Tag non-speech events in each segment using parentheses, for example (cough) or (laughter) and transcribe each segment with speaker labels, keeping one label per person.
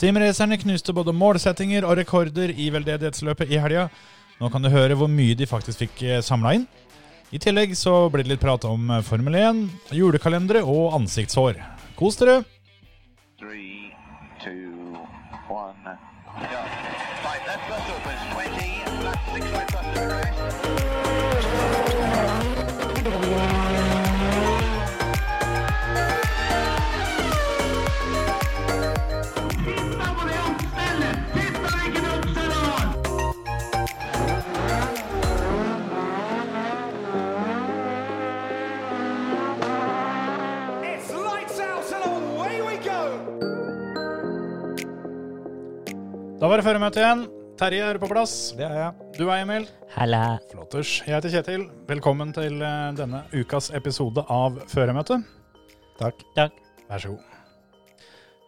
Speaker 1: Simracerne knuste både målsettinger og rekorder i veldedighetsløpet i helga. Nå kan du høre hvor mye de faktisk fikk samla inn. I tillegg så blir det litt prat om eh, Formel 1, julekalendere og ansiktshår. Kos dere!
Speaker 2: Three, two, one, go. Five left bus opens, 20, left six right bus to progress.
Speaker 3: It's lights out and away we go!
Speaker 1: Da var det føremøte igjen. Terje er på plass.
Speaker 4: Det er jeg.
Speaker 1: Du er Emil.
Speaker 5: Halla.
Speaker 1: Flotters. Jeg heter Kjetil. Velkommen til eh, denne ukas episode av Føremøtet.
Speaker 4: Takk.
Speaker 5: Takk.
Speaker 1: Vær så god.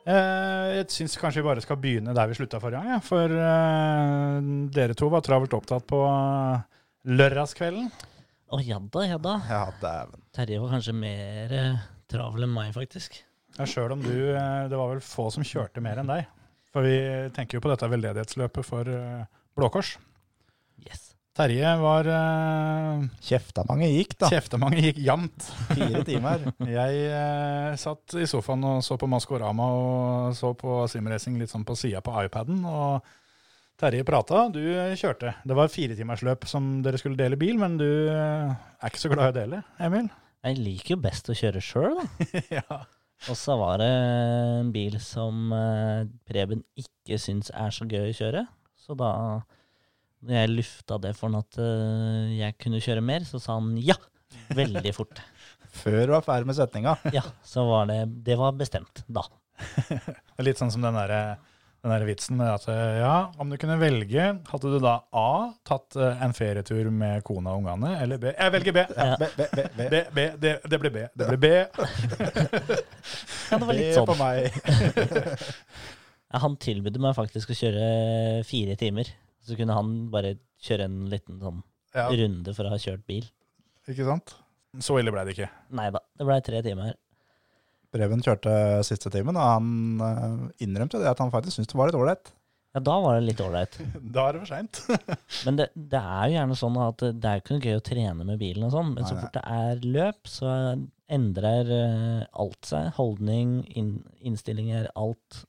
Speaker 1: Eh, Jeg syns kanskje vi bare skal begynne der vi slutta forrige gang. Ja. For eh, dere to var travelt opptatt på eh, lørdagskvelden.
Speaker 5: Å ja da, ja da.
Speaker 4: Ja, dæven.
Speaker 5: Terje var kanskje mer eh, travel enn meg, faktisk.
Speaker 1: Ja, Sjøl om du eh, Det var vel få som kjørte mer enn deg. For vi tenker jo på dette veldedighetsløpet for eh, Blå Kors.
Speaker 5: Yes.
Speaker 1: Terje var eh,
Speaker 4: Kjefta mange gikk, da.
Speaker 1: Kjeftemange gikk jamt.
Speaker 4: Fire timer.
Speaker 1: Jeg eh, satt i sofaen og så på Maskorama og så på simracing litt sånn på sida på iPaden. Og Terje prata, du eh, kjørte. Det var firetimersløp som dere skulle dele bil, men du eh, er ikke så glad i å dele, Emil?
Speaker 5: Jeg liker jo best å kjøre sjøl, da.
Speaker 1: ja.
Speaker 5: Og så var det en bil som eh, Preben ikke syns er så gøy å kjøre. Så da når jeg lufta det for han at eh, jeg kunne kjøre mer, så sa han ja! Veldig (laughs) fort.
Speaker 4: Før du var ferdig med setninga.
Speaker 5: Ja, så var det Det var bestemt, da.
Speaker 1: Det er Litt sånn som den derre den der vitsen med at eh, ja, om du kunne velge, hadde du da A tatt eh, en ferietur med kona og ungene, eller B? Jeg velger B.
Speaker 5: Ja.
Speaker 4: Be, be, be, be.
Speaker 1: B, B, det, det ble B. Det ble B.
Speaker 5: Ja, det var litt
Speaker 4: Be på
Speaker 5: sånn.
Speaker 4: meg.
Speaker 5: Ja, han tilbød meg faktisk å kjøre fire timer. Så kunne han bare kjøre en liten sånn
Speaker 1: Ja,
Speaker 5: runde for å ha kjørt bil.
Speaker 1: ikke sant? Så ille ble det ikke.
Speaker 5: Nei da, det blei tre timer.
Speaker 4: Preben kjørte siste timen, og han eh, innrømte det at han faktisk syntes det var litt ålreit.
Speaker 5: Ja, da var det litt ålreit.
Speaker 1: (laughs) Da er det for
Speaker 4: (laughs)
Speaker 1: seint.
Speaker 5: Men det, det er jo gjerne sånn at det er ikke noe gøy å trene med bilen og sånn, men så
Speaker 4: Nei, nei.
Speaker 5: fort det er løp, så endrer eh, alt seg. Holdning, inn, innstillinger, alt.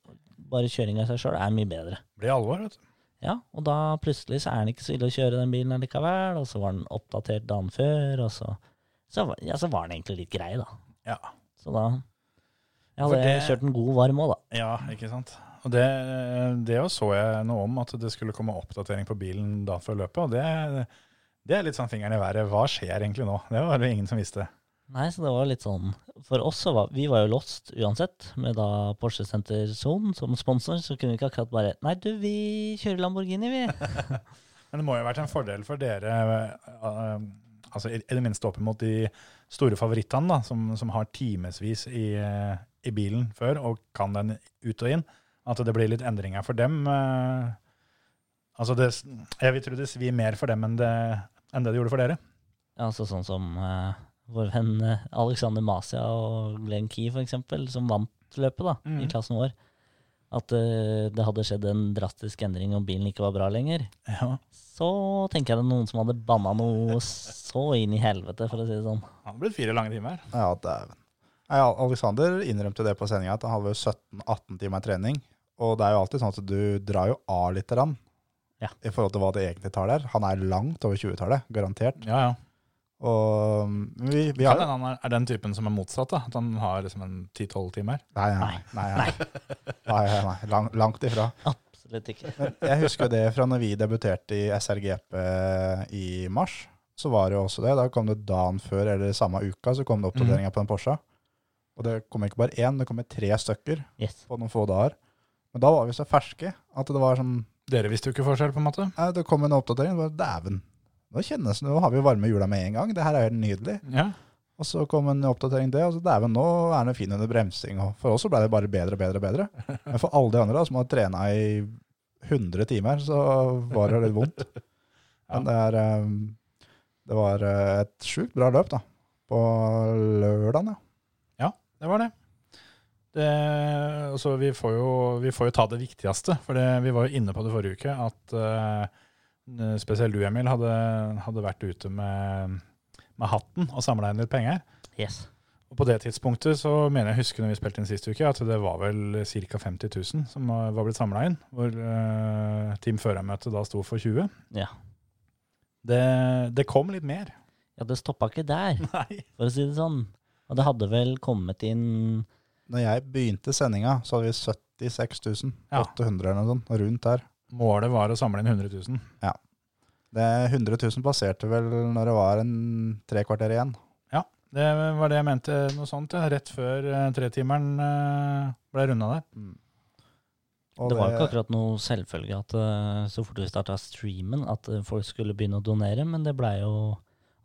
Speaker 5: Bare kjøring av seg sjøl er mye bedre.
Speaker 1: blir alvor, vet du.
Speaker 5: Ja, og da plutselig så er den ikke så ille å kjøre den bilen likevel, og så var den oppdatert dagen før, og så, så, var- ja, så var den egentlig litt grei, da.
Speaker 1: Ja.
Speaker 5: Så da Jeg
Speaker 1: For
Speaker 5: hadde
Speaker 1: det-
Speaker 5: kjørt en god varm òg, da.
Speaker 1: Ja, ikke sant. Og det, det jo så jeg noe om, at det skulle komme oppdatering på bilen da før løpet. Og det, det er litt sånn fingeren i været. Hva skjer egentlig nå? Det var det ingen som visste.
Speaker 5: Nei, så det var litt sånn For oss så var vi var jo lost uansett, med da Porsche Center Zone som sponsor, så kunne vi ikke akkurat bare Nei, du, vi kjører Lamborghini, vi.
Speaker 1: Men det må jo ha vært en fordel for dere, eh, altså i, i det minste opp mot de store favorittene, da, som, som har timevis i, eh, i bilen før og kan den ut og inn, at det blir litt endringer for dem. eh, Altså det, jeg vil tro det svir mer for dem enn det, enn det det gjorde for dere. (laughs)
Speaker 5: Altså sånn som eh, vår venn eh, Alexander Masia og Glenn Key, for eksempel, som vant løpet da,
Speaker 1: Mhm.
Speaker 5: i klassen vår. At eh, det hadde skjedd en drastisk endring og bilen ikke var bra lenger.
Speaker 1: Ja.
Speaker 5: Så tenker jeg det er noen som hadde banna noe så inn i helvete, for å si det sånn.
Speaker 1: Han har blitt fire lange timer.
Speaker 4: Ja, dæven. Nei, Al- Alexander innrømte det på sendinga, at han hadde jo 17-18 timer trening. Og det er jo alltid sånn at du drar jo av lite grann
Speaker 5: Ja.
Speaker 4: i forhold til hva det egentlig tar der. Han er langt over 20-tallet, garantert.
Speaker 1: Ja, ja.
Speaker 4: Og mm, vi, vi
Speaker 1: Kan
Speaker 4: har
Speaker 1: hende han er, er den typen som er motsatt, da. At han har liksom en 10-12 timer.
Speaker 4: Nei, nei, nei. nei. nei, nei, nei. Lang, langt ifra.
Speaker 5: Absolutt ikke.
Speaker 4: Men jeg husker jo det fra når vi debuterte i SRGP eh, i mars. Så var det jo også det. Da kom det dagen før eller samme uka så kom det oppdateringer
Speaker 1: Mhm.
Speaker 4: på den Porscha. Og det kom ikke bare én, det kom tre stykker
Speaker 5: Yes.
Speaker 4: på noen få dager. Men da var vi så ferske at det var sånn
Speaker 1: Dere visste jo ikke forskjell, på en måte.
Speaker 4: nei, Det kom en oppdatering, det var dæven. Nå kjennes det, nå har vi jo varme hjula med en gang. Det her er helt nydelig.
Speaker 1: Ja.
Speaker 4: Og så kom en oppdatering det, og så dæven, nå er den fin under bremsing. Og for oss så ble det bare bedre og bedre og
Speaker 5: (laughs)
Speaker 4: bedre. Men for alle de andre da, som har trena i 100 timer, så var det litt
Speaker 5: (laughs)
Speaker 4: vondt. Men det, er, eh, det var eh, et sjukt bra løp, da. På lørdagen, ja.
Speaker 1: Det var det. Det, altså, vi, får jo, vi får jo ta det viktigste, for det, vi var jo inne på det forrige uke at eh, spesielt du, Emil, hadde, hadde vært ute med, med hatten og samla inn litt penger.
Speaker 5: Yes.
Speaker 1: Og på det tidspunktet så mener jeg å huske når vi spilte inn sist uke, at det var vel ca. 50 000 som var blitt samla inn, hvor uh, Team Førermøte da sto for 20
Speaker 5: Ja.
Speaker 1: Det, det kom litt mer. (laughs)
Speaker 5: ja, det stoppa ikke der,
Speaker 1: Nei.
Speaker 5: for å si det sånn. Og det hadde vel kommet inn
Speaker 4: Når jeg begynte sendinga, så hadde vi 76
Speaker 1: Ja.
Speaker 4: 800 eller noe sånt, rundt der.
Speaker 1: Målet var å samle inn 100 000.
Speaker 4: Det 100 000 passerte vel når det var en tre kvarter igjen.
Speaker 1: Det var det jeg mente, noe sånt, ja. rett før eh, tretimeren eh, ble runda der.
Speaker 4: Og
Speaker 5: Det var jo ikke akkurat noe selvfølge at eh, så fort vi starta streamen, at eh, folk skulle begynne å donere, men det blei jo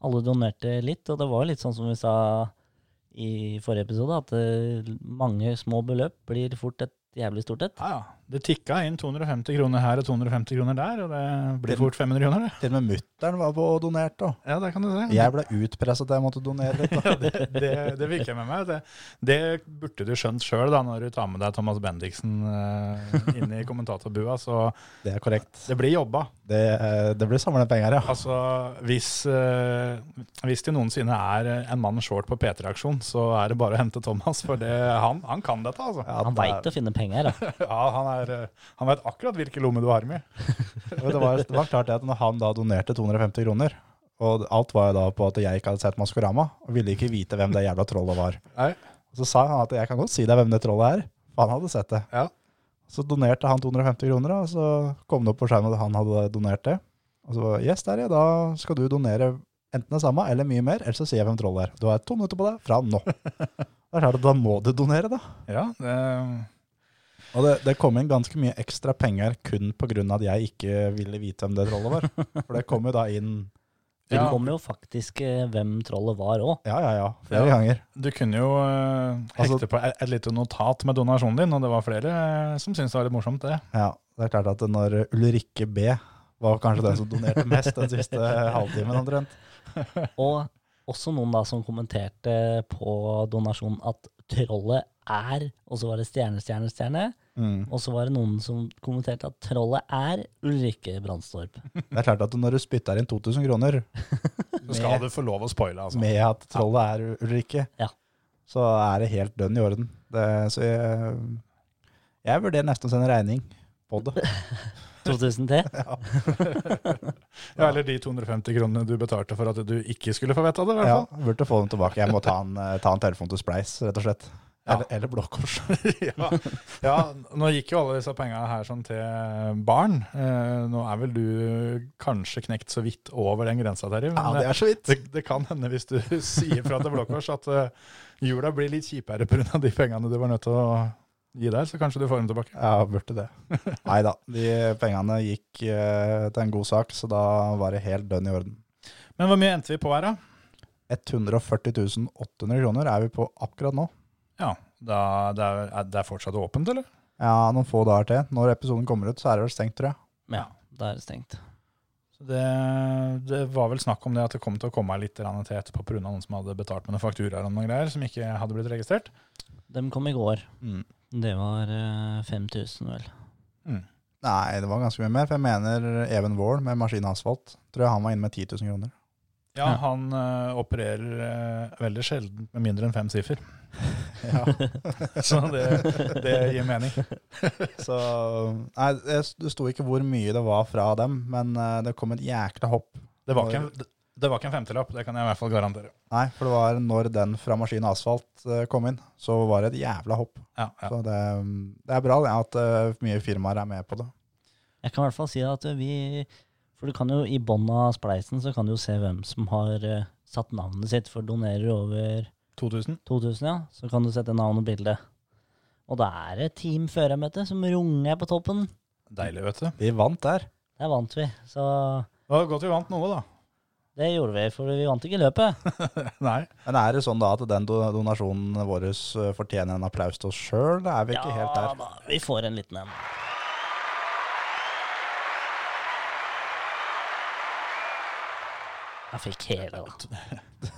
Speaker 5: Alle donerte litt, og det var jo litt sånn som vi sa i forrige episode, at eh, mange små beløp blir fort et jævlig stort et.
Speaker 1: Ja, ja. Det tikka inn 250 kroner her og 250 kroner der, og det blir fort 500 kroner, det.
Speaker 4: Til og med mutter'n var på og donerte. og
Speaker 1: Ja, det kan du se.
Speaker 4: Jeg ble utpressa til jeg måtte donere litt. Da.
Speaker 1: Ja, det, det, det fikk jeg med meg. Det, det burde du skjønt sjøl når du tar med deg Thomas Bendiksen eh, inn i kommentatorbua. Så
Speaker 4: Det er korrekt.
Speaker 1: det blir jobba.
Speaker 4: Det, eh, det blir samla penger, ja.
Speaker 1: Altså, hvis, eh, hvis det noensinne er en mann short på P3-aksjon, så er det bare å hente Thomas, for det, han, han kan dette, altså.
Speaker 4: Ja,
Speaker 5: Han
Speaker 4: det er-
Speaker 5: veit å finne
Speaker 4: (laughs)
Speaker 5: penger, da.
Speaker 1: Ja, han, er, eh, han vet akkurat hvilke lomme du har med.
Speaker 4: Og det, var, det var klart det at når han da donerte 250 kroner, og alt var jo da på at jeg ikke hadde sett Maskorama, og ville ikke vite hvem det jævla trollet var.
Speaker 1: Nei.
Speaker 4: Og så sa han at jeg kan godt si deg hvem det trollet er, for han hadde sett det.
Speaker 1: Ja.
Speaker 4: Så donerte han 250 kroner, da, og så kom det opp på skjermen at han hadde donert det. Og så var det, yes, der ja, da skal du donere enten det samme eller mye mer, ellers så sier jeg hvem trollet er. Du har to minutter på deg fra
Speaker 1: (laughs)
Speaker 4: nå. Da er det klart at da må du donere, da.
Speaker 1: Ja, det...
Speaker 4: Og det, det kom inn ganske mye ekstra penger kun pga. at jeg ikke ville vite hvem det trollet var. For det kom jo da inn
Speaker 5: Det
Speaker 1: Ja.
Speaker 5: kom jo faktisk eh, hvem trollet var òg.
Speaker 4: ja, ja, ja, flere
Speaker 1: Ja.
Speaker 4: ganger.
Speaker 1: Du kunne jo eh, hekte
Speaker 4: Altså-
Speaker 1: på et, et lite notat med donasjonen din, og det var flere eh, som syntes det var litt morsomt, det.
Speaker 4: Ja, Det er klart at når Ulrikke B var kanskje den som donerte mest den siste halvtimen, omtrent.
Speaker 5: Og også noen da som kommenterte på donasjonen at trollet er Og så var det stjerne, stjerne, stjerne.
Speaker 4: Mm.
Speaker 5: Og så var det noen som kommenterte at trollet er Ulrikke Brandstorp.
Speaker 4: Det er klart at når du spytter inn 2000 kroner
Speaker 1: Så skal du få lov å spoile, altså.
Speaker 4: med at trollet er Ulrikke,
Speaker 5: Ja.
Speaker 4: så er det helt dønn i orden. Det, så jeg, jeg vurderer nesten å sende regning på det.
Speaker 5: 2003.
Speaker 1: Ja, eller de 250 kronene du betalte for at du ikke skulle få vite av det, i hvert
Speaker 4: Ja,
Speaker 1: fall. (laughs)
Speaker 4: burde få dem tilbake. Jeg må ta en, eh, ta en telefon til Spleis, rett og slett. Eller, eller Blå Kors.
Speaker 1: Ja. ja, nå gikk jo alle disse penga her sånn til barn. Eh, nå er vel du kanskje knekt så vidt over den grensa, Terje. men,
Speaker 4: Ja, det
Speaker 1: eh,
Speaker 4: er så vidt.
Speaker 1: det, det kan hende hvis du (laughs) sier fra til Blå Kors at eh, jula blir litt kjipere pga. de pengene du var nødt til å gi der, så kanskje du får dem tilbake.
Speaker 4: Ja, burde det. (laughs) Nei da, de pengene gikk eh, til en god sak, så da var det helt dønn i orden.
Speaker 1: Men hvor mye endte vi på her, da?
Speaker 4: 140 800 kroner er vi på akkurat nå.
Speaker 1: Ja, da, det, er, er det er fortsatt åpent, eller?
Speaker 4: Ja, noen få dager til. Når episoden kommer ut, så er det vel stengt, tror jeg.
Speaker 5: Ja, da er det stengt.
Speaker 1: Så Det, det var vel snakk om det at det kom til å komme litt grann til etterpå pga. noen som hadde betalt med noen fakturaer og noen greier som ikke hadde blitt registrert.
Speaker 5: De kom i går.
Speaker 4: Mm.
Speaker 5: Det var eh, 5000, vel. (laughs)
Speaker 4: Nei, det var ganske mye mer, for jeg mener Even Wall med Maskin Asfalt. Tror jeg han var inne med 10 000 kroner.
Speaker 1: Ja,
Speaker 5: Ja.
Speaker 1: han eh, opererer eh, veldig sjelden med mindre enn fem siffer. Så det, det gir mening.
Speaker 4: Så Nei, det det sto ikke hvor mye det var fra dem, men eh, det kom et jækla hopp.
Speaker 1: Det var ikke en, det, det var ikke en femtilapp, det kan jeg i hvert fall garantere.
Speaker 4: Nei, for det var når den fra Maskin Asfalt eh, kom inn, så var det et jævla hopp.
Speaker 1: Ja, ja.
Speaker 4: Så det, det er bra det, at eh, mye firmaer er med på det.
Speaker 5: Jeg kan i hvert fall si at vi For du kan jo i bånn av spleisen så kan du jo se hvem som har eh, satt navnet sitt for donerer over
Speaker 1: 2000?
Speaker 5: 2000, ja. Så kan du sette navn og bilde. Og da er det Team Førermøte som runger på toppen.
Speaker 1: Deilig, vet du.
Speaker 4: Vi vant der.
Speaker 5: Der vant vi. Så
Speaker 1: Det var godt vi vant noe, da. (laughs)
Speaker 5: det gjorde vi, for vi vant ikke løpet.
Speaker 1: Nei.
Speaker 4: Men er det sånn da at den do- donasjonen vår eh, fortjener en applaus til oss sjøl? Da er vi ikke helt der.
Speaker 5: da, vi får en liten en. Jeg fikk hele, da.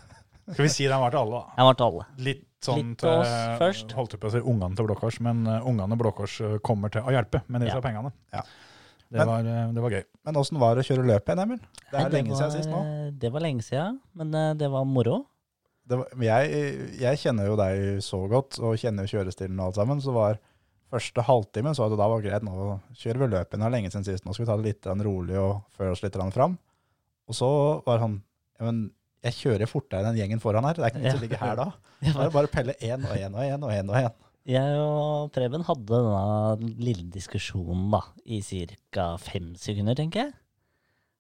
Speaker 1: Skal vi si den var til alle, da?
Speaker 5: Jeg var til alle.
Speaker 1: Litt, sånn
Speaker 5: Litt til oss
Speaker 1: eh,
Speaker 5: først.
Speaker 1: Holdt jeg på å si ungene til Blå Kors, men eh, ungene Blå Kors eh, kommer til å hjelpe med disse
Speaker 5: Ja.
Speaker 1: pengene.
Speaker 4: Ja.
Speaker 1: Det,
Speaker 4: Men-
Speaker 1: var, eh, det var gøy.
Speaker 4: Men åssen var det å kjøre løpet igjen, Emil? Det
Speaker 5: Nei,
Speaker 4: er lenge
Speaker 5: var,
Speaker 4: siden sist nå.
Speaker 5: eh, Det var lenge siden, men eh, det var moro.
Speaker 4: Det var, men jeg, jeg kjenner jo deg så godt, og kjenner jo kjørestilen og alt sammen, så var første halvtimen så at det da var greit, nå kjører vi løpet, det er lenge siden sist, nå skal vi ta det litt grann rolig og føre oss litt grann fram. Og så var han, ja, men jeg kjører fortere enn den gjengen foran her, det er ikke noe
Speaker 5: (laughs)
Speaker 4: som
Speaker 5: Ja.
Speaker 4: ligger her da.
Speaker 5: Det
Speaker 4: Da er
Speaker 5: var,
Speaker 4: det bare å pelle én og én og én og én og én.
Speaker 5: jeg og Preben hadde denne lille diskusjonen da, i ca. fem sekunder, tenker jeg.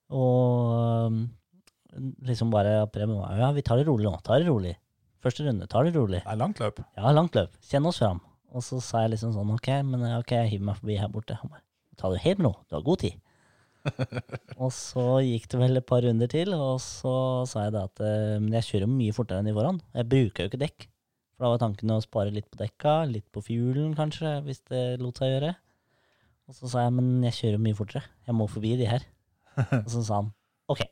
Speaker 5: Og um, liksom bare Preben var ja, vi tar det rolig nå, tar det rolig. Første runde, tar det rolig.
Speaker 1: Det er langt løp.
Speaker 5: Ja, langt løp. Kjenn oss fram. Og så sa jeg liksom sånn, ok, men eh, ok, jeg hiver meg forbi her borte. Han bare, ta det helt med ro, du har god tid. og så gikk det vel et par runder til, og så sa jeg det at eh, men jeg kjører jo mye fortere enn de foran. Jeg bruker jo ikke dekk. For da var tanken å spare litt på dekka, litt på fuelen kanskje, hvis det lot seg gjøre. Og så sa jeg, men jeg kjører jo mye fortere. Jeg må forbi de her. og så sa han, ok.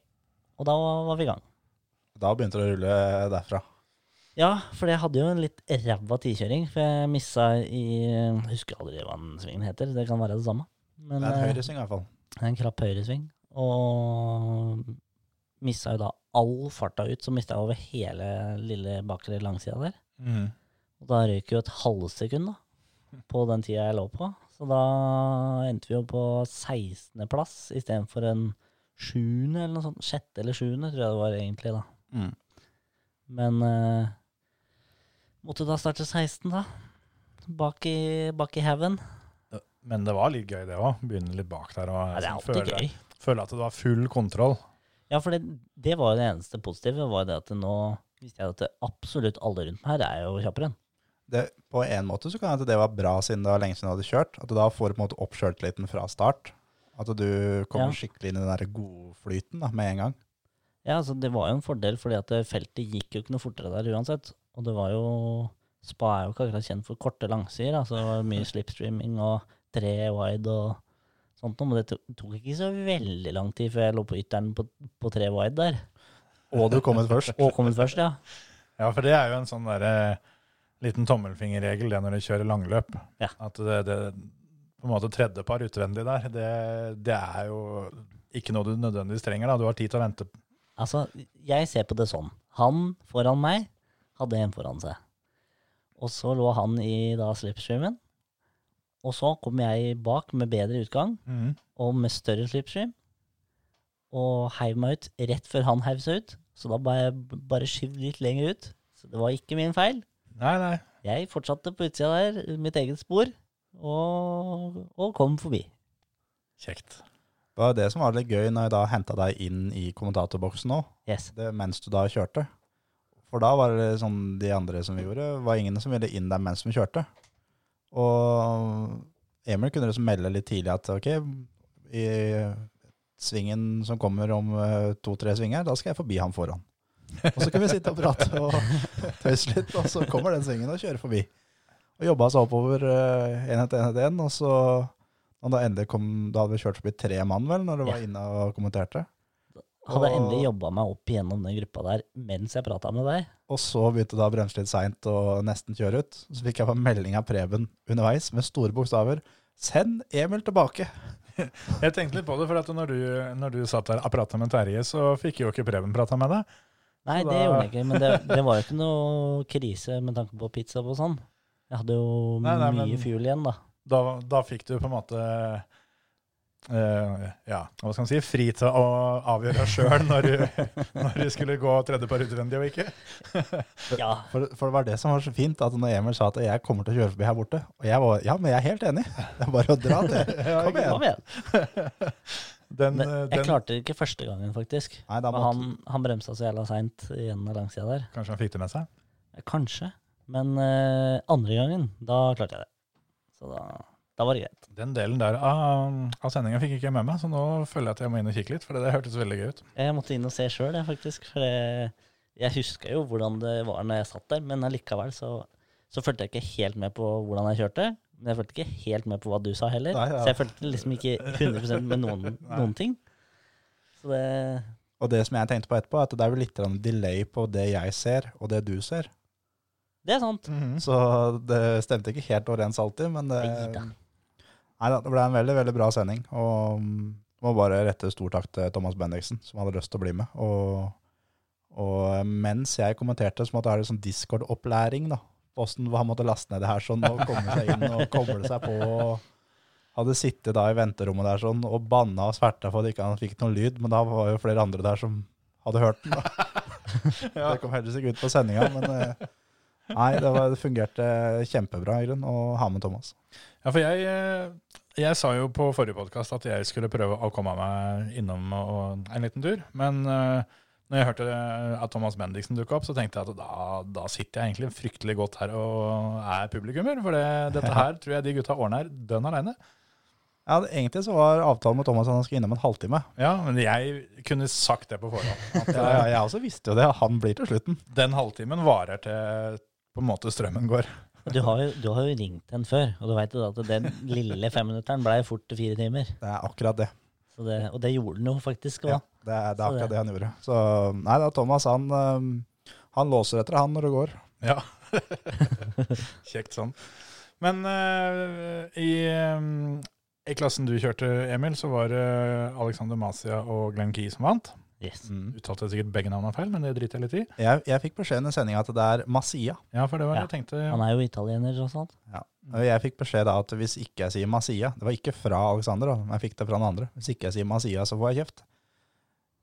Speaker 5: Og da var vi i gang.
Speaker 4: Da begynte det å rulle derfra.
Speaker 5: Ja, for jeg hadde jo en litt ræva tidkjøring, for jeg missa i jeg Husker aldri hva den svingen heter, det kan være det samme. Men
Speaker 4: Det er
Speaker 5: eh,
Speaker 4: en høyresving i hvert fall.
Speaker 5: en krapp høyresving. Og missa jo da all farta ut, så mista jeg over hele lille bakre langsida der. Og da røyk jo et halvsekund da, på den tida jeg lå på. Så da endte vi jo på 16.-plass istedenfor en sjuende eller noe sånt. Sjette eller sjuende, tror jeg det var egentlig, da.
Speaker 4: Mm.
Speaker 5: Men eh, måtte da starte 16, da. Bak i, bak i haugen.
Speaker 1: Men det var litt gøy, det òg. Begynne litt bak der og
Speaker 5: Ja, det er
Speaker 1: sånn,
Speaker 5: alltid
Speaker 1: føle,
Speaker 5: gøy.
Speaker 1: føle at du har full kontroll.
Speaker 5: Ja, for det, det var jo det eneste positive, var det at nå visste jeg at det absolutt alle rundt meg her er jo kjappere enn.
Speaker 4: det, på en måte så kan jeg at det var bra siden det var lenge siden du hadde kjørt. At du da får på en måte opp sjøltilliten fra start. At du kommer
Speaker 5: Ja.
Speaker 4: skikkelig inn i den der godflyten da, med en gang.
Speaker 5: Ja, altså det var jo en fordel, fordi at eh, feltet gikk jo ikke noe fortere der uansett. Og det var jo Spa er jo ikke akkurat kjent for korte langsider, altså det var mye slipstreaming og tre wide og sånt noe, men det to- tok ikke så veldig lang tid før jeg lå på ytteren på, på tre wide der.
Speaker 4: Og du
Speaker 5: (laughs)
Speaker 4: kom ut først.
Speaker 5: Og kommet først, ja.
Speaker 1: Ja, for det er jo en sånn derre liten tommelfingerregel det når du kjører langløp.
Speaker 5: Ja.
Speaker 1: At det, det på en måte tredje par utvendig der, det, det er jo ikke noe du nødvendigvis trenger. da. Du har tid til å vente.
Speaker 5: Altså, jeg ser på det sånn. Han foran meg hadde en foran seg. Og så lå han i da slipstreamen. Og så kom jeg bak med bedre utgang. og med større slipstream, og heiv meg ut rett før han heiv seg ut. Så da bare, bare skyv litt lenger ut. Så det var ikke min feil.
Speaker 1: Nei, nei.
Speaker 5: Jeg fortsatte på utsida der, mitt eget spor, og, og kom forbi.
Speaker 1: Kjekt.
Speaker 4: Det var det som var litt gøy når jeg da henta deg inn i kommentatorboksen nå,
Speaker 5: Yes.
Speaker 4: det, mens du da kjørte. For da var det sånn de andre som vi gjorde, var ingen som ville inn der mens de kjørte. Og Emil kunne liksom melde litt tidlig at ok, i svingen som kommer om eh, to-tre svinger, da skal jeg forbi han foran. Og så kan vi sitte og prate og (laughs) tøyse litt, og så kommer den svingen og kjører forbi. Og jobba seg oppover eh, enhet, enhet, en, og så og da endelig kom, da hadde vi kjørt forbi tre mann vel, når du var inne og kommenterte.
Speaker 5: Hadde jeg
Speaker 4: Og-
Speaker 5: endelig jobba meg opp igjennom den gruppa der mens jeg prata med deg.
Speaker 4: Og så begynte da å bremse litt seint og nesten kjøre ut. Så fikk jeg bare melding av Preben underveis med store bokstaver. Send Emil tilbake!
Speaker 1: Jeg tenkte litt på det, for at når du, når du satt der og prata med Terje, så fikk jo ikke Preben prata med deg. Så
Speaker 5: Nei, det
Speaker 1: da-
Speaker 5: gjorde han ikke, men
Speaker 1: (laughs)
Speaker 5: det, det var jo ikke noe krise med tanke på pizza og sånn. Jeg hadde jo
Speaker 1: Nei, nei, men-
Speaker 5: mye fuel igjen, da.
Speaker 1: Da, da fikk du på en måte eh, ja, hva skal man si, fri til å avgjøre
Speaker 5: (laughs)
Speaker 1: sjøl når, du- når du skulle gå tredje par utvendig og ikke.
Speaker 5: Ja,
Speaker 4: For, for det var det som var så fint, at når Emil sa at jeg kommer til å kjøre forbi her borte Og jeg var ja, men jeg er helt enig. (laughs) Det er bare å dra, det. Kom
Speaker 5: kom
Speaker 4: igjen.
Speaker 5: igjen.
Speaker 1: Den,
Speaker 5: Men
Speaker 1: eh,
Speaker 5: jeg
Speaker 1: den,
Speaker 5: klarte det ikke første gangen, faktisk.
Speaker 4: Nei, da
Speaker 5: Men
Speaker 4: måtte,
Speaker 5: han, han bremsa så jævla seint igjen av langsida der.
Speaker 1: kanskje han fikk det med seg?
Speaker 5: Kanskje. Men eh, andre gangen, da klarte jeg det. Så da, da var det greit.
Speaker 1: Den delen der av, av sendinga fikk jeg ikke med meg, så nå føler jeg at jeg må inn og kikke litt, for det hørtes veldig gøy ut.
Speaker 5: Jeg måtte inn og se sjøl, jeg, faktisk. For jeg, jeg huska jo hvordan det var når jeg satt der, men allikevel så, så fulgte jeg ikke helt med på hvordan jeg kjørte. Men jeg fulgte ikke helt med på hva du sa heller.
Speaker 4: Nei, ja.
Speaker 5: Så jeg fulgte liksom ikke 100 med
Speaker 4: (laughs)
Speaker 5: noen, noen ting. Så det
Speaker 4: og det som jeg tenkte på etterpå, er at det er vel litt grann delay på det jeg ser, og det du ser.
Speaker 5: Det er sant.
Speaker 4: Så det stemte ikke helt overens alltid, men eh,
Speaker 5: Neida.
Speaker 4: det, Neida, det ble en veldig veldig bra sending. Og mm, må bare rette stor takk til Thomas Bendiksen, som hadde lyst til å bli med. Og, og mens jeg kommenterte, så måtte jeg ha litt sånn Discord-opplæring. da. Åssen han måtte laste ned det her sånn, og komme seg inn og koble seg på. og Hadde sittet da i venterommet der sånn, og banna og sverta for at ikke han ikke fikk noen lyd, men da var jo flere andre der som hadde hørt den. da. Det kom heldigvis ikke ut på sendinga, men eh, Nei, det, var, det fungerte kjempebra i grunn, å ha med Thomas.
Speaker 1: Ja, for jeg, eh, jeg sa jo på forrige podkast at jeg skulle prøve å komme meg innom og, en liten tur. Men eh, når jeg hørte eh, at Thomas Bendiksen dukka opp, så tenkte jeg at da, da sitter jeg egentlig fryktelig godt her og er publikummer. For det, dette her tror jeg de gutta ordner dønn aleine.
Speaker 4: Ja, det, Egentlig så var avtalen med Thomas at han skulle innom en halvtime.
Speaker 1: Ja, men jeg kunne sagt det på forhånd. At
Speaker 4: (laughs) Ja,
Speaker 1: eh,
Speaker 4: ja, jeg også visste jo det. Han blir til slutten.
Speaker 1: den halvtimen varer til på en måte strømmen går.
Speaker 5: Du har jo, du har jo ringt en før, og du veit jo da at den lille femminutteren blei fort til fire timer.
Speaker 4: Det er akkurat det.
Speaker 5: Så det, og det gjorde den jo faktisk òg.
Speaker 4: Ja, det, er, det er
Speaker 5: Så det-
Speaker 4: akkurat det han gjorde. Så nei da, Thomas han, øhm, han låser etter han når det går.
Speaker 1: Ja. Kjekt sånn. Men eh, i, eh, i klassen du kjørte, Emil, så var det Alexander Masia og Glenn Key som vant.
Speaker 5: Yes.
Speaker 1: Uttalte jeg sikkert begge navnene feil, men det driter jeg litt i.
Speaker 4: Jeg, jeg fikk beskjed under sendinga at det er Masia.
Speaker 1: Ja, for det var det
Speaker 5: Ja.
Speaker 1: jeg tenkte.
Speaker 5: Han er jo italiener, tross alt.
Speaker 4: Og Jeg fikk beskjed da at hvis ikke jeg sier Masia Det var ikke fra Alexander, da, men jeg fikk det fra den andre. Hvis ikke jeg sier Masia, så får jeg kjeft.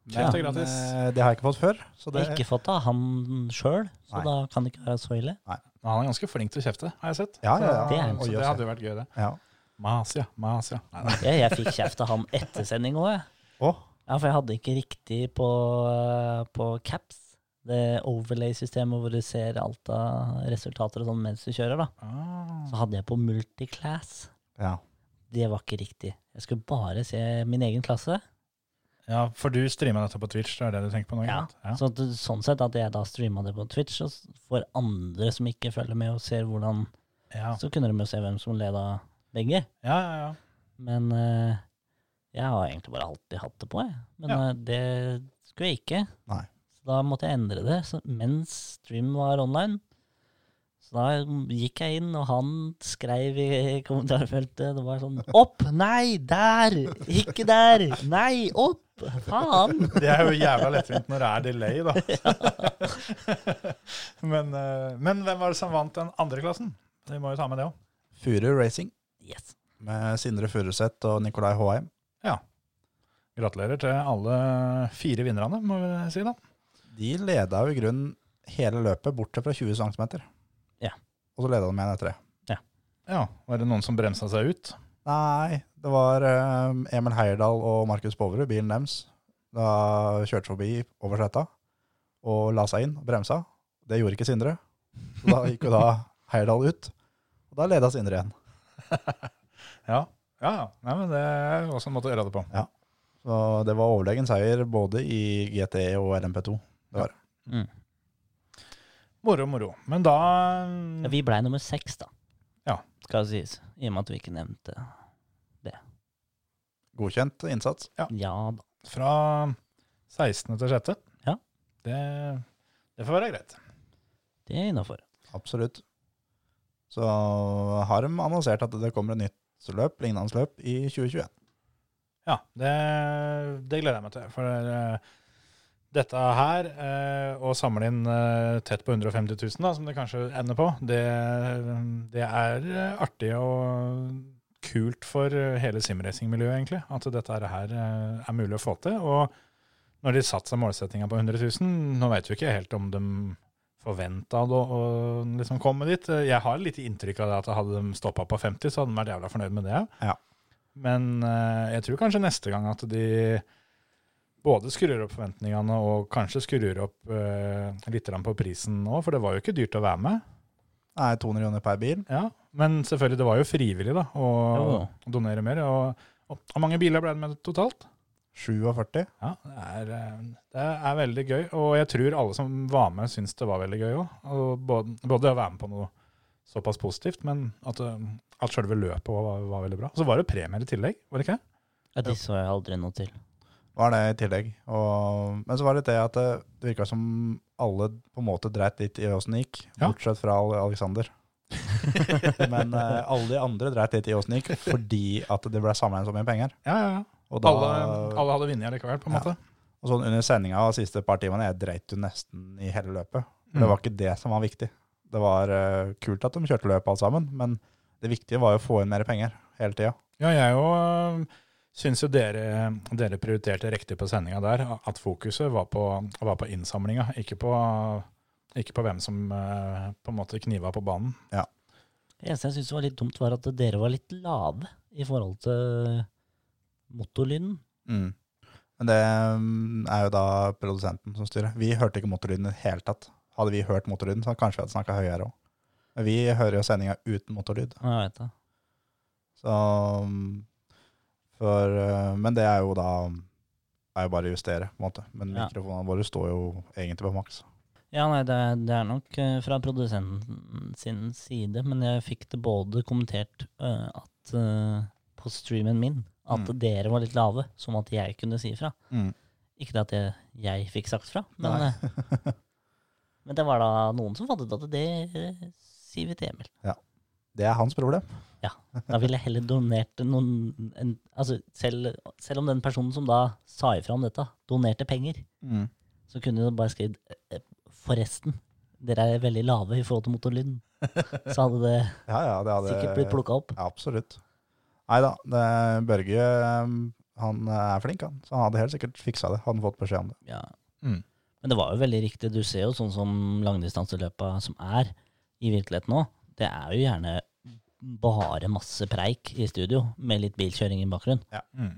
Speaker 1: Kjeft er
Speaker 4: Men,
Speaker 1: gratis.
Speaker 4: eh, det har jeg ikke fått før. Så
Speaker 5: Jeg
Speaker 4: det,
Speaker 5: har ikke fått det av han sjøl, så
Speaker 4: Nei.
Speaker 5: da kan det ikke være så ille.
Speaker 1: Men Han er ganske flink til å kjefte, har jeg sett.
Speaker 4: Ja,
Speaker 1: Så-
Speaker 4: ja, ja.
Speaker 5: Det er han.
Speaker 1: Så
Speaker 4: Oi,
Speaker 1: det
Speaker 4: å se.
Speaker 1: hadde jo vært gøy, det.
Speaker 4: ja.
Speaker 1: Masia, Masia. Nei,
Speaker 5: (laughs)
Speaker 1: nei.
Speaker 5: Ja, jeg fikk kjeft av han etter sending òg, jeg.
Speaker 4: Å,
Speaker 5: Ja, for jeg hadde ikke riktig på, eh, på caps. Det overlay-systemet hvor du ser alt av resultater og sånn mens du kjører, da.
Speaker 1: Ah.
Speaker 5: Så hadde jeg på multiclass.
Speaker 4: ja.
Speaker 5: Det var ikke riktig. Jeg skulle bare se min egen klasse.
Speaker 1: Ja, for du streama dette på Twitch, det er det du tenker på nå? ikke
Speaker 5: Ja.
Speaker 1: sant? Ja.
Speaker 5: Så at, det- sånn sett at jeg da streama det på Twitch, og s- for andre som ikke følger med og ser hvordan
Speaker 1: Ja.
Speaker 5: Så kunne de jo se hvem som leda begge.
Speaker 1: ja, ja, ja.
Speaker 5: Men eh, jeg har egentlig bare alltid hatt det på, jeg. Men
Speaker 1: Ja.
Speaker 5: eh, det skulle jeg ikke.
Speaker 4: Nei.
Speaker 5: Så da måtte jeg endre det så, mens stream var online. Så da gikk jeg inn, og han skreiv i kommentarfeltet Det var sånn Opp! Nei! Der! Ikke der! Nei! Opp! Faen!
Speaker 1: Det er jo jævla lettvint når det er delay, da. (laughs) men, eh, men hvem var det som vant den andre klassen? Vi må jo ta med det òg.
Speaker 4: Furu Racing
Speaker 5: Yes.
Speaker 4: med Sindre Furuseth og Nikolai Håheim.
Speaker 1: Gratulerer til alle fire vinnerne, må vi si da.
Speaker 4: De leda jo i grunnen hele løpet bortsett fra 20 cm.
Speaker 5: Ja.
Speaker 4: Og så leda de igjen etter det.
Speaker 1: Ja, Var det noen som bremsa seg ut?
Speaker 4: Nei, det var eh, Emil Heierdal og Markus Boverud, bilen deres. Da kjørte forbi over sletta og la seg inn og bremsa. Det gjorde ikke Sindre. Så da gikk jo da (laughs) Heierdal ut. Og da leda Sindre igjen.
Speaker 1: Ja, ja. ja. Nei, men det er også en måte å gjøre det på.
Speaker 4: Så det var overlegen seier både i GTE og LMP2.
Speaker 1: Moro, moro. Men da
Speaker 5: Ja, vi blei nummer seks, da.
Speaker 1: Mm. Ja.
Speaker 5: Skal sies. I og med at vi ikke nevnte
Speaker 4: Godkjent innsats.
Speaker 5: Ja da.
Speaker 1: Fra 16. til 6.
Speaker 5: Ja.
Speaker 1: Det, det får være greit.
Speaker 5: Det er innafor.
Speaker 4: Absolutt. Så har de annonsert at det kommer et nytt løp, lignende løp, i 2021.
Speaker 1: Ja, det, det gleder jeg meg til. For eh, dette her, eh, å samle inn eh, tett på 150 000, da, som det kanskje ender på, det, det er eh, artig og kult for eh, hele simracing-miljøet, egentlig. At dette her eh, er mulig å få til. Og når de satte seg målsettinga på 100 000, nå veit vi ikke helt om de forventa å å liksom komme dit. Jeg har litt inntrykk av det at hadde de stoppa på 50, så hadde de vært jævla fornøyd med det. Men eh, jeg tror kanskje neste gang at de både skrur opp forventningene og kanskje skrur opp eh, litt grann på prisen nå, for det var jo ikke dyrt å være med.
Speaker 4: Nei, 200 kroner per bil.
Speaker 1: Ja. Men selvfølgelig, det var jo frivillig da, å
Speaker 5: Jo,
Speaker 1: donere mer. Og, og hvor mange biler ble det med totalt?
Speaker 4: 47.
Speaker 1: Ja, det er, eh, det er veldig gøy, og jeg tror alle som var med syns det var veldig gøy òg. Og både, både å være med på noe såpass positivt, men at, eh, at selve løpet også var, var veldig bra. Og så var det premier i tillegg, var det ikke?
Speaker 5: Ja, de så jeg aldri noe til.
Speaker 4: var det i tillegg. Og, men så var det det at det, det virka som alle på en måte dreit litt i åssen det gikk,
Speaker 1: Ja.
Speaker 4: bortsett fra Al- Alexander. (laughs) men eh, alle de andre dreit litt i åssen det gikk, fordi at det ble samla inn så mye penger.
Speaker 1: Ja, ja, ja.
Speaker 4: Og, da,
Speaker 1: Alle, alle hadde vunnet allikevel, på en
Speaker 4: Ja.
Speaker 1: måte.
Speaker 4: og sånn under sendinga de siste par timene, jeg dreit jo nesten i hele løpet. For
Speaker 1: Mm.
Speaker 4: det var ikke det som var viktig. Det var eh, kult at de kjørte løp alt sammen, men det viktige var jo å få inn mer penger hele tida.
Speaker 1: Mm. Ja, jeg òg syns jo dere, dere prioriterte riktig på sendinga der. At fokuset var på, var på innsamlinga, ikke på, ikke på hvem som eh, på en måte kniva på banen.
Speaker 5: Det eneste jeg syntes var litt dumt, var at dere var litt lave i forhold til motorlyden.
Speaker 4: Mm. Men det mm, er jo da produsenten som styrer. Vi hørte ikke motorlyden i det hele tatt. Hadde vi hørt motorlyden, så kanskje vi hadde snakka høyere òg. Men vi hører jo sendinga uten motorlyd.
Speaker 5: Jeg vet det.
Speaker 4: Så mm, for, eh, Men det er jo da er jo bare å justere, på en måte. Men
Speaker 5: Ja.
Speaker 4: mikrofonene våre står jo egentlig på maks.
Speaker 5: Ja, nei, det, er- det er nok eh, fra produsenten sin side, men jeg fikk det både kommentert eh, at, eh, på streamen min at
Speaker 4: Mm.
Speaker 5: dere var litt lave, som at jeg kunne si fra.
Speaker 4: Mm.
Speaker 5: Ikke det at jeg, jeg fikk sagt fra, men,
Speaker 4: Nei.
Speaker 5: eh,
Speaker 4: (laughs)
Speaker 5: men det var da noen som fant ut at det eh, sier vi til Emil.
Speaker 4: Det er hans problem.
Speaker 5: Da ville jeg heller donert noen en, altså selv, selv om den personen som da sa ifra om dette, donerte penger, så kunne du bare skrevet eh, Forresten, dere er veldig lave i forhold til motorlyden. Så hadde det
Speaker 4: Ja, ja, det hadde
Speaker 5: sikkert blitt plukka opp.
Speaker 4: Ja, absolutt. Nei da, Børge um, han er flink, han. Så han hadde helt sikkert fiksa det. Hadde han fått beskjed om det.
Speaker 5: Ja.
Speaker 1: Mm.
Speaker 5: Men det var jo veldig riktig. Du ser jo sånn som langdistanseløpa som er i virkeligheten nå. Det er jo gjerne bare masse preik i studio, med litt bilkjøring i bakgrunnen.
Speaker 1: Mm.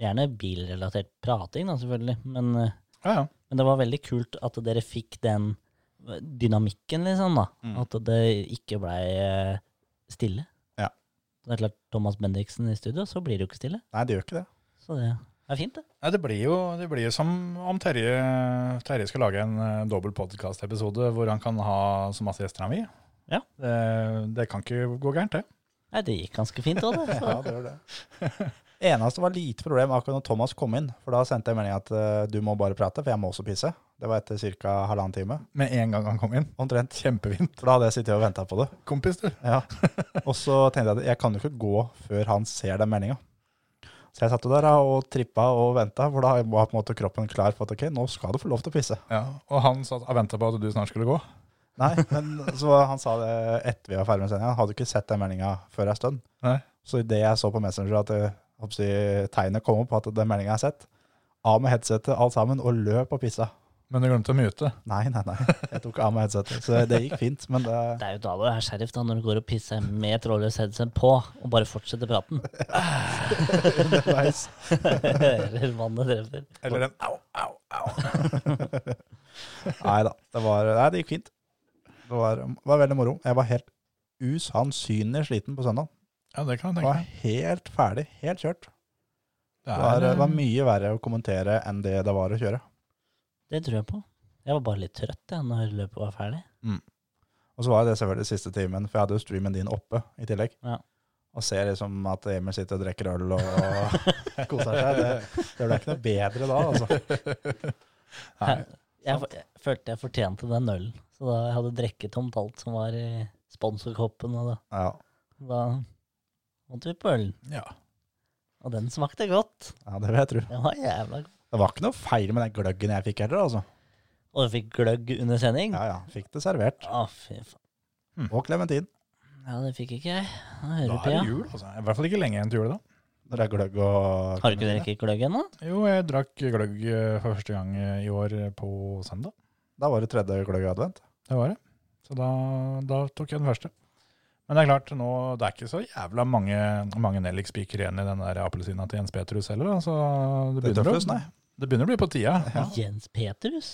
Speaker 5: Gjerne bilrelatert prating, da, selvfølgelig. Men eh,
Speaker 1: Ja, ja.
Speaker 5: Men det var veldig kult at dere fikk den dynamikken, liksom, da.
Speaker 4: Mm.
Speaker 5: At det ikke blei eh, stille.
Speaker 4: Ja.
Speaker 5: Det er klart, Thomas Bendiksen i studio, så blir det jo ikke stille.
Speaker 4: Nei, det gjør ikke det.
Speaker 5: Så det er fint, det.
Speaker 1: Nei, det blir jo, det blir jo som om Terje, Terje skal lage en uh, dobbel podkast-episode hvor han kan ha så masse gjester han vil.
Speaker 5: Ja.
Speaker 1: Det, det kan ikke gå gærent, det.
Speaker 5: Nei, det gikk ganske fint òg, det.
Speaker 4: Ja,
Speaker 5: Så.
Speaker 4: det gjør det. (laughs) Eneste var lite problem akkurat når Thomas kom inn, for da sendte jeg melding at eh, du må bare prate, for jeg må også pisse. Det var etter ca. halvannen time.
Speaker 1: Med en gang han kom inn.
Speaker 4: Omtrent.
Speaker 1: Kjempefint.
Speaker 4: For da hadde jeg sittet og venta på det.
Speaker 1: Kompis, du.
Speaker 4: Ja. Og så tenkte jeg at jeg kan jo ikke gå før han ser den meldinga. Så jeg satt jo der ja, og trippa og venta, for da var på en måte kroppen klar for at ok, nå skal du få lov til å pisse.
Speaker 1: Ja, og han satt og venta på at du snart skulle gå.
Speaker 4: Nei, men så han sa det etter vi var ferdig med sendinga. Han hadde ikke sett den meldinga før ei stund.
Speaker 1: Nei.
Speaker 4: Så idet jeg så på Messenger at eh, hopp si, tegnet kom opp på at den meldinga er sett, av med headsetet alt sammen og løp og pissa.
Speaker 1: Men du glemte å mute.
Speaker 4: Nei, nei, nei. Jeg tok av meg headsetet. Så det gikk fint, men det
Speaker 5: (laughs) Det er jo da du er sheriff, da, når du går og pisser med trådløs headset på, og bare fortsetter praten.
Speaker 1: (laughs)
Speaker 4: (laughs) underveis.
Speaker 5: Eller vannet treffer.
Speaker 1: Eller en au, au, au.
Speaker 4: Nei da. Det var Nei, det gikk fint. Det var, var veldig moro. Jeg var helt usannsynlig sliten på søndag.
Speaker 1: Ja, det kan jeg tenke
Speaker 4: Var
Speaker 1: meg.
Speaker 4: helt ferdig. Helt kjørt.
Speaker 1: Det
Speaker 4: Det
Speaker 1: er,
Speaker 4: var, det var
Speaker 1: eh,
Speaker 4: mye verre å kommentere enn det det var å kjøre.
Speaker 5: Det tror jeg på. Jeg var bare litt trøtt jeg, når løpet var ferdig.
Speaker 4: Og så var det selvfølgelig siste timen, for jeg hadde jo streamen din oppe i tillegg.
Speaker 5: Ja.
Speaker 4: Og ser liksom at Emil sitter og drikker øl og (laughs) koser seg. Det, det ble ikke noe bedre da, altså.
Speaker 1: Nei,
Speaker 5: Jeg, f- jeg følte jeg fortjente den ølen. Så da jeg hadde drukket tomt alt som var i sponsorkoppen, og da,
Speaker 4: Ja,
Speaker 5: da måtte vi på ølen.
Speaker 1: ja.
Speaker 5: Og den smakte godt.
Speaker 4: ja det vil jeg tro.
Speaker 5: Den var jævla god.
Speaker 4: Det var ikke noe feil med den gløggen jeg fikk heller, altså.
Speaker 5: Og jeg fikk gløgg under sending.
Speaker 4: Ja, ja. Fikk det servert.
Speaker 5: Å, fy faen.
Speaker 4: Og klementin.
Speaker 5: Ja, det fikk ikke jeg.
Speaker 1: Da
Speaker 5: Da
Speaker 1: er
Speaker 5: hører på,
Speaker 1: det
Speaker 5: ja.
Speaker 1: jul, altså. I hvert fall ikke lenge igjen til jul, da.
Speaker 4: Når det er gløgg og
Speaker 5: Har du ikke drukket gløgg ennå?
Speaker 1: Jo, jeg drakk gløgg eh, for første gang eh, i år eh, på søndag.
Speaker 4: Da var det tredje gløgg i advent.
Speaker 1: Det var det. Så da, da tok jeg den første. Men det er klart, nå, det er ikke så jævla mange, mange nellikspiker igjen i den der appelsina til Jens Petrus heller. da, Så det
Speaker 4: Det er
Speaker 1: begynner,
Speaker 4: tøffest,
Speaker 1: å,
Speaker 4: nei.
Speaker 1: det begynner å bli på tida. Ja.
Speaker 5: Jens Petrus?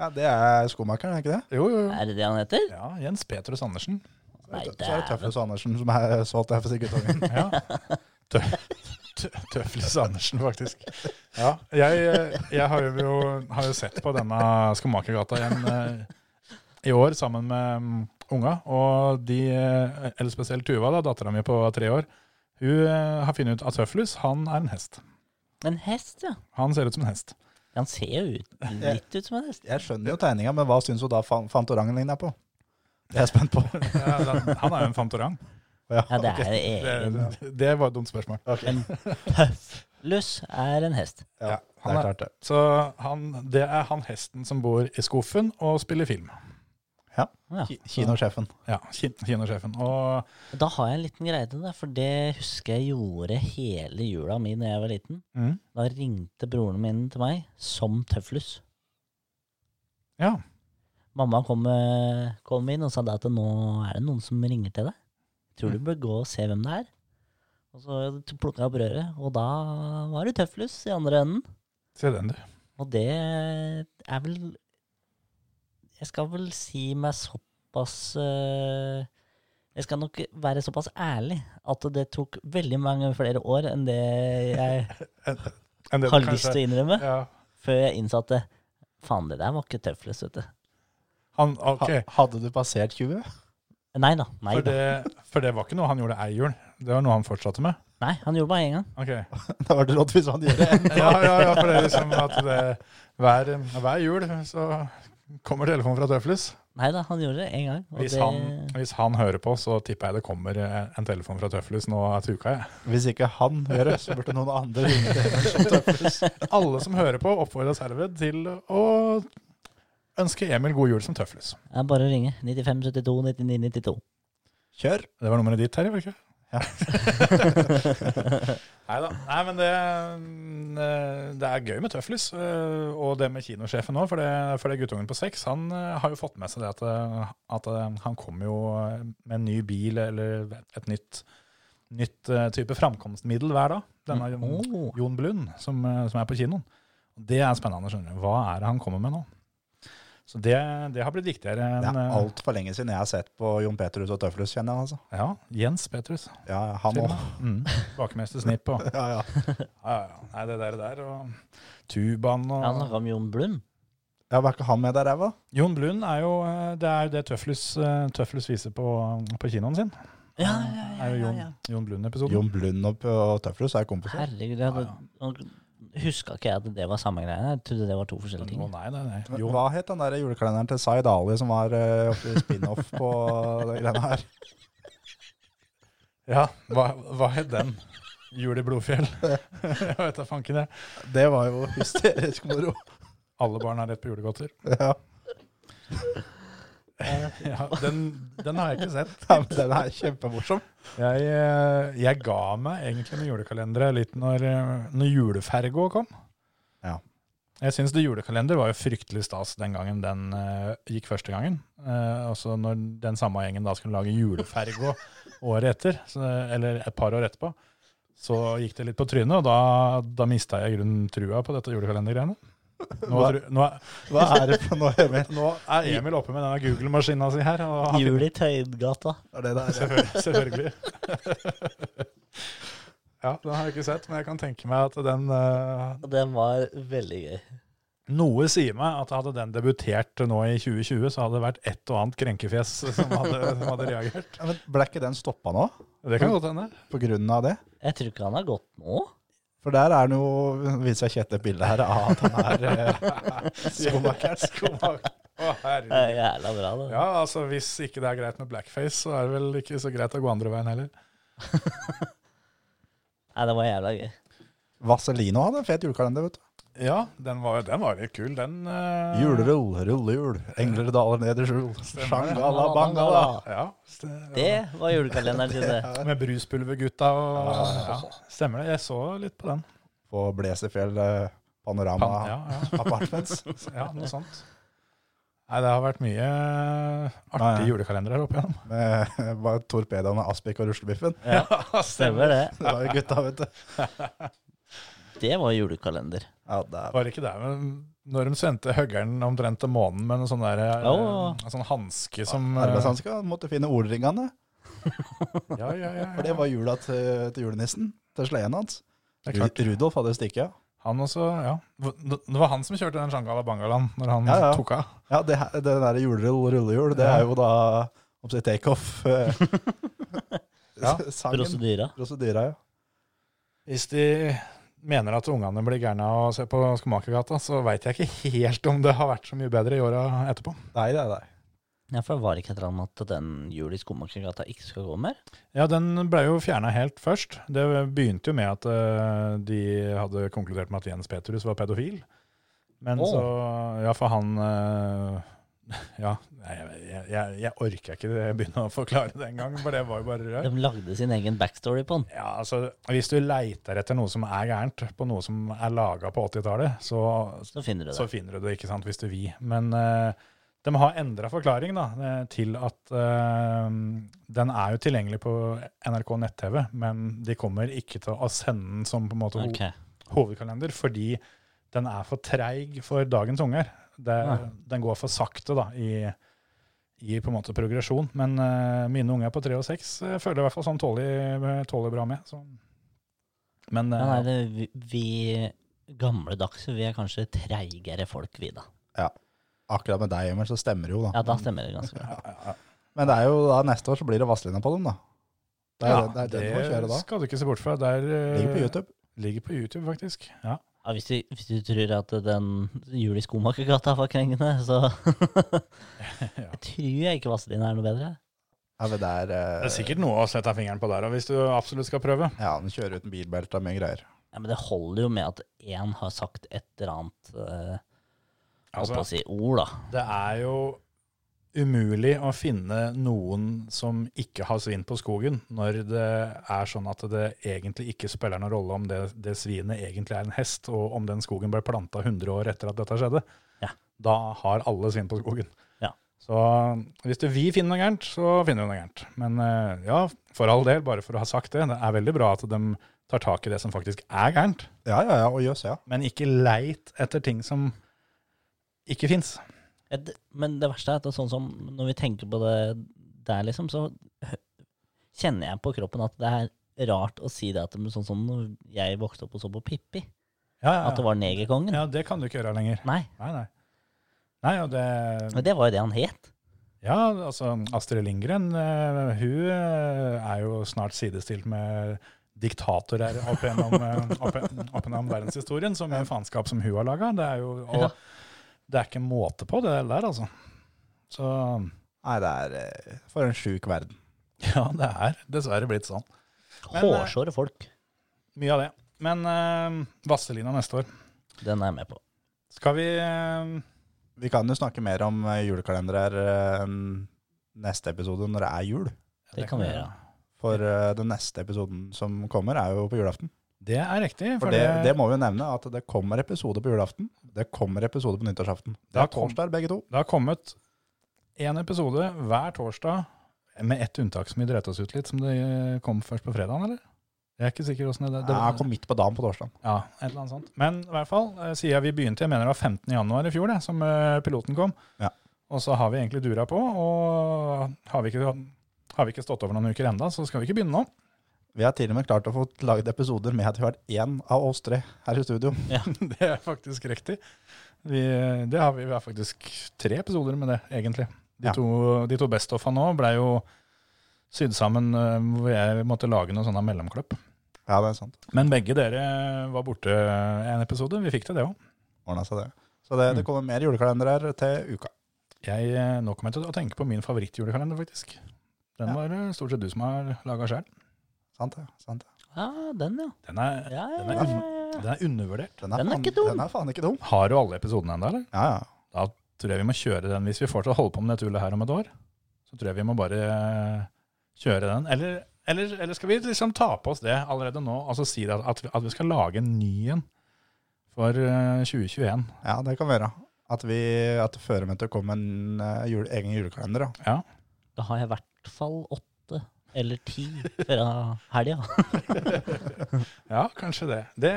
Speaker 4: Ja, det er skomakeren, er ikke det?
Speaker 1: Jo, jo, jo.
Speaker 5: Er det det han heter?
Speaker 1: Ja, Jens Petrus Andersen.
Speaker 5: Nei,
Speaker 4: Så er det
Speaker 5: dæven.
Speaker 4: Tøffes Andersen som er solgt der for Sigurdtangen. (laughs)
Speaker 1: Ja. Tø tø Tøflis Andersen, faktisk. Ja, jeg, jeg har, jo, har jo sett på denne Skomakergata igjen eh, i år sammen med mm, unga. Og de, eh, eller spesielt Tuva, da, dattera mi på tre år, hun eh, har funnet ut at Tøflus han er en hest.
Speaker 5: En hest, ja.
Speaker 1: Han ser ut som en hest.
Speaker 5: Han ser jo ut, litt ut som en hest.
Speaker 4: Jeg skjønner jo tegninga, men hva syns hun da fan- Fantorangen ligner på? Det er jeg spent på. (laughs)
Speaker 1: Ja, den- han er jo en fantorang.
Speaker 5: Ja, det
Speaker 4: ok.
Speaker 5: er egen.
Speaker 1: Det, det var et dumt spørsmål.
Speaker 5: En tøffluss er en hest.
Speaker 4: Ja,
Speaker 1: Ja,
Speaker 4: det
Speaker 1: han
Speaker 4: er
Speaker 1: er-
Speaker 4: klart det.
Speaker 1: Så han, det er han hesten som bor i skuffen og spiller film.
Speaker 5: Ja.
Speaker 4: Ki- Kinosjefen.
Speaker 1: Ja, kin- kinosjefen. Og
Speaker 5: Da har jeg en liten greie til deg, for det husker jeg gjorde hele jula mi da jeg var liten.
Speaker 1: Mhm.
Speaker 5: Da ringte broren min til meg som tøflus.
Speaker 1: Ja.
Speaker 5: Mamma kom, eh, kom inn og sa det at nå er det noen som ringer til deg. Tror du bør gå og se hvem det er. Og så plukka jeg opp røret, og da var det tøflus i andre enden.
Speaker 1: se den, du.
Speaker 5: Og det er vel Jeg skal vel si meg såpass eh, Jeg skal nok være såpass ærlig at det tok veldig mange flere år enn det jeg
Speaker 1: Enn (laughs) det du
Speaker 5: har
Speaker 1: kanskje-
Speaker 5: lyst til å innrømme,
Speaker 1: ja.
Speaker 5: før jeg innsatte Faen, det der var ikke tøfles, vet du.
Speaker 1: Han,
Speaker 4: Ha,
Speaker 1: ok,
Speaker 4: hadde du passert (laughs) 20?
Speaker 5: Nei da. Nei,
Speaker 1: for
Speaker 5: da.
Speaker 1: det, for det var ikke noe han gjorde ei jul. Det var noe han fortsatte med.
Speaker 5: nei han gjorde det bare én gang.
Speaker 1: Ok.
Speaker 4: Da var det rått hvis han gjorde det.
Speaker 1: Ja, ja, ja, for det er liksom at det, hver, hver jul så kommer telefonen fra Tøflus.
Speaker 5: Nei da, han gjorde det én gang. Og
Speaker 1: Hvis
Speaker 5: det,
Speaker 1: han, hvis han hører på, så tipper jeg det kommer en telefon fra Tøflus nå til uka. Jeg.
Speaker 4: Hvis ikke han hører, så burde noen andre ringe til Emil som tøffes.
Speaker 1: Alle som hører på, oppfordres herved til å ønske Emil god jul som Tøflus.
Speaker 5: det er bare å ringe. 95 72 99 92.
Speaker 4: Kjør.
Speaker 1: Det var nummeret ditt, Terje, var det ikke?
Speaker 4: (laughs) Ja.
Speaker 1: Neida. Nei men det, eh, det er gøy med tøflis, eh, og det med kinosjefen òg. For, det- for det guttungen på seks han eh, har jo fått med seg det at, eh, at eh, han kommer jo med en ny bil eller et nytt, nytt eh, type framkomstmiddel hver dag. Denne
Speaker 4: Oh.
Speaker 5: Mm. Å.
Speaker 1: Jon Blund som, eh, som er på kinoen. Og Det er spennende, skjønner du. Hva er det han kommer med nå? Så det, det har blitt viktigere enn
Speaker 4: Det er
Speaker 1: eh,
Speaker 4: altfor lenge siden jeg har sett på Jon Petrus og Tøflus, kjenner jeg. altså.
Speaker 1: Ja, Jens Petrus.
Speaker 4: Ja, han òg.
Speaker 1: Mm. Bakmester Snipp og
Speaker 4: (laughs) Ja, ja.
Speaker 1: ja, ja. Nei, det der, der og tubaen og
Speaker 5: Ja, Han snakka om Jon Blund.
Speaker 4: ja, var ikke han med der, Eva?
Speaker 1: Jon Blund er jo eh, det, er det Tøflus, eh, Tøflus viser på, på kinoen sin.
Speaker 5: Ja, ja, ja,
Speaker 1: er jo
Speaker 5: ja,
Speaker 1: Jon,
Speaker 5: ja.
Speaker 1: Jon Blund-episoden.
Speaker 4: Jon Blund og, og Tøflus er kompiser.
Speaker 5: Herregud, jeg hadde,
Speaker 1: Ja,
Speaker 5: huska ikke jeg at det var samme greie. Jeg trodde det var to
Speaker 1: Å
Speaker 5: forskjellige ting.
Speaker 1: nei, nei, nei. Jon,
Speaker 4: Hva het den der julekalenderen til Zaid Ali som var eh, oppe i spin-off på det greiene her?
Speaker 1: ja, hva, hva het den? Jul i
Speaker 4: (laughs)
Speaker 1: Blodfjell. jeg vet da fanken, jeg.
Speaker 4: Det var jo hysterisk moro.
Speaker 1: Alle barn har rett på julegodter.
Speaker 4: Ja,
Speaker 1: Ja, den, den har jeg ikke sett.
Speaker 4: ja, men Den er kjempemorsom.
Speaker 1: Jeg, eh, jeg ga meg egentlig med julekalendere litt når, eh, når julefergo kom.
Speaker 4: Ja.
Speaker 1: Jeg syns det julekalender var jo fryktelig stas den gangen den eh, gikk første gangen. Eh, og så når den samme gjengen da skulle lage julefergo
Speaker 4: (laughs)
Speaker 1: året etter, så, eller et par år etterpå, så gikk det litt på trynet, og da, da mista jeg i grunnen trua på dette julekalendergreiene. Nå,
Speaker 4: Hva-
Speaker 1: tru- nå, er-
Speaker 4: Hva er det for noe, Emil?
Speaker 1: nå er Emil oppe med denne Google-maskina si her. Og han
Speaker 5: Jul i Tøydgata.
Speaker 4: Er det der?
Speaker 1: Selvfølgelig. selvfølgelig. (laughs) ja, den har jeg ikke sett, men jeg kan tenke meg at den eh,
Speaker 5: Og den var veldig gøy.
Speaker 1: Noe sier meg at hadde den debutert nå i 2020, så hadde det vært et og annet krenkefjes som hadde, som hadde reagert.
Speaker 4: Ja, men Ble ikke den stoppa nå,
Speaker 1: Det kan godt hende.
Speaker 4: på grunn av det?
Speaker 5: Jeg tror ikke han har gått nå.
Speaker 4: For der er det jo Viser jeg Kjetil et bilde her av at han er eh, skomaker.
Speaker 1: (laughs) Skomaker. Å,
Speaker 5: Det er
Speaker 1: herregud.
Speaker 5: jævla bra, det.
Speaker 1: Ja, altså Hvis ikke det er greit med blackface, så er det vel ikke så greit å gå andre veien heller.
Speaker 5: Nei, det var jævla gøy.
Speaker 4: Vazelino hadde en fet julekalender, vet du.
Speaker 1: Ja, den var, den var litt kul, den. eh,
Speaker 4: Julerull, rullehjul, engler daler ned i skjul. Shangala bangala.
Speaker 1: Ja, st-
Speaker 5: Det var julekalenderen sin, det.
Speaker 1: Med bruspulvergutta og sånn. ja, Stemmer det. Jeg så litt på den.
Speaker 4: På Blesefjell eh, Panorama
Speaker 1: Pan, ja, ja.
Speaker 4: Apartments.
Speaker 1: Ja, noe sånt. Nei, det har vært mye eh,
Speaker 4: Nei, ja.
Speaker 1: artige julekalendere her oppe igjennom.
Speaker 4: Med (laughs) bare torpedoen av Aspik og ruslebiffen.
Speaker 1: (laughs) Ja,
Speaker 5: Stemmer det.
Speaker 4: Det var jo gutta, vet du.
Speaker 5: Det var julekalender.
Speaker 4: Ja, det er
Speaker 1: Var det ikke det, men når de sendte høggeren omtrent til månen med en sånn, der, eh,
Speaker 5: Jo.
Speaker 1: en sånn hanske som eh,
Speaker 4: arbeidshanska. Måtte finne ordringene.
Speaker 1: Ja, ja, ja.
Speaker 4: For det var jula til, til julenissen. Til sleden hans.
Speaker 1: Det er klart.
Speaker 4: Ru- Rudolf hadde stikket av.
Speaker 1: Han også, ja. Det var han som kjørte den Shangala Bangalan når han
Speaker 4: Ja, ja.
Speaker 1: tok av.
Speaker 4: Ja, det, her- det der julerull, rullehjul, det er jo da om si takeoff. eh,
Speaker 1: (laughs) Ja,
Speaker 4: sangen.
Speaker 5: Prosedyra.
Speaker 4: Prosedyra, ja.
Speaker 1: Hvis de mener at ungene blir gærne av å se på Skomakergata, så veit jeg ikke helt om det har vært så mye bedre i åra etterpå.
Speaker 4: Nei, nei, nei.
Speaker 5: Ja, for var det ikke et eller annet at den jul i Skomakergata ikke skal gå mer?
Speaker 1: Ja, den ble jo fjerna helt først. Det begynte jo med at eh, de hadde konkludert med at Jens Petrus var pedofil. Men
Speaker 5: Åh.
Speaker 1: så Ja, for han eh, (laughs) Ja, nei, jeg, jeg, jeg orker ikke det- begynne å forklare det engang, for det var jo bare rør.
Speaker 5: De lagde sin egen backstory på den.
Speaker 1: Ja, altså, Hvis du leiter etter noe som er gærent, på noe som er laga på 80-tallet, så,
Speaker 5: Så finner du det.
Speaker 1: så finner du det, ikke sant, hvis du vil. Men eh, de har endra forklaring da, eh, til at eh, den er jo tilgjengelig på NRK nett-TV, men de kommer ikke til å sende den som på en måte ho
Speaker 5: Ok.
Speaker 1: hovedkalender, fordi den er for treig for dagens unger. Det,
Speaker 5: Ja.
Speaker 1: Den går for sakte da, i, i på en måte progresjon. Men eh, mine unger på tre og seks eh, føler i hvert fall sånn tåler, tåler bra med. Så. Men eh,
Speaker 5: Ja, nei, det, vi, vi gamledagse, vi er kanskje treigere folk, vi da.
Speaker 4: Akkurat med deg, Emil, så stemmer det jo, da.
Speaker 5: Ja, da stemmer det ganske bra.
Speaker 4: Men det er jo da neste år så blir det Vazelina på dem, da. Det er,
Speaker 1: ja,
Speaker 4: det, er det du må kjøre da.
Speaker 1: skal du ikke se bort fra. Der, eh,
Speaker 4: Ligger på YouTube.
Speaker 1: Ligger på YouTube, faktisk. Ja.
Speaker 5: Ja, hvis, du, hvis du tror at den jul i Skomakergata var krengende, så
Speaker 1: (laughs)
Speaker 5: Jeg tror jeg ikke Vazelina er noe bedre.
Speaker 4: Ja, men det er, eh,
Speaker 1: Det er sikkert noe å sette fingeren på der og hvis du absolutt skal prøve.
Speaker 4: Ja, den kjører uten bilbelte og mye greier.
Speaker 5: Ja, men det holder jo med at én har sagt et eller annet eh, holdt på å
Speaker 1: altså.
Speaker 5: si ord, da.
Speaker 1: det er jo umulig å finne noen som ikke har svin på skogen, når det er sånn at det egentlig ikke spiller noen rolle om det, det svinet egentlig er en hest, og om den skogen ble planta 100 år etter at dette skjedde.
Speaker 5: Ja.
Speaker 1: Da har alle svin på skogen.
Speaker 5: Ja.
Speaker 1: Så hvis det vi finner noe gærent, så finner vi noe gærent. Men eh, ja, for all del, bare for å ha sagt det, det er veldig bra at de tar tak i det som faktisk er gærent,
Speaker 4: Ja, ja, ja, og jøss, ja.
Speaker 1: men ikke leit etter ting som ikke fins.
Speaker 5: Ja, det- Men det verste er at det er sånn som når vi tenker på det der, liksom, så hø- kjenner jeg på kroppen at det er rart å si det at men sånn som når jeg vokste opp og så på Pippi,
Speaker 1: Ja, ja, ja.
Speaker 5: at det var negerkongen.
Speaker 1: Ja, det kan du ikke gjøre lenger.
Speaker 5: Nei,
Speaker 1: Nei, nei. Nei, og det
Speaker 5: men det var jo det han het.
Speaker 1: Ja, altså, Astrid Lindgren, eh, hun eh, er jo snart sidestilt med diktatorer opp gjennom, eh, opp, opp gjennom verdenshistorien, som en faenskap som hun har laga. Det er jo og
Speaker 5: Ja.
Speaker 1: det er ikke måte på, det der, altså. Så
Speaker 4: Nei, det er eh, for en sjuk verden.
Speaker 1: ja, det er dessverre blitt sånn. Men, eh,
Speaker 5: Hårsåre folk.
Speaker 1: Mye av det. Men eh, Vazelina neste år.
Speaker 5: Den er jeg med på.
Speaker 1: Skal vi eh,
Speaker 4: Vi kan jo snakke mer om eh, julekalender eh, neste episode når det er jul.
Speaker 5: Det, kan vi gjøre.
Speaker 4: For eh, den neste episoden som kommer, er jo på julaften.
Speaker 1: Det er riktig.
Speaker 4: For det, det må vi jo nevne, at det kommer episode på julaften. Det kommer episode på nyttårsaften. Det
Speaker 1: Da
Speaker 4: er
Speaker 1: kom-
Speaker 4: torsdag, begge to.
Speaker 1: Det har kommet én episode hver torsdag, med ett unntak som vi dreit oss ut litt, som det eh, kom først på fredagen, eller? Jeg er ikke sikker åssen det, det
Speaker 4: Ja, kom midt på dagen på torsdag.
Speaker 1: Ja, et eller annet sånt. Men i hvert fall, eh, siden vi begynte, jeg mener det var 15. januar i fjor, det, som eh, piloten kom,
Speaker 4: Ja.
Speaker 1: og så har vi egentlig dura på, og har vi ikke, har vi ikke stått over noen uker enda, så skal vi ikke begynne nå.
Speaker 4: Vi har til og med klart å få laget episoder med at vi har vært én av oss tre her i
Speaker 1: (laughs)
Speaker 4: studio.
Speaker 1: Det er faktisk riktig. Vi, det har vi, vi har faktisk tre episoder med det, egentlig. De
Speaker 4: Ja.
Speaker 1: to, de to best-offa nå ble jo sydd sammen eh, hvor jeg måtte lage noen sånne mellomklipp.
Speaker 4: Ja, det er sant.
Speaker 1: Men begge dere eh, var borte en episode. Vi fikk til det òg.
Speaker 4: ordnet seg det. Så det, det kommer mer julekalender her til uka.
Speaker 1: Nå kom jeg til å tenke på min favorittjulekalender, faktisk. Den
Speaker 4: Ja.
Speaker 1: var det stort sett du som har laga sjøl.
Speaker 4: Sant det? Sant det.
Speaker 5: Ja, den, ja.
Speaker 1: Den, er-
Speaker 5: ja,
Speaker 1: den,
Speaker 5: ja,
Speaker 1: er un-
Speaker 5: ja, ja.
Speaker 1: den er undervurdert.
Speaker 5: Den er ikke dum.
Speaker 4: Den er faen ikke dum.
Speaker 1: Har du alle episodene ennå, eller?
Speaker 4: Ja, ja.
Speaker 1: Tror jeg vi må kjøre den hvis vi får til å holde på med dette tullet her om et år. Så tror jeg vi må bare eh, kjøre den. Eller, eller, eller skal vi liksom ta på oss det allerede nå, og så si det at, at, vi, at vi skal lage en ny en for eh, 2021?
Speaker 4: ja, det kan vi gjøre. At, vi, at det fører med til å komme en eh, jule, egen julekalender. Da.
Speaker 1: Ja.
Speaker 5: Da har jeg i hvert fall åtte eller ti fra helga.
Speaker 1: ja, kanskje det. det.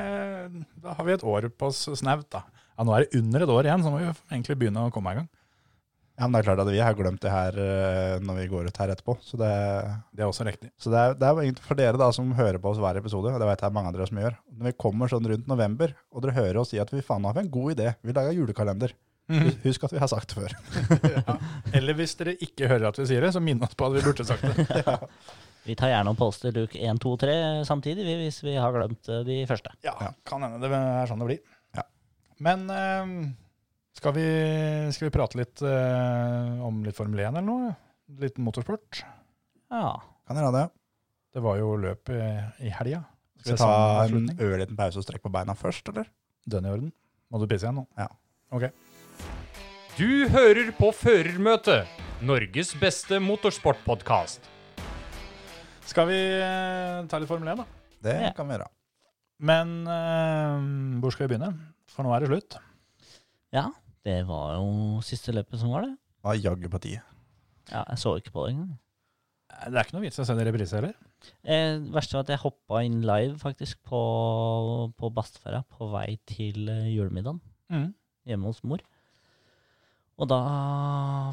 Speaker 1: Da har vi et år på oss snaut, da. Ja, Nå er det under et år igjen, så må vi jo egentlig begynne å komme i gang.
Speaker 4: Ja, men det er klart at vi har glemt det her eh, når vi går ut her etterpå. Så det,
Speaker 1: Det er også (laughs) riktig.
Speaker 4: så det, er, det er jo egentlig for dere da som hører på oss hver episode, og det vet jeg mange av dere som gjør. Når vi kommer sånn rundt november, og dere hører oss si at vi faen har en god idé, vi lager julekalender.
Speaker 1: Mhm.
Speaker 4: Hus- Husk at vi har sagt det før.
Speaker 1: Eller hvis dere ikke hører at vi sier det, så minn oss på at vi burde sagt det.
Speaker 5: Vi tar gjerne og poster luke 1, 2, 3 samtidig vi, hvis vi har glemt eh, de første.
Speaker 1: Ja,
Speaker 4: Ja.
Speaker 1: kan hende det er sånn det blir.
Speaker 4: Ja.
Speaker 1: Men eh, skal, vi, skal vi prate litt eh, om litt Formel 1 eller noe? Litt motorsport?
Speaker 5: Ja.
Speaker 4: Kan dere ha det?
Speaker 1: Det var jo løp i, i helga.
Speaker 4: Skal vi ta en ørliten pause og strekke på beina først, eller?
Speaker 1: Den i orden. Må du pisse igjen nå?
Speaker 4: Ja.
Speaker 1: Ok.
Speaker 6: Du hører på Førermøtet, Norges beste motorsportpodkast.
Speaker 1: Skal vi eh, ta litt Formel 1, da?
Speaker 4: Det
Speaker 5: Ja.
Speaker 4: kan vi gjøre.
Speaker 1: Men eh, hvor skal vi begynne? For nå er det slutt.
Speaker 5: ja. Det var jo siste løpet som var det.
Speaker 4: Da er jaggu på tide.
Speaker 5: Ja, jeg så ikke på det engang.
Speaker 1: Det er ikke noe vits i å se det i reprise heller.
Speaker 5: Eh, det verste var at jeg hoppa inn live faktisk på, på Bastfjæra på vei til eh, julemiddagen
Speaker 4: Mm.
Speaker 5: hjemme hos mor. Og da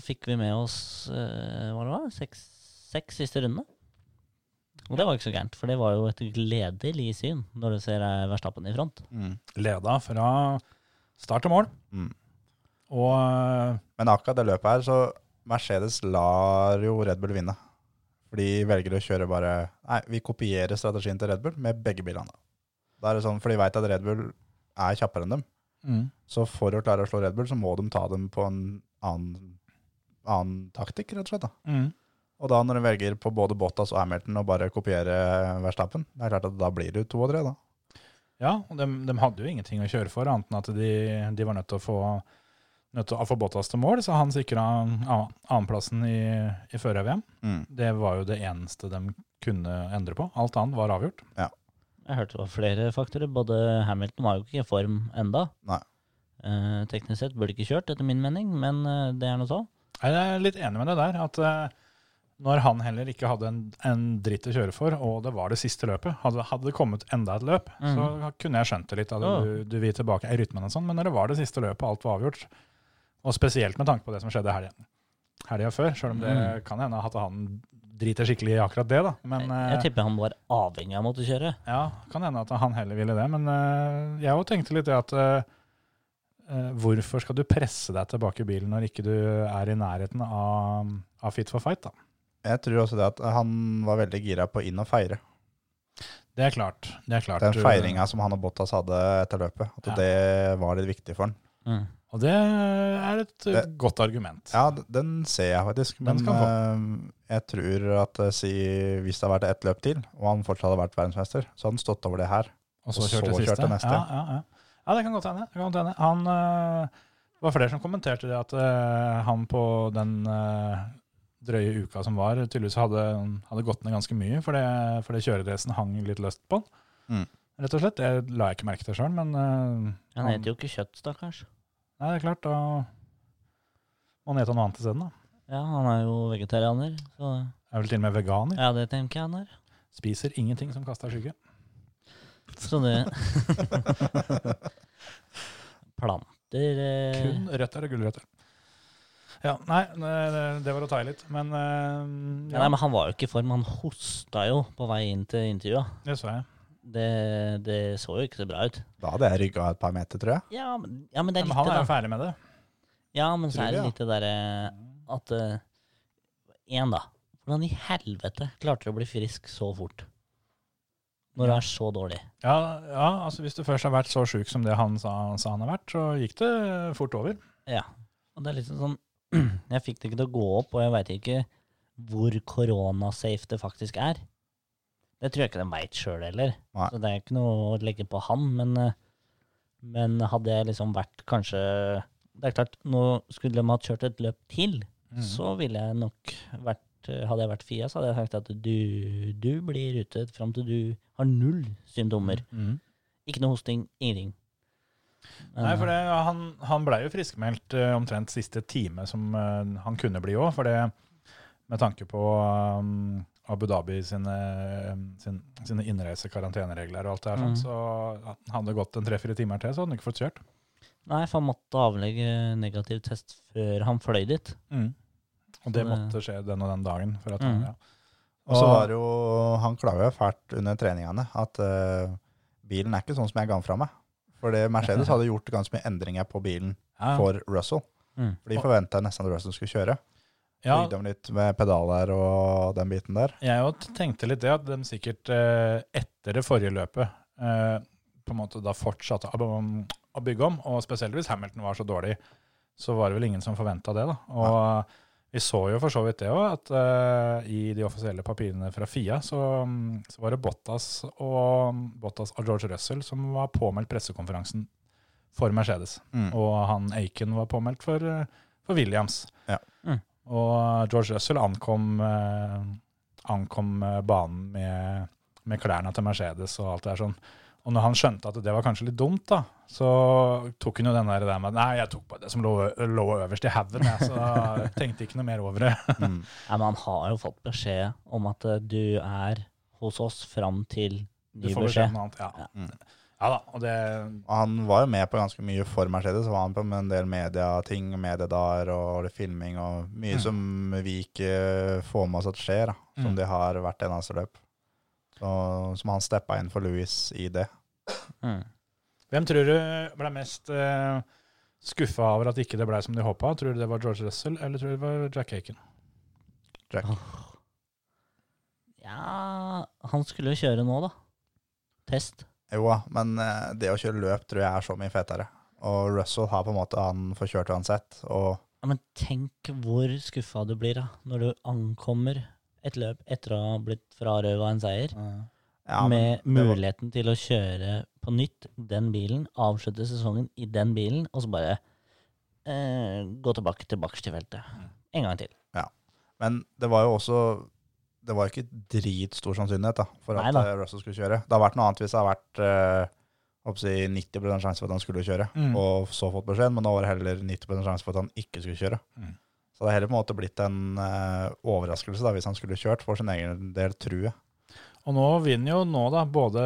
Speaker 5: fikk vi med oss eh, hva det var, seks, seks siste rundene. Og det var ikke så gærent, for det var jo et gledelig syn når du ser eh, Verstappen i front.
Speaker 1: Leda fra start til mål.
Speaker 4: Mm.
Speaker 1: Og eh,
Speaker 4: Men akkurat det løpet her, så Mercedes lar jo Red Bull vinne. For de velger å kjøre bare Nei, vi kopierer strategien til Red Bull med begge bilene. Da er det sånn, For de veit at Red Bull er kjappere enn dem.
Speaker 1: eh, mm,
Speaker 4: Så for å klare å slå Red Bull, så må de ta dem på en annen, annen taktikk, rett og slett. da.
Speaker 1: Mm.
Speaker 4: Og da når de velger på både Bottas og Hamilton og bare kopiere Verstappen, det er klart at da blir det jo to og tre, da.
Speaker 1: Ja, og de, hadde jo ingenting å kjøre for, annet enn at de, de var nødt til å få nødt til å få Bottas til mål, så han sikra annenplassen i, i fører-VM. Det var jo det eneste de kunne endre på. Alt annet var avgjort.
Speaker 5: Jeg hørte det var flere faktorer. Både Hamilton var jo ikke i form enda.
Speaker 4: Nei.
Speaker 5: Eh, teknisk sett burde ikke kjørt, etter min mening, men eh, det er nå så.
Speaker 1: Jeg er litt enig med det der, at eh, når han heller ikke hadde en, en dritt å kjøre for, og det var det siste løpet, hadde, hadde det kommet enda et løp, så kunne jeg skjønt det litt. At
Speaker 5: Ja.
Speaker 1: du, du vil tilbake i rytmen og sånn, men når det var det siste løpet, og alt var avgjort, og spesielt med tanke på det som skjedde helgen, helga før, selv om det kan hende at han driter skikkelig i akkurat det, da. Men,
Speaker 5: Jeg, jeg
Speaker 1: eh,
Speaker 5: tipper han var avhengig av å måtte kjøre.
Speaker 1: ja, kan hende at han heller ville det, men eh, jeg òg tenkte litt det at eh, eh, Hvorfor skal du presse deg tilbake i bilen når ikke du er i nærheten av, av fit for fight, da?
Speaker 4: Jeg tror også det at han var veldig gira på inn og feire.
Speaker 1: Det er klart. Det er klart.
Speaker 4: Den feiringa som han og Bottas hadde etter løpet, at
Speaker 1: eh, Ja.
Speaker 4: det var litt viktig for han.
Speaker 5: Mm.
Speaker 1: Og det er et eh,
Speaker 4: Det-
Speaker 1: godt argument.
Speaker 4: Ja, d- den ser jeg faktisk,
Speaker 1: Den
Speaker 4: men
Speaker 1: skal
Speaker 4: eh, jeg tror at eh, si, hvis det hadde vært ett løp til, og han fortsatt hadde vært verdensmester, så hadde han stått over det her.
Speaker 1: Og så
Speaker 4: Og
Speaker 1: kjørte
Speaker 4: så
Speaker 1: siste.
Speaker 4: kjørte neste.
Speaker 1: Ja, ja, ja. ja, det kan godt hende. Det kan godt hende. Han eh, det var flere som kommenterte det, at eh, han på den eh, drøye uka som var, tydeligvis hadde, hadde gått ned ganske mye, for det, for det kjøredressen hang litt løst på han.
Speaker 4: Mm.
Speaker 1: Rett og slett. Det la jeg ikke merke til sjøl, men eh,
Speaker 5: Han heter jo ikke kjøtt, stakkars.
Speaker 1: nei, det er klart, da må han ete noe annet isteden. da.
Speaker 5: Ja, han er jo vegetarianer. Så
Speaker 1: Er vel til og med veganer.
Speaker 5: ja, det tenker jeg han er.
Speaker 1: Spiser ingenting som kaster skygge.
Speaker 5: Så det
Speaker 1: (laughs)
Speaker 5: Planter eh,
Speaker 1: Kun røtter og gulrøtter. Ja, nei, det- det var å ta i litt, men eh,
Speaker 5: Nei, men han var jo ikke i form. Han hosta jo på vei inn til intervjuet.
Speaker 1: Det så jeg.
Speaker 5: Det, det så jo ikke så bra ut.
Speaker 4: Da hadde jeg rygga et par meter, tror jeg.
Speaker 5: Ja, men, ja, men det er
Speaker 1: Men
Speaker 5: litt
Speaker 1: han er
Speaker 5: det
Speaker 1: jo ferdig med det.
Speaker 5: Ja, men så
Speaker 4: Tror
Speaker 5: er det
Speaker 4: vi, ja.
Speaker 5: litt det derre at Én, da. Hvordan i helvete klarte du å bli frisk så fort? Når du er så dårlig.
Speaker 1: Ja, ja, altså Hvis du først har vært så sjuk som det han sa, sa han har vært, så gikk det fort over.
Speaker 5: Ja. Og det er litt sånn (clears throat) Jeg fikk det ikke til å gå opp, og jeg veit ikke hvor koronasafe det faktisk er. Det tror jeg ikke de veit sjøl heller.
Speaker 4: Nei.
Speaker 5: Så det er ikke noe å legge på han, men, eh, men hadde jeg liksom vært kanskje Det er klart, nå skulle de ha kjørt et løp til,
Speaker 1: Mm.
Speaker 5: så ville jeg nok vært eh, Hadde jeg vært Fia, så hadde jeg sagt at du, du blir ute fram til du har null symptomer. Ikke noe hosting, ingenting.
Speaker 1: Mm. Nei, for det, Han, han blei jo friskmeldt eh, omtrent siste time som eh, han kunne bli òg, for det med tanke på um, Abu Dhabi sine, sin, sine innreisekaranteneregler og alt det her, sånn,
Speaker 5: Mhm.
Speaker 1: så han hadde det gått en tre-fire timer til, så hadde han ikke fått kjørt.
Speaker 5: Nei, for han måtte avlegge negativ test før han fløy dit.
Speaker 1: Og Mm. det Mm.
Speaker 5: Så det-
Speaker 1: måtte skje den og den dagen. For at, han-
Speaker 5: Mhm.
Speaker 1: ja.
Speaker 4: Og så var det jo Han klaga jo fælt under treningene at eh, bilen er ikke sånn som jeg ga den fra meg. For
Speaker 1: (laughs)
Speaker 4: det- Mercedes hadde gjort ganske mye endringer på bilen
Speaker 1: Ja.
Speaker 4: for Russell.
Speaker 5: Mm.
Speaker 4: For de forventa nesten at Russell skulle kjøre.
Speaker 1: Ja,
Speaker 4: Bygde dem litt med pedaler og den biten der.
Speaker 1: jeg òg tenkte litt det, at de sikkert eh, etter det forrige løpet eh, på en måte da fortsatte å, å bygge om, og spesielt hvis Hamilton var så dårlig, så var det vel ingen som forventa det. da. Og eh, vi så jo for så vidt det òg, at eh, i de offisielle papirene fra FIA så, mm, så var det Bottas og, mm, Bottas og George Russell som var påmeldt pressekonferansen for Mercedes.
Speaker 4: Mm.
Speaker 1: Og han Aiken var påmeldt for, eh, for Williams.
Speaker 4: Ja.
Speaker 5: Mm.
Speaker 1: Og George Russell ankom, eh, ankom eh, banen med, med klærne til Mercedes og alt det der sånn. Og når han skjønte at det var kanskje litt dumt, da, så tok hun jo den der, der med Nei, jeg tok bare det som lå, lå øverst i haugen, jeg, så jeg tenkte ikke noe mer over det. (laughs)
Speaker 4: Mm.
Speaker 5: Nei, men han har jo fått beskjed om at eh, du er hos oss fram til
Speaker 1: Du
Speaker 5: ny
Speaker 1: får beskjed
Speaker 5: beskjed.
Speaker 1: om noe annet. Ja.
Speaker 4: Mm.
Speaker 1: ja da, og det
Speaker 4: Han var jo med på ganske mye for Mercedes. Var han på med en del medieting, mediedager og filming og mye
Speaker 1: Mm.
Speaker 4: som vi ikke får med oss at skjer, da, som
Speaker 1: Mm.
Speaker 4: de har hvert eneste løp. Så, som han steppa inn for Louis i det.
Speaker 5: Mm.
Speaker 1: Hvem tror du ble mest uh, skuffa over at ikke det ble som de håpa? Tror du det var George Russell, eller tror du det var Jack Aiken?
Speaker 4: Jack.
Speaker 5: Ja Han skulle jo kjøre nå, da. Test.
Speaker 4: Jo da, men eh, det å kjøre løp tror jeg er så mye fetere. Og Russell har på en måte han får kjørt uansett. Og
Speaker 5: Ja, men tenk hvor skuffa du blir da, når du ankommer et løp etter å ha blitt frarøva en seier.
Speaker 4: ja, men
Speaker 5: med
Speaker 4: det var-
Speaker 5: muligheten til å kjøre på nytt den bilen, avslutte sesongen i den bilen, og så bare eh, gå tilbake til
Speaker 4: Mm.
Speaker 5: bakerstfeltet. En gang til.
Speaker 4: Men det var jo også Det var ikke dritstor sannsynlighet da, for at
Speaker 5: Nei da.
Speaker 4: eh, Russell skulle kjøre. Det har vært noe annet hvis det har vært eh, håper jeg å si 90 sjanse for at han skulle kjøre,
Speaker 1: Mm.
Speaker 4: og så fått beskjed, men nå var det heller 90 sjanse for at han ikke skulle kjøre.
Speaker 1: Mm.
Speaker 4: Så det har heller på en måte blitt en eh, overraskelse da, hvis han skulle kjørt, for sin egen del, tror jeg.
Speaker 1: Og nå vinner jo nå, da, både,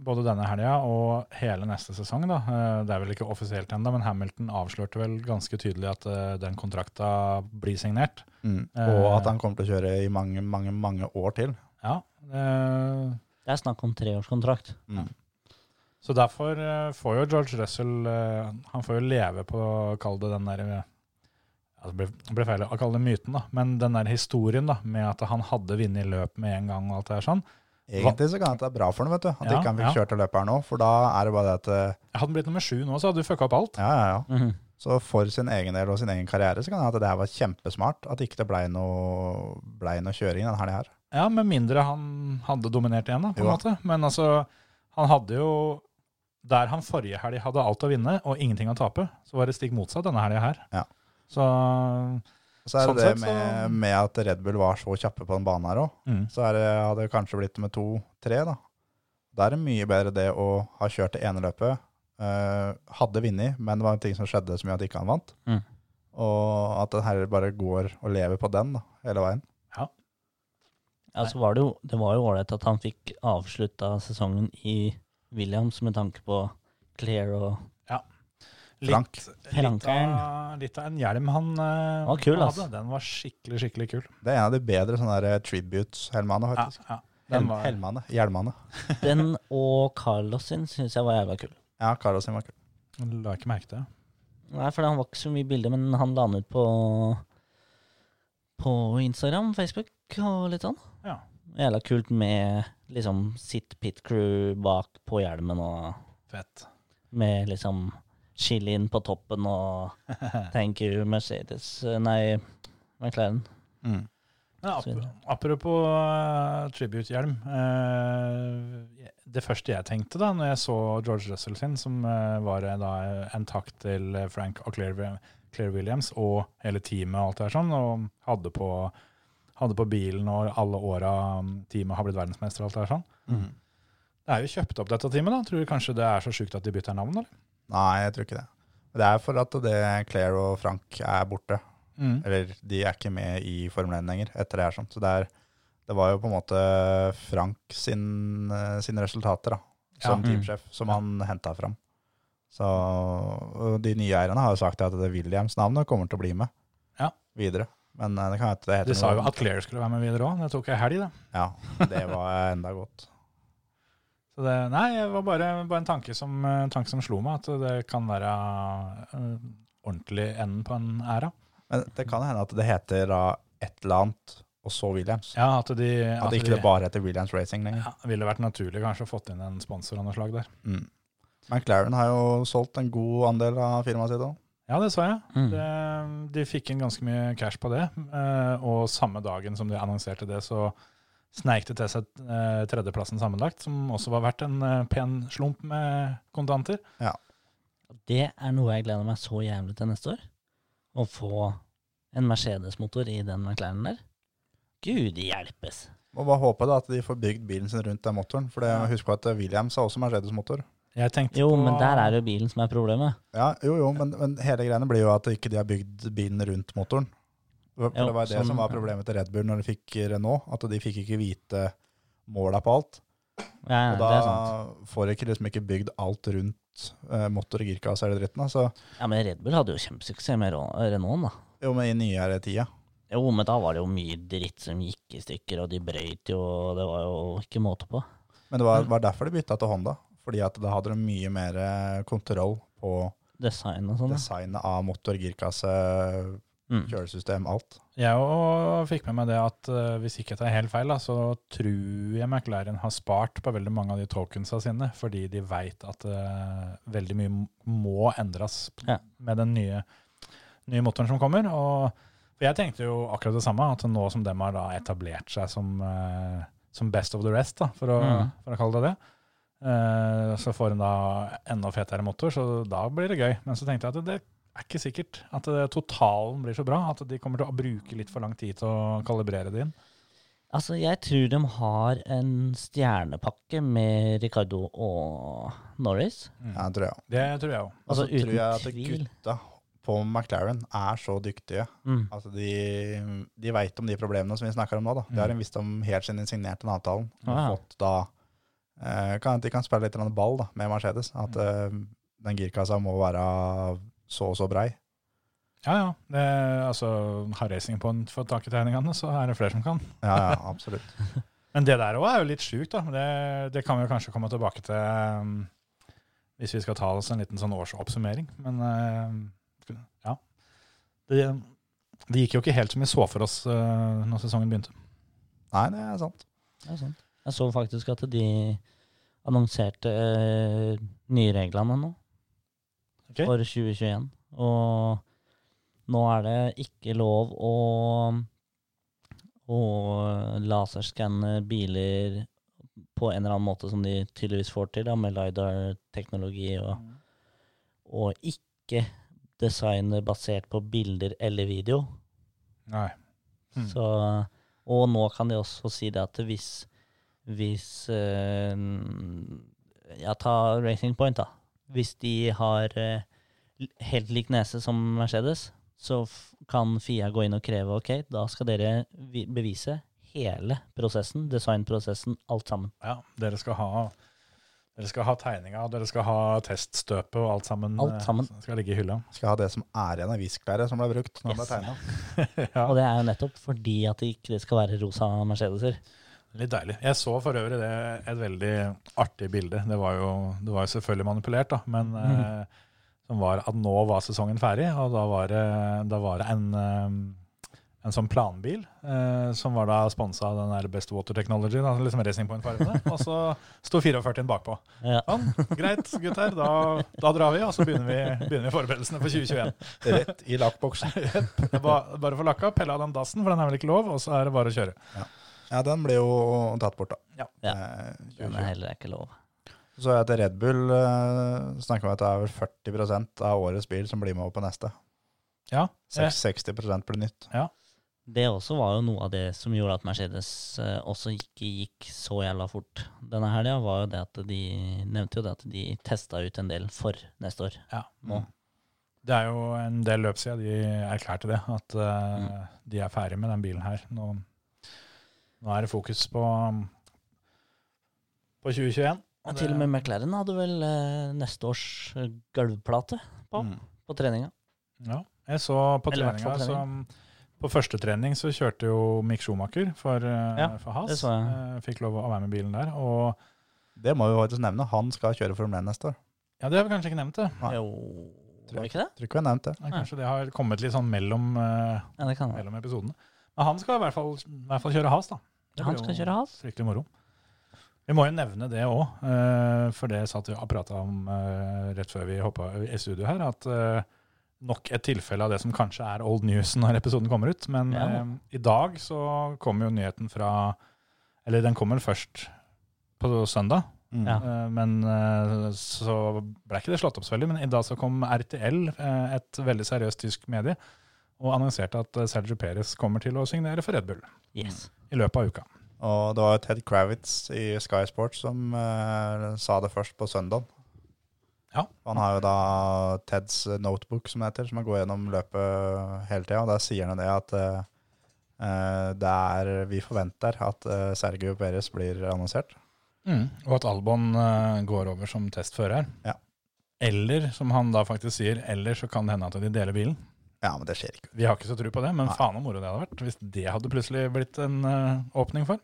Speaker 1: både denne helga og hele neste sesong, da. Eh, Det er vel ikke offisielt ennå, men Hamilton avslørte vel ganske tydelig at eh, den kontrakta blir signert.
Speaker 4: Og
Speaker 1: Eh.
Speaker 4: at han kommer til å kjøre i mange, mange, mange år til.
Speaker 1: Ja. eh,
Speaker 5: Det er snakk om treårskontrakt.
Speaker 4: Mm.
Speaker 1: Så derfor eh, får jo George Russell eh, Han får jo leve på å kalle det den der eh, ja, Det ble, det ble feil å kalle det myten, da, men den der historien da, med at han hadde vunnet løp med en gang og alt det her sånn.
Speaker 4: Egentlig så kan det være bra for ham, vet du, at
Speaker 1: Ja,
Speaker 4: ikke han fikk
Speaker 1: ja.
Speaker 4: kjørt det løpet her nå, for da er det bare det at eh,
Speaker 1: Hadde han blitt nummer sju nå, så hadde du fucka opp alt.
Speaker 4: Ja, ja, ja.
Speaker 5: Mhm.
Speaker 4: Så for sin egen del og sin egen karriere så kan det hende at det her var kjempesmart. At ikke det blei noe, ble noe kjøring denne helga her.
Speaker 1: Ja, med mindre han hadde dominert igjen, da, på en
Speaker 4: Jo.
Speaker 1: måte. Men altså, han hadde jo Der han forrige helg hadde alt å vinne og ingenting å tape, så var det stikk motsatt denne helga her.
Speaker 4: Ja.
Speaker 1: Så
Speaker 4: Og Så er
Speaker 1: Sånn
Speaker 4: det
Speaker 1: sett
Speaker 4: det
Speaker 1: så-
Speaker 4: med, med at Red Bull var så kjappe på den banen her òg.
Speaker 1: mm.
Speaker 4: Så er det, hadde det kanskje blitt med to-tre, da. Da er det mye bedre det å ha kjørt det ene løpet. eh, hadde vunnet, men det var ting som skjedde som gjorde at ikke han vant.
Speaker 5: Mm.
Speaker 4: Og at den her bare går og lever på den da, hele veien.
Speaker 5: Ja, så Altså, var det, jo, det var jo ålreit at han fikk avslutta sesongen i Williams med tanke på Claire
Speaker 4: (laughs)
Speaker 5: og
Speaker 4: Frank.
Speaker 1: Litt
Speaker 5: Frankeren.
Speaker 1: av, litt av en hjelm han, eh,
Speaker 5: var kul,
Speaker 1: han
Speaker 5: ass.
Speaker 1: Den var skikkelig, skikkelig kul.
Speaker 4: Det er en av de bedre sånne der tributes, Helmane,
Speaker 1: Ja,
Speaker 4: faktisk.
Speaker 1: ja. Den
Speaker 4: Hel-
Speaker 1: var,
Speaker 4: Helmane. Hjelmane.
Speaker 5: Den og Carlos sin syns jeg var jævla kul.
Speaker 4: Ja, Carlos sin var kul.
Speaker 1: la ikke merke til det.
Speaker 5: Nei, for han var ikke så mye bilder, men han la den ut på, på Instagram, Facebook og litt sånn.
Speaker 1: Ja.
Speaker 5: Jævla kult med liksom sitt pit crew bak på hjelmen og
Speaker 1: Fett.
Speaker 5: med liksom chilien på
Speaker 1: (laughs)
Speaker 5: toppen og thank you Mercedes Nei, McLaren.
Speaker 4: Mm.
Speaker 1: Men ap
Speaker 5: Så-
Speaker 1: apropos eh, tribute-hjelm. eh, det første jeg tenkte da når jeg så George Russell sin, som eh, var eh, da en takk til eh, Frank og Claire, Claire Williams og hele teamet og alt det her sånn, og hadde på, hadde på bilen og alle åra mm, teamet har blitt verdensmester og alt det her sånn.
Speaker 4: Mm.
Speaker 1: Det er jo kjøpt opp dette teamet, da. Tror du kanskje det er så sjukt at de bytter navn, eller?
Speaker 4: Nei, jeg tror ikke det. Det er for at det Claire og Frank er borte. Eller de er ikke med i Formel 1 lenger etter det her. sånn. Så det, er, det var jo på en måte Frank sin, eh, sine resultater da, som
Speaker 1: Ja.
Speaker 4: teamsjef, som han henta fram. Så og de nye eierne har jo sagt at det Williams-navnet kommer til å bli med
Speaker 1: Ja.
Speaker 4: videre. Men eh, det kan hende det heter
Speaker 1: De sa jo
Speaker 4: noe-
Speaker 1: at Claire skulle være med videre òg. Det tok ei helg, da.
Speaker 4: Ja, det var enda godt.
Speaker 1: Så det, nei, det var bare, bare en tanke som, en tanke som slo meg, at det kan være eh, ordentlig enden på en æra.
Speaker 4: Men det kan hende at det heter da et eller annet, og så Williams.
Speaker 1: Ja, at de, at
Speaker 4: At ikke
Speaker 1: de
Speaker 4: det bare heter Williams Racing lenger.
Speaker 1: ja, ville vært naturlig kanskje å fått inn en sponsor av noe slag der.
Speaker 4: Mm. McLaren har jo solgt en god andel av firmaet sitt òg.
Speaker 1: Ja, det så jeg.
Speaker 5: Mm.
Speaker 1: Det, de fikk inn ganske mye cash på det. eh, Og samme dagen som de annonserte det, så sneik det til seg eh, tredjeplassen sammenlagt, som også var verdt en eh, pen slump med kontanter.
Speaker 5: Det er noe jeg gleder meg så jævlig til neste år. Å få en Mercedes-motor i den McLaren der. Gud hjelpes.
Speaker 4: Må bare håpe da at de får bygd bilen sin rundt den motoren. For det, husk på at Williams har også Mercedes-motor.
Speaker 1: Jeg tenkte
Speaker 5: Jo,
Speaker 1: på,
Speaker 5: men der er det jo bilen som er problemet.
Speaker 4: Ja, jo, jo, men, men hele greiene blir jo at ikke de har bygd bilen rundt motoren. For
Speaker 5: Jo,
Speaker 4: det var det
Speaker 5: sånn,
Speaker 4: som var
Speaker 5: ja.
Speaker 4: problemet til Red Bull når de fikk Renault, at de fikk ikke vite måla på alt.
Speaker 5: Ja,
Speaker 4: Og
Speaker 5: det
Speaker 4: da
Speaker 5: er sant.
Speaker 4: får de ikke, liksom ikke bygd alt rundt eh, motor og girkasse eller dritten. da. Så
Speaker 5: Ja, men Red Bull hadde jo kjempesuksess med Ro- Renault, da.
Speaker 4: jo, men i nyere tida
Speaker 5: Jo, men da var det jo mye dritt som gikk i stykker, og de brøyt jo, og det var jo ikke måte på.
Speaker 4: Men det var, var derfor de bytta til Honda. Fordi at da hadde de mye mer eh, kontroll på
Speaker 5: Design og sånn. da.
Speaker 4: designet av motor, girkasse,
Speaker 5: Mm.
Speaker 4: kjølesystem, alt.
Speaker 1: Jeg òg fikk med meg det at eh, hvis ikke jeg tar helt feil, da, så tror jeg McLaren har spart på veldig mange av de tokensa sine, fordi de veit at eh, veldig mye m- må endres p-
Speaker 5: Ja.
Speaker 1: med den nye, nye motoren som kommer. Og for jeg tenkte jo akkurat det samme, at nå som dem har da etablert seg som, eh, som best of the rest, da, for, å,
Speaker 5: Mhm.
Speaker 1: for å kalle det det, eh, så får en da enda fetere motor, så da blir det gøy. Men så tenkte jeg at det er ikke sikkert at eh, totalen blir så bra at de kommer til å bruke litt for lang tid til å kalibrere det inn.
Speaker 5: Altså, jeg tror de har en stjernepakke med Ricardo og Norris.
Speaker 4: Ja, tror jeg.
Speaker 1: Det tror jeg òg.
Speaker 4: Og så
Speaker 5: Altså, uten
Speaker 4: tror jeg at
Speaker 5: tvil.
Speaker 4: gutta på McLaren er så dyktige
Speaker 5: Mm.
Speaker 4: at de, de veit om de problemene som vi snakker om nå. Da. Det har de visst om helt siden de signerte den avtalen. Og
Speaker 5: Mm. Ah, Ja.
Speaker 4: fått da, eh, kan, de kan spille litt grann ball da, med Mercedes. At eh,
Speaker 5: Mm.
Speaker 4: den girkassa må være så og så brei.
Speaker 1: Ja, ja. Det, altså, har racing på en får tak i tegningene, så er det flere som kan.
Speaker 4: Ja,
Speaker 5: (laughs)
Speaker 4: ja, absolutt.
Speaker 1: Men det der òg er jo litt sjukt, da. Det, det kan vi jo kanskje komme tilbake til um, hvis vi skal ta oss en liten sånn årsoppsummering. Men uh, ja. Det, det gikk jo ikke helt som vi så for oss uh, når sesongen begynte.
Speaker 4: Nei, det er sant.
Speaker 5: Det er sant. Jeg så faktisk at de annonserte eh, nye reglene nå.
Speaker 1: Ok.
Speaker 5: For 2021. Og nå er det ikke lov å, å laserskanne biler på en eller annen måte som de tydeligvis får til, da, med LiDAR-teknologi, og, og ikke designe basert på bilder eller video.
Speaker 1: Nei. Mm.
Speaker 5: Så, og nå kan de også si det at hvis, hvis eh, Ja, ta Racing Point, da. Hvis de har eh, l- helt lik nese som Mercedes, så f kan Fia gå inn og kreve ok, da skal dere vi- bevise hele prosessen, designprosessen, alt sammen.
Speaker 1: Ja, dere skal ha dere skal ha tegninga, og dere skal ha teststøpet og alt sammen.
Speaker 5: Alt sammen.
Speaker 1: eh, Skal ligge i hylla.
Speaker 4: Skal ha det som er igjen av visklæret som ble brukt. Når det ble
Speaker 5: Yes.
Speaker 4: tegnet.
Speaker 1: Ja.
Speaker 5: Og det er jo nettopp fordi at det ikke skal være rosa Mercedeser.
Speaker 1: Litt deilig. Jeg så for øvrig det et veldig artig bilde. Det var jo, det var jo selvfølgelig manipulert, da, men eh, som var at nå var sesongen ferdig, og da var det, da var det en, eh, en sånn planbil eh, som var da sponsa av den der Best Water Technology, da, liksom Racing Point-fargene, og så sto 44-en bakpå.
Speaker 5: Ja.
Speaker 1: Sånn, greit, gutter, da, da drar vi, og så begynner vi, begynner vi forberedelsene for 2021.
Speaker 4: Rett i lakkboksen.
Speaker 1: Det er ba- Bare få lakka, pelle av den dassen, for den er vel ikke lov, og så er det bare å kjøre.
Speaker 4: Ja, den ble jo tatt bort, da.
Speaker 1: Ja.
Speaker 4: Eh,
Speaker 5: Den er heller ikke lov.
Speaker 4: Så er det Red Bull eh, snakker om at det er vel 40 av årets bil som blir med over på neste.
Speaker 1: Ja, eh,
Speaker 4: Seks- 60 blir nytt.
Speaker 5: Det også var jo noe av det som gjorde at Mercedes eh, også ikke gikk så jævla fort denne helga, var jo det at de nevnte jo det at de testa ut en del for neste år.
Speaker 1: ja. Mm.
Speaker 5: Nå.
Speaker 1: Det er jo en del løp siden de erklærte det, at eh,
Speaker 5: Mm.
Speaker 1: de er ferdig med den bilen her. Nå, nå er det fokus på, um, på 2021.
Speaker 5: Og til og med McLaren hadde vel eh, neste års eh, gulvplate på,
Speaker 4: Mm.
Speaker 5: på treninga.
Speaker 1: Ja, jeg så på
Speaker 5: Eller i hvert
Speaker 1: treninga
Speaker 5: fall
Speaker 1: som på første trening så kjørte jo Mick Schumacher for, eh,
Speaker 5: Ja,
Speaker 1: for Has.
Speaker 5: det så jeg.
Speaker 1: Eh, Fikk lov å være med bilen der. Og
Speaker 4: Det må vi faktisk nevne. Han skal kjøre Formel 1 neste år.
Speaker 1: ja, det har vi kanskje ikke nevnt, det.
Speaker 4: Nei.
Speaker 5: Jo, var det ikke det?
Speaker 4: Tror ikke vi har nevnt det.
Speaker 1: Nei, Kanskje det har kommet litt sånn mellom, eh,
Speaker 5: Ja, det kan være.
Speaker 1: mellom episodene. Men han skal i hvert fall, i hvert fall kjøre has, da. Det
Speaker 5: Han
Speaker 1: blir
Speaker 5: skal
Speaker 1: jo
Speaker 5: kjøre has.
Speaker 1: Fryktelig moro. Vi må jo nevne det òg, for det satt vi og prata om eh, rett før vi hoppa i studio her, at eh, nok et tilfelle av det som kanskje er old news når episoden kommer ut. Men
Speaker 5: Ja.
Speaker 1: eh, i dag så kom jo nyheten fra Eller den kom vel først på søndag.
Speaker 4: Mm.
Speaker 5: Ja.
Speaker 1: Eh, Men eh, så ble ikke det slått opp så veldig, men i dag så kom RTL, eh, et veldig seriøst tysk medie, og annonserte at eh, Sergio Perez kommer til å signere for Red Bull
Speaker 5: Yes.
Speaker 1: i løpet av uka.
Speaker 4: Og det var Ted Kravitz i Sky Sports som eh, sa det først på søndag.
Speaker 1: Ja.
Speaker 4: Han har jo da Teds notebook, som det heter, som han går gjennom løpet hele tida. Og der sier han jo det at eh, eh, det er Vi forventer at eh, Sergio Perez blir annonsert.
Speaker 1: Mm. Og at Albon eh, går over som testfører.
Speaker 4: Ja.
Speaker 1: Eller, som han da faktisk sier, eller så kan det hende at de deler bilen.
Speaker 4: Ja, men det skjer ikke.
Speaker 1: Vi har ikke så tro på det, men
Speaker 4: Nei.
Speaker 1: faen om moro det hadde vært hvis det hadde plutselig blitt en eh, åpning for.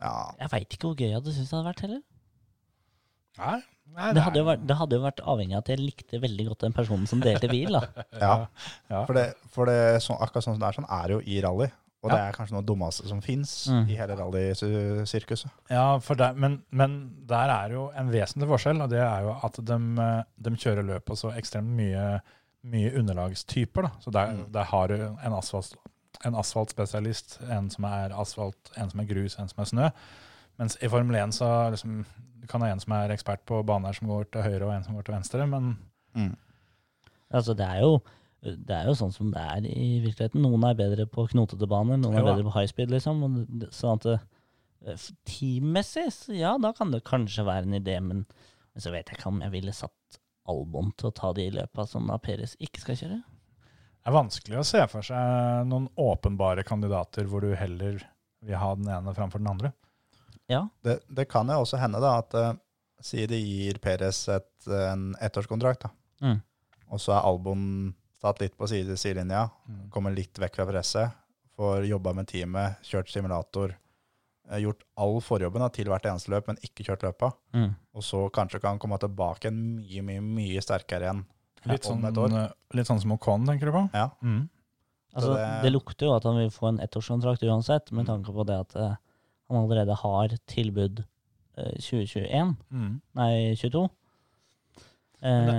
Speaker 4: Ja,
Speaker 5: Jeg veit ikke hvor gøy jeg hadde syntes det hadde vært heller.
Speaker 1: Nei, nei,
Speaker 5: Det hadde, jo vært, det hadde jo vært avhengig av at jeg likte veldig godt den personen som delte bil. da.
Speaker 4: ja.
Speaker 1: Ja.
Speaker 4: For, det, for det, så, akkurat sånn som det er, sånn er det jo i rally. Og det er kanskje noe av det dummeste som fins
Speaker 5: Mm.
Speaker 4: i hele rallysirkuset.
Speaker 1: Ja, for der, men, men der er jo en vesentlig forskjell, og det er jo at de, kjører løp på så ekstremt mye, mye underlagstyper. Da. Så der,
Speaker 4: Mm.
Speaker 1: der har du en, asfalt, en asfaltspesialist, en som er asfalt, en som er grus, en som er snø. Mens i Formel 1 så er liksom, du kan ha en som er ekspert på baner som går til høyre, og en som går til venstre. Men
Speaker 5: Altså, det er jo... Det er jo sånn som det er i virkeligheten. Noen er bedre på knotete baner, noen er
Speaker 1: Jo da.
Speaker 5: bedre på high speed, liksom. og det- Sånn at det, f- teammessig, så ja, da kan det kanskje være en idé, men, men så vet jeg ikke om jeg ville satt Albon til å ta de løpa som da sånn Peres ikke skal kjøre.
Speaker 1: det er vanskelig å se for seg noen åpenbare kandidater hvor du heller vil ha den ene framfor den andre.
Speaker 4: Det, det kan jo også hende da at uh, si de gir Perez et, eh, en ettårskontrakt, da.
Speaker 5: Mm.
Speaker 4: og så er Albon satt litt på side, sidelinja,
Speaker 1: Mm.
Speaker 4: kommer litt vekk fra presset, får jobba med teamet, kjørt simulator, eh, gjort all forjobben da, til hvert eneste løp, men ikke kjørt løpa. Og så kanskje kan han komme tilbake en mye, mye, mye sterkere igjen.
Speaker 1: Litt,
Speaker 4: Ja, om
Speaker 1: sånn,
Speaker 4: et år.
Speaker 1: eh, litt sånn som Ocon, tenker du på?
Speaker 4: Ja.
Speaker 1: Mm.
Speaker 5: Altså,
Speaker 4: Så
Speaker 5: det,
Speaker 4: det-
Speaker 5: lukter jo at han vil få en ettårskontrakt uansett, med tanke på det at eh, han allerede har tilbud eh, 2021,
Speaker 1: Mm.
Speaker 5: nei 22. Eh,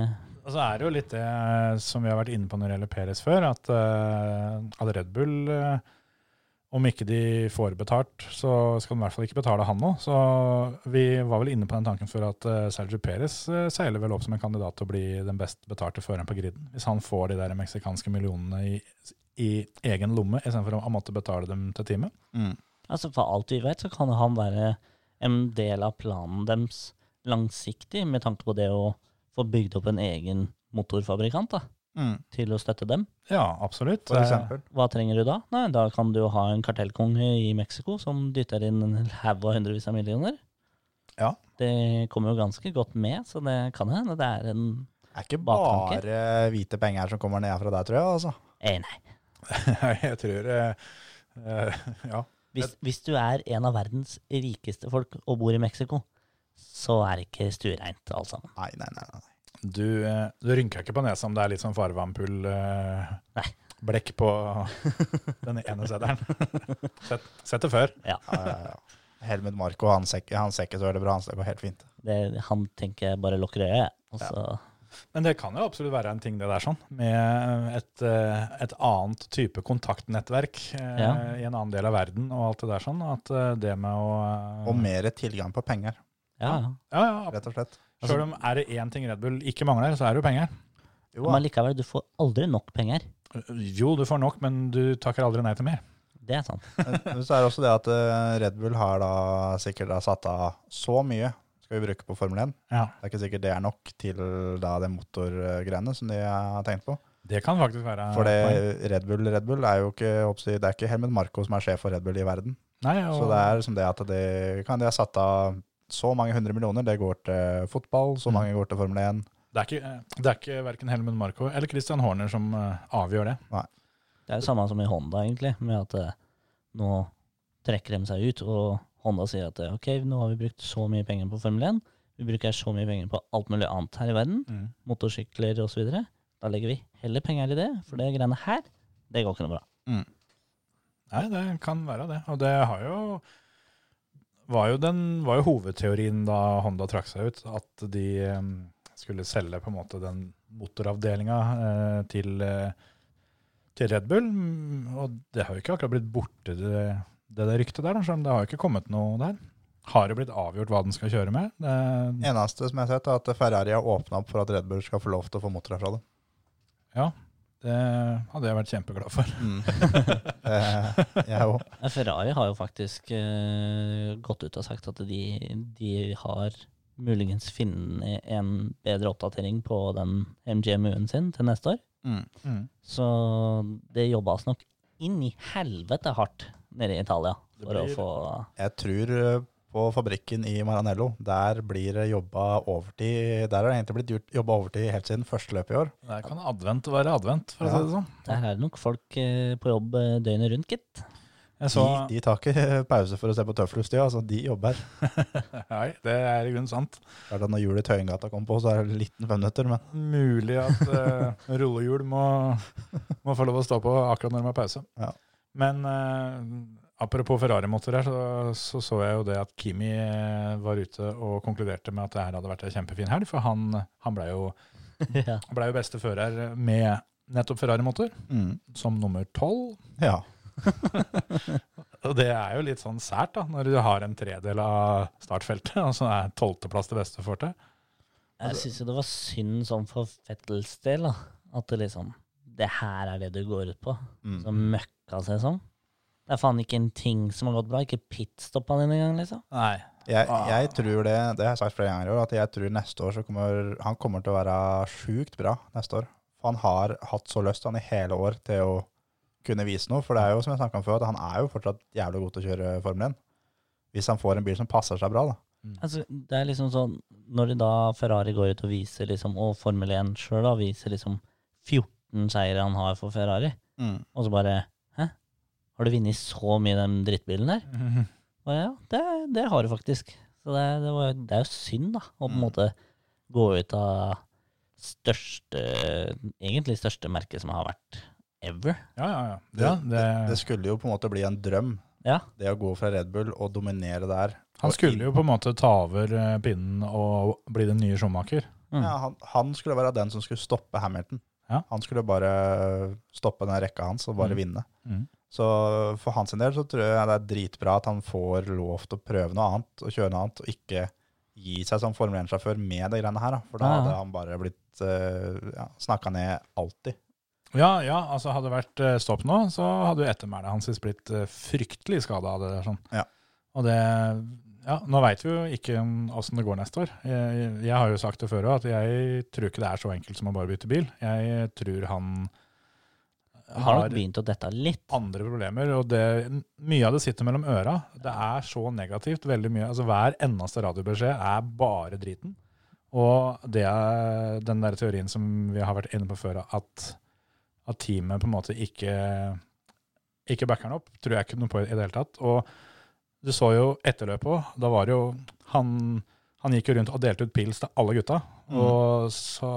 Speaker 1: Og så er det jo litt det eh, som vi har vært inne på når det gjelder Peres før, at, eh, at Red Bull, eh, om ikke de får betalt, så skal de i hvert fall ikke betale han nå. Så vi var vel inne på den tanken før at eh, Sergio Perez eh, seiler vel opp som en kandidat til å bli den best betalte føreren på griden. Hvis han får de der meksikanske millionene i, i egen lomme, istedenfor å, å måtte betale dem til teamet.
Speaker 5: altså For alt vi vet, så kan han være en del av planen deres langsiktig, med tanke på det å få bygd opp en egen motorfabrikant da, til å støtte dem.
Speaker 1: Ja, absolutt.
Speaker 4: For eksempel.
Speaker 5: Hva trenger du da? Nei, Da kan du jo ha en kartellkonge i Mexico som dytter inn en haug av hundrevis av millioner.
Speaker 4: Ja.
Speaker 5: Det kommer jo ganske godt med, så det kan hende det er en
Speaker 4: Det er ikke
Speaker 5: Baktanke.
Speaker 4: bare hvite penger som kommer ned fra deg, tror jeg. altså.
Speaker 5: eh, Nei.
Speaker 1: (laughs) jeg tror eh, eh, Ja.
Speaker 5: Hvis, hvis du er en av verdens rikeste folk og bor i Mexico, så er det ikke stuereint alt sammen.
Speaker 4: Nei, nei, nei. nei.
Speaker 1: Du, eh, du rynker ikke på nesa om det er litt sånn farvampull eh,
Speaker 5: Nei.
Speaker 1: blekk på (laughs) den ene seddelen.
Speaker 5: (laughs)
Speaker 1: Sett, sett det før.
Speaker 4: Ja, ja, ja. Helmut Marko, han ser ikke- han ser ikke så veldig bra, han ser det går helt fint.
Speaker 5: Det, han tenker jeg bare lukker øyet, og så
Speaker 1: Men det kan jo absolutt være en ting det der sånn, med et, eh, et annet type kontaktnettverk eh,
Speaker 5: Ja.
Speaker 1: i en annen del av verden og alt det der sånn, at eh, det med å eh,
Speaker 4: Og mer tilgang på penger,
Speaker 5: Ja, ja.
Speaker 1: Ja, ja.
Speaker 4: rett og slett.
Speaker 1: Selv om er det én ting Red Bull ikke mangler, så er det jo penger.
Speaker 4: Jo,
Speaker 5: Men allikevel, du får aldri nok penger.
Speaker 4: Eh,
Speaker 1: Jo, du får nok, men du takker aldri nei til mer.
Speaker 5: Det er sant.
Speaker 4: Men så er det også det at eh, Red Bull har da sikkert da satt av så mye skal vi bruke på Formel 1.
Speaker 1: Ja.
Speaker 4: Det er ikke sikkert det er nok til da det motorgreiene som de har tenkt på.
Speaker 1: Det kan faktisk være
Speaker 4: For det Red Bull Red Bull er jo ikke oppsi, Det er ikke Helmut Marko som er sjef for Red Bull i verden.
Speaker 1: Nei, og,
Speaker 4: Så det er som det at de, kan de har satt av så mange hundre millioner, det går til fotball, så mange går til Formel 1.
Speaker 1: Det er ikke, eh, det er ikke verken Helmut Marko eller Christian Horner som eh, avgjør det.
Speaker 5: Det er jo samme som i Honda, egentlig, med at eh, nå trekker de seg ut, og Honda sier at eh, ok, nå har vi brukt så mye penger på Formel 1, vi bruker så mye penger på alt mulig annet her i verden, motorsykler osv. Da legger vi heller penger i det, for det greiene her, det går ikke noe bra.
Speaker 1: Nei, det kan være det. Og det har jo var jo, den, var jo hovedteorien da Honda trakk seg ut, at de eh, skulle selge på en måte den motoravdelinga eh, til, eh, til Red Bull. Mm, Og det har jo ikke akkurat blitt borte, det, det der ryktet der, da, selv om det har jo ikke kommet noe der. Har det blitt avgjort hva den skal kjøre med? Det,
Speaker 4: Eneste som jeg har sett, er at Ferrari har åpna opp for at Red Bull skal få lov til å få motorer fra dem.
Speaker 1: det hadde jeg vært kjempeglad for.
Speaker 4: Eh, jeg
Speaker 1: (laughs)
Speaker 4: er jo
Speaker 5: Ja, Ferrari har jo faktisk eh, gått ut og sagt at de, de har muligens funnet en bedre oppdatering på den MGMU-en sin til neste år.
Speaker 1: Mm.
Speaker 5: Så det jobbes nok inn i helvete hardt nede i Italia for
Speaker 1: blir-
Speaker 5: å få
Speaker 4: Jeg tror eh, på fabrikken i Maranello, der blir det jobba overtid. Der har det egentlig blitt gjort- jobba overtid helt siden første løp i år.
Speaker 1: Der kan advent være advent, for å si det sånn.
Speaker 5: Der er det nok folk eh, på jobb eh, døgnet rundt, gitt.
Speaker 1: Jeg så,
Speaker 4: de, de tar ikke (laughs) pause for å se på Tøffelhustia, altså de jobber.
Speaker 1: nei, det er i grunnen sant.
Speaker 4: Klart at når hjulet i Tøyengata kom på, så er det liten fem minutter, men
Speaker 1: Mulig at eh, rullehjul må, må få lov å stå på akkurat når de har pause.
Speaker 4: Ja.
Speaker 1: Men eh, apropos Ferrari-motorer, så, så så jeg jo det at Kimi eh, var ute og konkluderte med at det her hadde vært en kjempefin helg, for han, han blei jo,
Speaker 5: ja.
Speaker 1: ble jo beste fører med nettopp Ferrari-motor, som nummer tolv.
Speaker 4: ja.
Speaker 1: Og det er jo litt sånn sært, da, når du har en tredel av startfeltet, (laughs) og så er tolvteplass det beste fortet.
Speaker 5: Jeg syns jo det var synd sånn for Fettels del, da. At det liksom Det her er det du går ut på.
Speaker 4: Mm.
Speaker 5: Så møkka seg sånn. Det er faen ikke en ting som har gått bra. Ikke pitstoppa dine engang, liksom.
Speaker 1: Nei.
Speaker 4: Jeg,
Speaker 1: Ah.
Speaker 4: jeg tror det, det har jeg sagt flere ganger i år, at jeg tror neste år så kommer han kommer til å være sjukt bra neste år. For han har hatt så lyst han i hele år til å kunne vise noe. For det er jo som jeg snakka om før, at han er jo fortsatt jævlig god til å kjøre Formel 1. Hvis han får en bil som passer seg bra, da.
Speaker 5: Altså, det er liksom sånn Når da Ferrari går ut og viser liksom Og Formel 1 sjøl da viser liksom 14 seire han har for Ferrari,
Speaker 4: Mm.
Speaker 5: og så bare Hæ? Har du vunnet så mye i den drittbilen
Speaker 4: Mm.
Speaker 5: der? Og ja, det, det har du faktisk. Så det, det, var, det er jo synd, da, å på
Speaker 4: Mm.
Speaker 5: en måte gå ut av største Egentlig største merket som har vært ever.
Speaker 1: Ja, ja, ja. Det, det,
Speaker 4: Det skulle jo på en måte bli en drøm,
Speaker 5: Ja.
Speaker 4: det å gå fra Red Bull og dominere der.
Speaker 1: Han
Speaker 4: Og
Speaker 1: skulle jo på en måte ta over eh, pinnen og bli den nye Schumacher.
Speaker 5: Mm.
Speaker 4: Ja, han, han skulle være den som skulle stoppe Hamilton.
Speaker 1: Ja.
Speaker 4: Han skulle bare stoppe den rekka hans og bare
Speaker 1: Mm.
Speaker 4: vinne.
Speaker 1: Mm.
Speaker 4: Så for hans del så tror jeg det er dritbra at han får lov til å prøve noe annet og kjøre noe annet, og ikke gi seg som Formel 1-sjåfør med de greiene her. da. For da
Speaker 5: Ja, ja.
Speaker 4: hadde han bare blitt eh, ja, snakka ned alltid.
Speaker 1: Ja, ja, altså hadde det vært eh, stopp nå, så hadde jo ettermælet hans blitt eh, fryktelig skada av det der. sånn.
Speaker 4: Ja.
Speaker 1: Og det, ja, Nå veit vi jo ikke åssen det går neste år. Jeg, jeg har jo sagt det før òg, at jeg tror ikke det er så enkelt som å bare bytte bil. Jeg tror han
Speaker 5: Han har nok begynt å dette litt.
Speaker 1: andre problemer, og det, mye av det sitter mellom øra. Det er så negativt, veldig mye. Altså Hver eneste radiobeskjed er bare driten. Og det er den der teorien som vi har vært inne på før, at, at teamet på en måte ikke, ikke backer han opp, tror jeg ikke noe på i det hele tatt. Og du så jo etterløpet òg. Da var det jo han, han gikk jo rundt og delte ut pils til alle gutta. Og så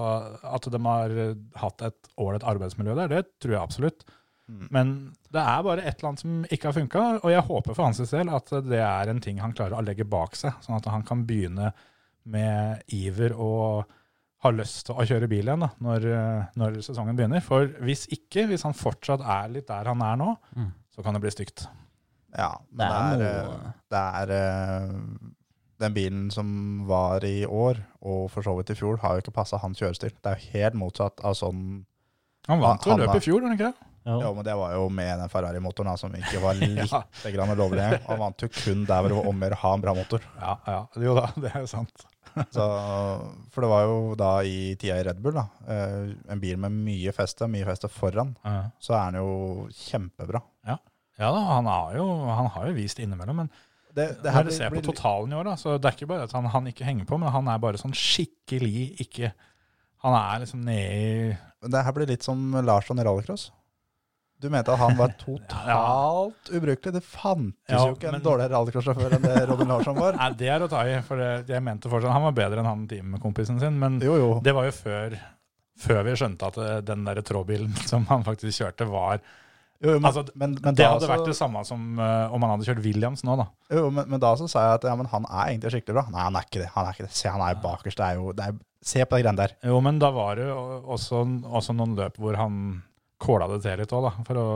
Speaker 1: at de har hatt et ålreit arbeidsmiljø der, det tror jeg absolutt. Men det er bare et eller annet som ikke har funka, og jeg håper for hans del at det er en ting han klarer å legge bak seg, sånn at han kan begynne med iver og ha lyst til å kjøre bil igjen da, når, eh, når sesongen begynner. For hvis ikke, hvis han fortsatt er litt der han er nå,
Speaker 5: Mm.
Speaker 1: så kan det bli stygt.
Speaker 4: Ja, men
Speaker 5: Det
Speaker 4: det
Speaker 5: er noe-
Speaker 4: er, eh, det er eh, Den bilen som var i år, og for så vidt i fjor, har jo ikke passa hans kjørestil. Det er jo helt motsatt av sånn
Speaker 1: Han vant jo
Speaker 4: Han- han
Speaker 1: løpet
Speaker 4: er-
Speaker 1: i fjor, gjorde han ikke det?
Speaker 4: Ja, men det var jo med den Ferrari-motoren da, som ikke
Speaker 1: (laughs)
Speaker 4: var litt grann lovlig. Han vant jo kun der hvor det var om å gjøre å ha en bra motor. (laughs)
Speaker 1: Ja, ja, jo da, (laughs) det er jo sant.
Speaker 4: Så, for det var jo da i tida i Red Bull, da, eh, en bil med mye feste, mye feste foran,
Speaker 1: Ja.
Speaker 4: så er den jo kjempebra.
Speaker 1: Ja da, han har jo, han har jo vist innimellom, men
Speaker 4: Det,
Speaker 1: når
Speaker 4: det her
Speaker 1: du ser på
Speaker 4: blir-
Speaker 1: totalen i år, da, så det er ikke bare at han, han ikke henger på, men han er bare sånn skikkelig ikke Han er liksom nede i
Speaker 4: det her blir litt som Larsson i rallycross. Du mente at han var totalt ubrukelig. Det fantes
Speaker 1: Ja,
Speaker 4: jo ikke en
Speaker 1: men-
Speaker 4: dårligere rallycross-sjåfør enn det Robin Larsson var.
Speaker 1: Nei, det er å ta i, for det, jeg mente fortsatt han var bedre enn han teamkompisen sin, men
Speaker 4: Jo, jo.
Speaker 1: det var (laughs) jo før, før vi skjønte at eh, den der trådbilen som han faktisk kjørte, var
Speaker 4: Jo, men,
Speaker 1: Altså,
Speaker 4: men, men,
Speaker 1: Det
Speaker 4: da
Speaker 1: hadde
Speaker 4: så,
Speaker 1: vært det samme som eh, om han hadde kjørt Williams nå, da.
Speaker 4: jo, men, men da så sa jeg at ja, men han er egentlig skikkelig bra. Nei, han er ikke det. han er ikke det. Se, han er bakerst. Det er jo, det er, se på de greiene der.
Speaker 1: Jo, men da var det jo også, også noen løp hvor han kåla det til litt òg, da. For å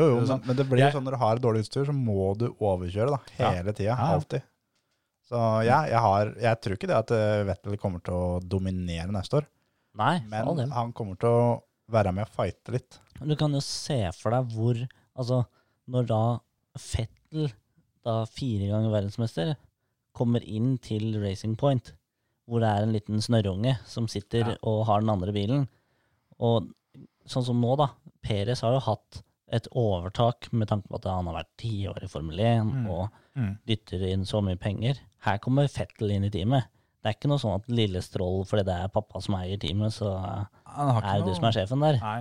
Speaker 4: Jo, jo,
Speaker 1: Det er
Speaker 4: men, men det blir
Speaker 1: Jeg-
Speaker 4: jo sånn når du har dårlig utstyr, så må du overkjøre da,
Speaker 1: Ja.
Speaker 4: hele tida.
Speaker 1: ja.
Speaker 4: Alltid. Så ja, jeg, har, jeg tror ikke det at eh, Vettel kommer til å dominere neste år,
Speaker 5: Nei, faen
Speaker 4: men
Speaker 5: dem.
Speaker 4: han kommer til å være med og fighte litt.
Speaker 5: Du kan jo se for deg hvor Altså, når da Fettel, da fire ganger verdensmester, kommer inn til Racing Point, hvor det er en liten snørrunge som sitter og har den andre bilen Og sånn som nå, da. Perez har jo hatt et overtak med tanke på at han har vært ti år i Formel 1 og
Speaker 1: Mm.
Speaker 5: dytter inn så mye penger. Her kommer Fettel inn i teamet. Det er ikke noe sånn at lille Stroll, fordi det er pappa som eier teamet, så
Speaker 1: Han har ikke
Speaker 5: er det
Speaker 1: noe-
Speaker 5: du som er sjefen der
Speaker 1: Nei.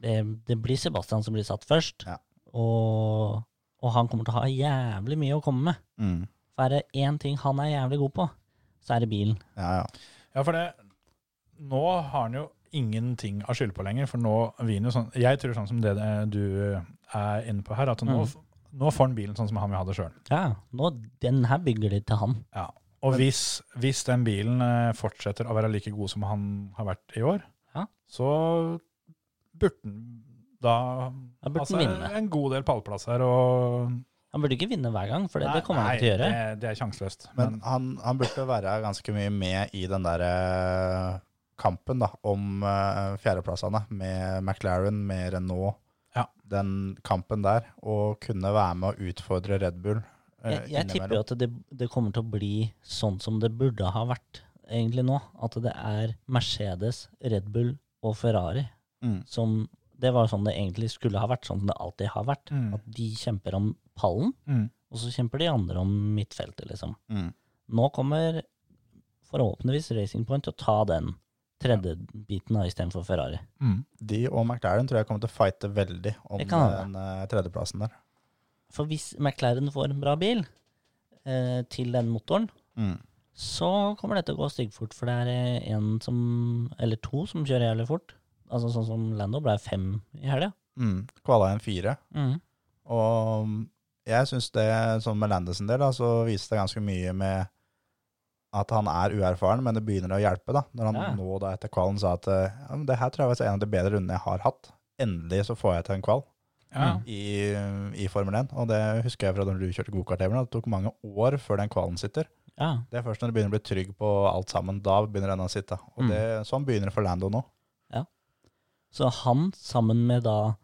Speaker 5: det, det blir Sebastian som blir satt først.
Speaker 4: Ja.
Speaker 5: Og, og han kommer til å ha jævlig mye å komme med.
Speaker 4: Mm.
Speaker 5: For er det én ting han er jævlig god på, så er det bilen.
Speaker 4: Ja, ja.
Speaker 1: Ja, for det Nå har han jo ingenting av skyld på lenger, for nå vinner jo sånn Jeg tror sånn som det det du eh, er inne på her, at nå,
Speaker 5: Mm.
Speaker 1: nå får han bilen sånn som han vil ha det sjøl.
Speaker 5: Ja, nå, Den her bygger de til han.
Speaker 1: Ja. Og hvis, hvis den bilen eh, fortsetter å være like god som han har vært i år,
Speaker 5: Ja.
Speaker 1: så burde den da
Speaker 5: Da burde
Speaker 1: altså,
Speaker 5: den vinne.
Speaker 1: en god del pallplasser og
Speaker 5: Han burde ikke vinne hver gang, for det,
Speaker 1: Nei,
Speaker 5: det kommer han
Speaker 1: nei,
Speaker 5: ikke til å gjøre.
Speaker 1: Det, det er sjanseløst.
Speaker 4: Men han, han burde være ganske mye med i den der eh, kampen da, om eh, fjerdeplassene med McLaren, med Renault.
Speaker 1: Ja.
Speaker 4: Den kampen der, og kunne være med å utfordre Red Bull.
Speaker 5: Jeg,
Speaker 4: eh,
Speaker 5: jeg tipper
Speaker 4: innimellom.
Speaker 5: jo at det, det kommer til å bli sånn som det burde ha vært egentlig nå. At det er Mercedes, Red Bull og Ferrari
Speaker 4: Mm.
Speaker 5: som Det var sånn det egentlig skulle ha vært, sånn som det alltid har vært.
Speaker 1: Mm.
Speaker 5: At de kjemper om pallen,
Speaker 1: Mm.
Speaker 5: og så kjemper de andre om midtfeltet, liksom.
Speaker 4: Mm.
Speaker 5: Nå kommer forhåpentligvis Racing Point til å ta den tredje biten av istedenfor Ferrari.
Speaker 1: Mm.
Speaker 4: De og McLaren tror jeg kommer til å fighte veldig om
Speaker 5: Det kan hende.
Speaker 4: den eh, tredjeplassen der.
Speaker 5: For hvis McLaren får en bra bil eh, til den motoren,
Speaker 1: Mm.
Speaker 5: så kommer det til å gå styggfort. For det er eh, en som, eller to som kjører jævlig fort. Altså Sånn som Lando ble fem i helga.
Speaker 4: Mm. Kvala igjen fire. Og um, jeg syns det, sånn med Landis en del, da, så viser det ganske mye med at han er uerfaren, men det begynner å hjelpe. da. Når han
Speaker 5: Ja.
Speaker 4: nå da etter kvalen sa at eh, ja, men det her tror jeg var en av de bedre rundene jeg har hatt. Endelig så får jeg til en kval
Speaker 1: Ja.
Speaker 5: Mm.
Speaker 4: i, i Formel 1. Og det husker jeg fra da du kjørte gokart-EM. Det tok mange år før den kvalen sitter.
Speaker 5: Ja.
Speaker 4: Det er først når du begynner å bli trygg på alt sammen. Da begynner den å sitte. Og
Speaker 1: Mm.
Speaker 4: det, sånn begynner det for Lando nå.
Speaker 5: Så han, sammen med da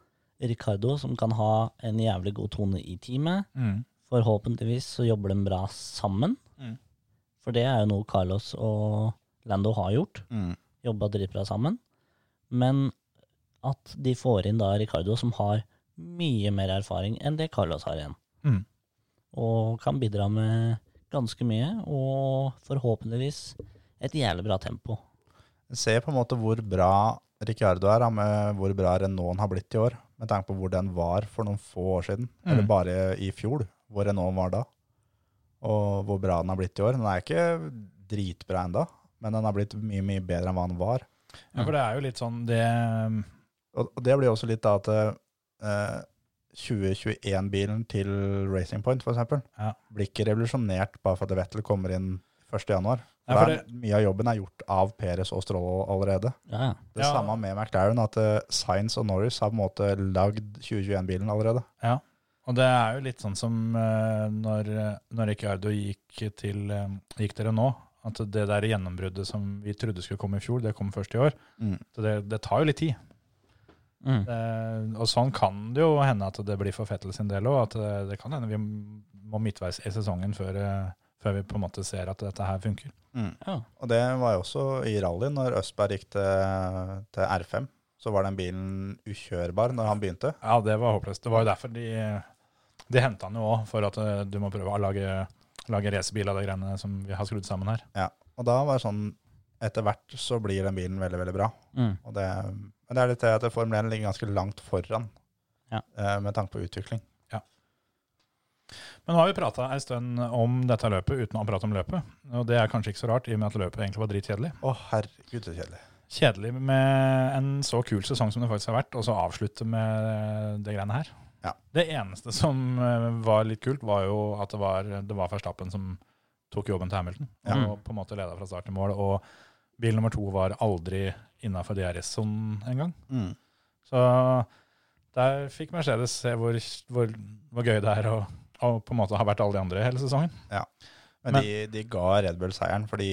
Speaker 5: Ricardo, som kan ha en jævlig god tone i teamet,
Speaker 1: Mm.
Speaker 5: Forhåpentligvis så jobber de bra sammen.
Speaker 1: Mm.
Speaker 5: For det er jo noe Carlos og Lando har gjort.
Speaker 1: Mm.
Speaker 5: Jobba dritbra sammen. Men at de får inn da Ricardo, som har mye mer erfaring enn det Carlos har igjen.
Speaker 1: Mm.
Speaker 5: Og kan bidra med ganske mye, og forhåpentligvis et jævlig bra tempo.
Speaker 4: Se på en måte hvor bra Ricciardo er, da, med hvor bra Renault har blitt i år. Med tanke på hvor den var for noen få år siden.
Speaker 1: Mm.
Speaker 4: Eller bare i fjor, hvor Renault var da. Og hvor bra den har blitt i år. Den er ikke dritbra ennå, men den har blitt mye, mye bedre enn hva den var.
Speaker 1: ja, for det er jo litt sånn det
Speaker 4: Og, og det blir også litt da at eh, 2021-bilen til Racing Point, for eksempel,
Speaker 1: Ja.
Speaker 4: blir ikke revolusjonert bare for at Vettel kommer inn 1. januar.
Speaker 1: Ja, for
Speaker 4: For det er- Mye av jobben er gjort av Perez og Stroll allerede.
Speaker 5: Ja, ja.
Speaker 4: Det
Speaker 1: Ja.
Speaker 4: samme med McLaren, at eh, Sainz og Norris har på en måte lagd 2021-bilen allerede.
Speaker 1: Og det er jo litt sånn som eh, når, når Ricciardo gikk til, eh, gikk til Renault, at det der gjennombruddet som vi trodde skulle komme i fjor, det kom først i år. Så det, det tar jo litt tid.
Speaker 5: Mm.
Speaker 1: Eh, og sånn kan det jo hende at det blir for Fettel sin del òg. At det, det kan hende vi må midtveis i sesongen før, eh, før vi på en måte ser at dette her funker.
Speaker 5: ja.
Speaker 4: Og det var jo også i rally, når Østberg gikk til, til R5, så var den bilen ukjørbar når han begynte.
Speaker 1: Ja, det var håpløst. Det var jo derfor de, de henta han jo òg, for at eh, du må prøve å lage, lage racerbil av de greiene som vi har skrudd sammen her.
Speaker 4: Ja. Og da var det sånn, etter hvert så blir den bilen veldig, veldig bra.
Speaker 5: Mm.
Speaker 4: Og det, men det er litt det at Formel 1 ligger ganske langt foran
Speaker 5: Ja.
Speaker 4: eh, med tanke på utvikling.
Speaker 1: Men nå har vi prata ei stund om dette løpet uten å prate om løpet. Og det er kanskje ikke så rart, i og med at løpet egentlig var dritkjedelig.
Speaker 4: Å herregud, så kjedelig.
Speaker 1: Kjedelig med en så kul sesong som det faktisk har vært, og så avslutte med det greiene her.
Speaker 4: Ja.
Speaker 1: Det eneste som eh, var litt kult, var jo at det var, det var Verstappen som tok jobben til Hamilton.
Speaker 5: Ja.
Speaker 1: Og på en måte leda fra start til mål. Og bil nummer to var aldri innafor DRS-sonen engang.
Speaker 4: Mm.
Speaker 1: Så der fikk Mercedes se hvor, hvor, hvor gøy det er å, å på en måte ha vært alle de andre hele sesongen.
Speaker 4: Men,
Speaker 1: Men-
Speaker 4: de, de ga Red Bull seieren, fordi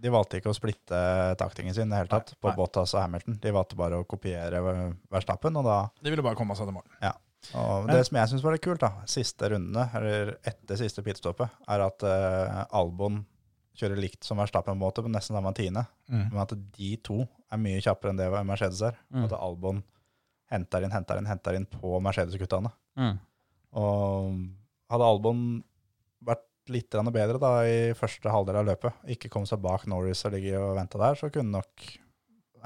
Speaker 4: de valgte ikke å splitte taktingen sin i det hele tatt, på
Speaker 1: Nei.
Speaker 4: Bottas og Hamilton. De valgte bare å kopiere eh, Verstappen, og da
Speaker 1: De ville bare komme seg til mål.
Speaker 4: og
Speaker 1: Men-
Speaker 4: Det som jeg syns var litt kult, da, siste rundene, eller etter siste pitstoppet, er at eh, Albon kjører likt som Verstappen på en måte, på nesten samme tiende.
Speaker 1: Mm.
Speaker 4: Men at de to er mye kjappere enn det Mercedes er.
Speaker 5: Mm.
Speaker 4: At Albon henter inn, henter inn, henter inn på Mercedes-guttene.
Speaker 5: Mm.
Speaker 4: Og hadde Albon vært litt grann bedre da i første halvdel av løpet, ikke kom seg bak Norris og ligge og vente der, så kunne nok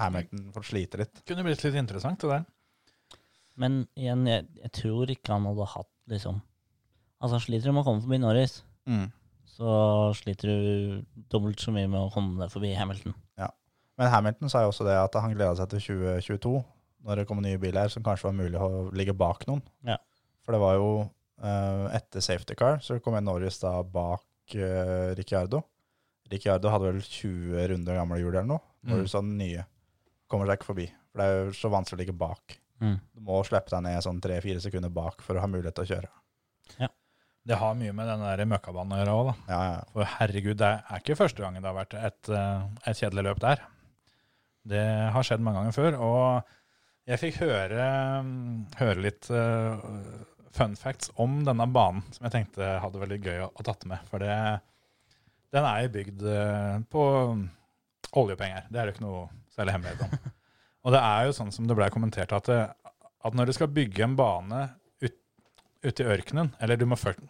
Speaker 4: Hamilton fått slite litt.
Speaker 1: Kunne blitt litt interessant, det der.
Speaker 5: Men igjen, jeg, jeg tror ikke han hadde hatt liksom Altså, sliter du med å komme forbi Norris, så sliter du dobbelt så mye med å komme deg forbi Hamilton.
Speaker 4: Men Hamilton sa jo også det at han gleda seg til 2022, når det kom nye biler som kanskje var mulig å ligge bak noen.
Speaker 5: Ja.
Speaker 4: For det var jo eh, etter safety car, så kom en Norris da bak eh, Ricciardo. Ricciardo hadde vel 20 runder gamle hjul eller noe.
Speaker 1: Mm.
Speaker 4: Norris hadde nye. Kommer seg ikke forbi, for det er jo så vanskelig å ligge bak.
Speaker 5: Mm.
Speaker 4: Du må slippe deg ned sånn tre-fire sekunder bak for å ha mulighet til å kjøre.
Speaker 1: Det har mye med den der møkkabanen å gjøre òg, da.
Speaker 4: Ja, ja, ja.
Speaker 1: For herregud, det er ikke første gangen det har vært et, eh, et kjedelig løp der. Det har skjedd mange ganger før, og jeg fikk høre, mm, høre litt eh, fun facts om denne banen, som jeg tenkte hadde veldig gøy å, å tatt med. For det, den er jo bygd eh, på oljepenger, det er det ikke noe særlig hemmelighet om. Og det er jo sånn som det ble kommentert, at, eh, det, at når du skal bygge en bane ut- ute i ørkenen, eller du må først,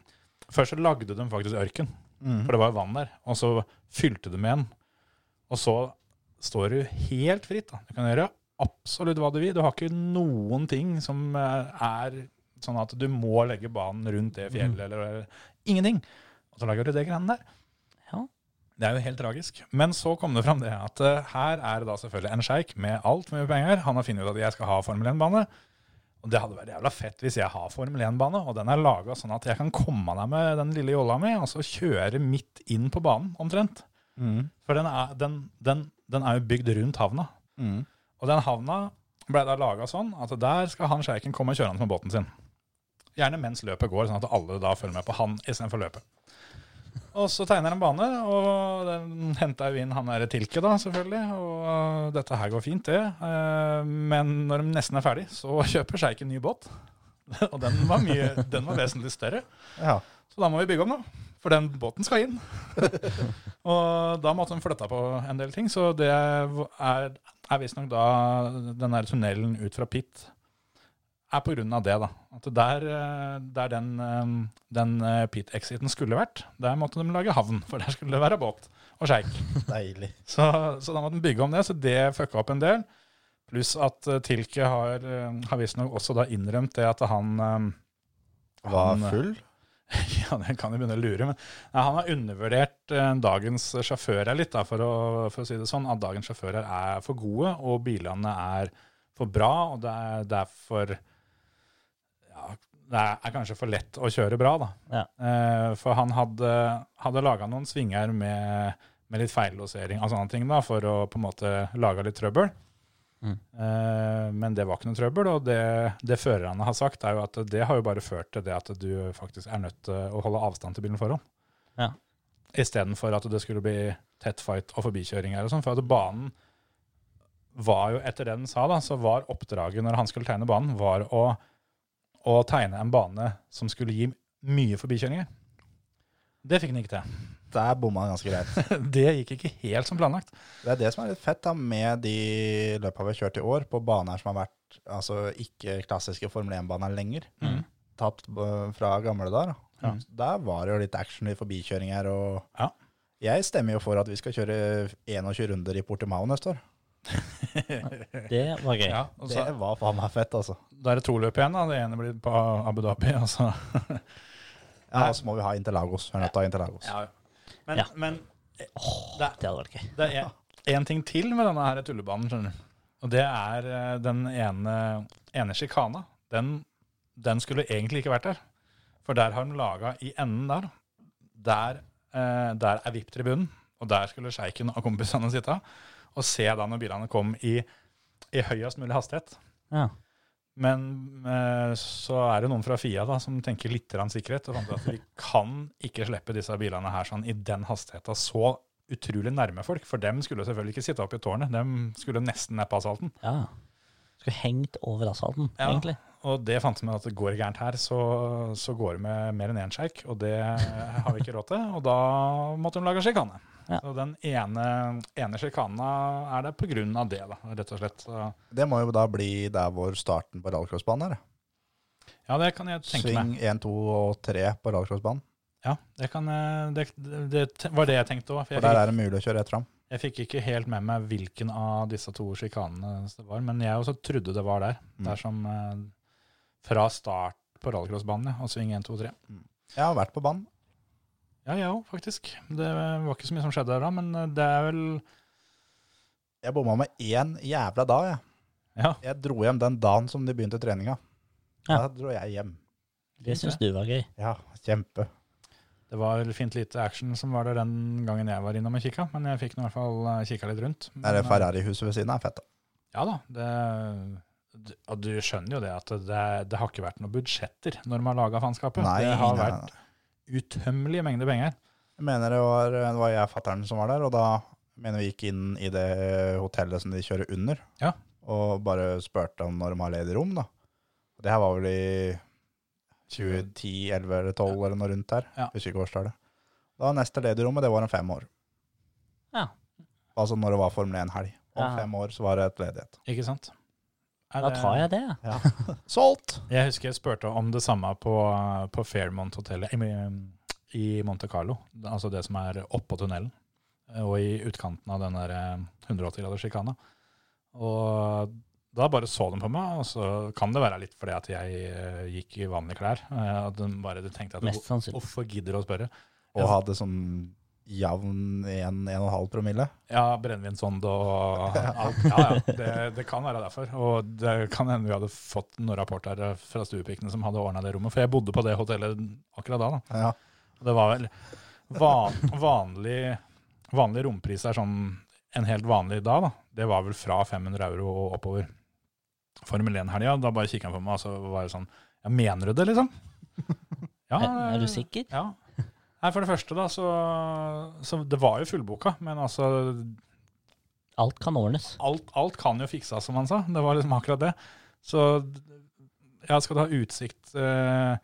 Speaker 1: først så lagde de faktisk ørken, for det var jo vann der. Og så fylte du med en. Og så står du helt fritt. da. Du kan gjøre absolutt hva du vil. Du har ikke noen ting som eh, er sånn at du må legge banen rundt det fjellet, eller, eller ingenting. Og så lager du det greiene der.
Speaker 5: Ja.
Speaker 1: Det er jo helt tragisk. Men så kom det fram det at eh, her er det da selvfølgelig en sjeik med altfor mye penger. Han har funnet ut at jeg skal ha Formel 1-bane. Og det hadde vært jævla fett hvis jeg har Formel 1-bane, og den er laga sånn at jeg kan komme meg med den lille jolla mi, og så kjøre midt inn på banen, omtrent.
Speaker 4: Mm.
Speaker 1: For den er, den, den, den er jo bygd rundt havna.
Speaker 4: Mm.
Speaker 1: Og den havna ble da laga sånn at der skal han sjeiken komme kjørende med båten sin. Gjerne mens løpet går, sånn at alle da følger med på han istedenfor løpet. Og så tegner han bane, og den henta jo inn han derre Tilke, da, selvfølgelig. Og dette her går fint, det. Eh, Men når de nesten er ferdig, så kjøper sjeiken ny båt. (laughs) Og den var, mye, den var vesentlig større.
Speaker 4: (laughs) Ja.
Speaker 1: Så da må vi bygge om, da. For den båten skal inn. (laughs) og da måtte de flytta på en del ting. Så det er, er visstnok da den der tunnelen ut fra Pitt er på grunn av det, da. At der, eh, der den, eh, den eh, Pitt-exiten skulle vært, der måtte de lage havn. For der skulle det være båt og sjeik.
Speaker 4: Deilig.
Speaker 1: Så, så da måtte de bygge om det, så det fucka opp en del. Pluss at eh, Tilke har, eh, har visstnok også da innrømt det at han eh,
Speaker 4: Var
Speaker 1: Han-
Speaker 4: full?
Speaker 1: (laughs) ja, det kan jeg begynne å lure, men nei, han har undervurdert eh, dagens sjåfører litt, da, for, å, for å si det sånn, at dagens sjåfører er for gode, og bilene er for bra, og det er derfor ja, det er kanskje for lett å kjøre bra, da. Eh, for han hadde, hadde laga noen svinger med, med litt feillosering og sånne ting, da, for å på en måte lage litt trøbbel.
Speaker 5: Mm.
Speaker 1: Eh, men det var ikke noe trøbbel, og det, det førerne har sagt, er jo at det har jo bare ført til det at du faktisk er nødt til å holde avstand til bilen foran.
Speaker 5: Ja.
Speaker 1: Istedenfor at det skulle bli tett fight og forbikjøringer og sånn. For at banen var jo, etter det den sa, da, så var oppdraget når han skulle tegne banen, var å, å tegne en bane som skulle gi mye forbikjøringer. Det fikk han ikke til. (laughs)
Speaker 4: Der bomma han ganske greit.
Speaker 1: Det gikk ikke helt som planlagt.
Speaker 4: Det er det som er litt fett da, med de løpene vi har kjørt i år, på baner som har vært altså, ikke klassiske Formel 1-baner lenger.
Speaker 1: Mhm.
Speaker 4: Tatt b- fra gamle der. Da.
Speaker 1: Ja.
Speaker 4: Der var det jo litt action i forbikjøringer. Og
Speaker 1: Ja.
Speaker 4: Jeg stemmer jo for at vi skal kjøre 21 runder i Portimao neste år.
Speaker 5: Det var gøy.
Speaker 1: Ja, og så,
Speaker 4: det var faen meg fett, altså.
Speaker 1: da er det to løp igjen. Da. Det ene blir på Abu Dhabi. Og så.
Speaker 4: Ja, og så må vi ha Interlagos. Vi er nødt til å ha Interlagos.
Speaker 1: Men,
Speaker 5: Ja.
Speaker 1: men
Speaker 5: Det hadde vært gøy.
Speaker 1: det er én ting til med denne her tullebanen, skjønner du. Og det er eh, den ene, ene sjikana. Den den skulle egentlig ikke vært der. For der har de laga i enden der. Der, eh, der er VIP-tribunen, og der skulle sjeiken og kompisene sitte. Og se da når bilene kom i, i høyest mulig hastighet.
Speaker 5: Ja.
Speaker 1: Men eh, så er det noen fra FIA da, som tenker litt grann sikkerhet og fant ut at vi kan ikke slippe disse bilene her sånn i den hastigheten så utrolig nærme folk. For dem skulle selvfølgelig ikke sitte oppe i tårnet. Dem skulle nesten ned på asfalten.
Speaker 5: ja. Skulle hengt over asfalten,
Speaker 1: Ja.
Speaker 5: egentlig.
Speaker 1: Og det fant vi ut at det går gærent her, så, så går det med mer enn én sjeik, og det har vi ikke råd til. Og da måtte de lage sjikane.
Speaker 5: Ja.
Speaker 1: Så den ene, ene sjikana er der på grunn av det, da, rett og slett. Så,
Speaker 4: Det må jo da bli der hvor starten på rallycrossbanen er.
Speaker 1: ja, det kan jeg tenke meg.
Speaker 4: Sving 1, 2 og 3 på rallycrossbanen.
Speaker 1: Ja, det, kan, jeg- det, det, det var det jeg tenkte òg. For
Speaker 4: For
Speaker 1: jeg
Speaker 4: der
Speaker 1: fikk,
Speaker 4: er det mulig å kjøre rett fram.
Speaker 1: jeg fikk ikke helt med meg hvilken av disse to sjikanene det var, men jeg også trodde det var der.
Speaker 4: Mm.
Speaker 1: Der som eh, Fra start på rallycrossbanen, ja, og sving 1, 2, 3.
Speaker 4: Jeg har vært på banen.
Speaker 1: Ja, jeg òg, faktisk. Det var ikke så mye som skjedde der da, men eh, det er vel
Speaker 4: Jeg bomma med én jævla dag, jeg.
Speaker 1: Ja.
Speaker 4: Jeg dro hjem den dagen som de begynte treninga.
Speaker 5: Ja.
Speaker 4: Da dro jeg hjem.
Speaker 5: Det syns du var gøy.
Speaker 4: Ja, kjempe.
Speaker 1: Det var fint lite action som var der den gangen jeg var innom og kikka, men jeg fikk nå i hvert fall eh, kikka litt rundt. Men,
Speaker 4: Det er det
Speaker 1: eh,
Speaker 4: Ferrari-huset ved siden av er fett, da.
Speaker 1: Ja da. Det, d- og du skjønner jo det at det, det har ikke vært noen budsjetter når de har laga faenskapet.
Speaker 4: Nei,
Speaker 1: Det har
Speaker 4: nei,
Speaker 1: vært utømmelige mengder penger.
Speaker 4: Jeg mener det var, det var jeg og fatteren som var der, og da mener vi gikk inn i det hotellet som de kjører under,
Speaker 1: Ja.
Speaker 4: og bare spurte om når de har ledig rom, da. Og Det her var vel i 2010, 11 eller 12 eller noe rundt her,
Speaker 1: Ja.
Speaker 4: husker ikke årstallet. Da var neste ledig rommet, det var om fem år.
Speaker 5: Ja.
Speaker 4: Altså når det var Formel 1 helg. Om
Speaker 5: Ja.
Speaker 4: fem år så var det et ledighet.
Speaker 1: Ikke sant? Er
Speaker 5: Da
Speaker 1: det-
Speaker 5: tar jeg det, jeg.
Speaker 4: Solgt!
Speaker 1: Jeg husker jeg spurte om det samme på, på Fairmont-hotellet i, i Monte Carlo. Altså det som er oppå tunnelen, og i utkanten av den der eh, 180-graderskikana. Og da bare så de på meg, og så kan det være litt fordi at jeg eh, gikk i vanlige klær. eh, At de bare tenkte at
Speaker 5: Mest sannsynlig.
Speaker 1: hvorfor gidder du å spørre?
Speaker 4: Og hadde sånn jevn 1,5 promille.
Speaker 1: Ja, brennevinsånd og alt. Ja, ja. Det, det kan være derfor. Og det kan hende vi hadde fått noen rapporter fra stuepikene som hadde ordna det rommet, for jeg bodde på det hotellet akkurat da. da.
Speaker 4: Ja.
Speaker 1: Og Det var vel van, vanlig, vanlig rompris er sånn en helt vanlig dag, da. Det var vel fra 500 euro og oppover. Formel 1-helga, da bare kikka han på meg, og så var det sånn Ja, mener du det, liksom? Ja,
Speaker 5: Er, er du sikker?
Speaker 1: Ja. Nei, for det første, da, så, så Det var jo fullboka, men altså
Speaker 5: Alt kan ordnes.
Speaker 1: alt, alt kan jo fikses, som han sa. Det var liksom akkurat det. Så d- ja, skal du ha utsikt, eh,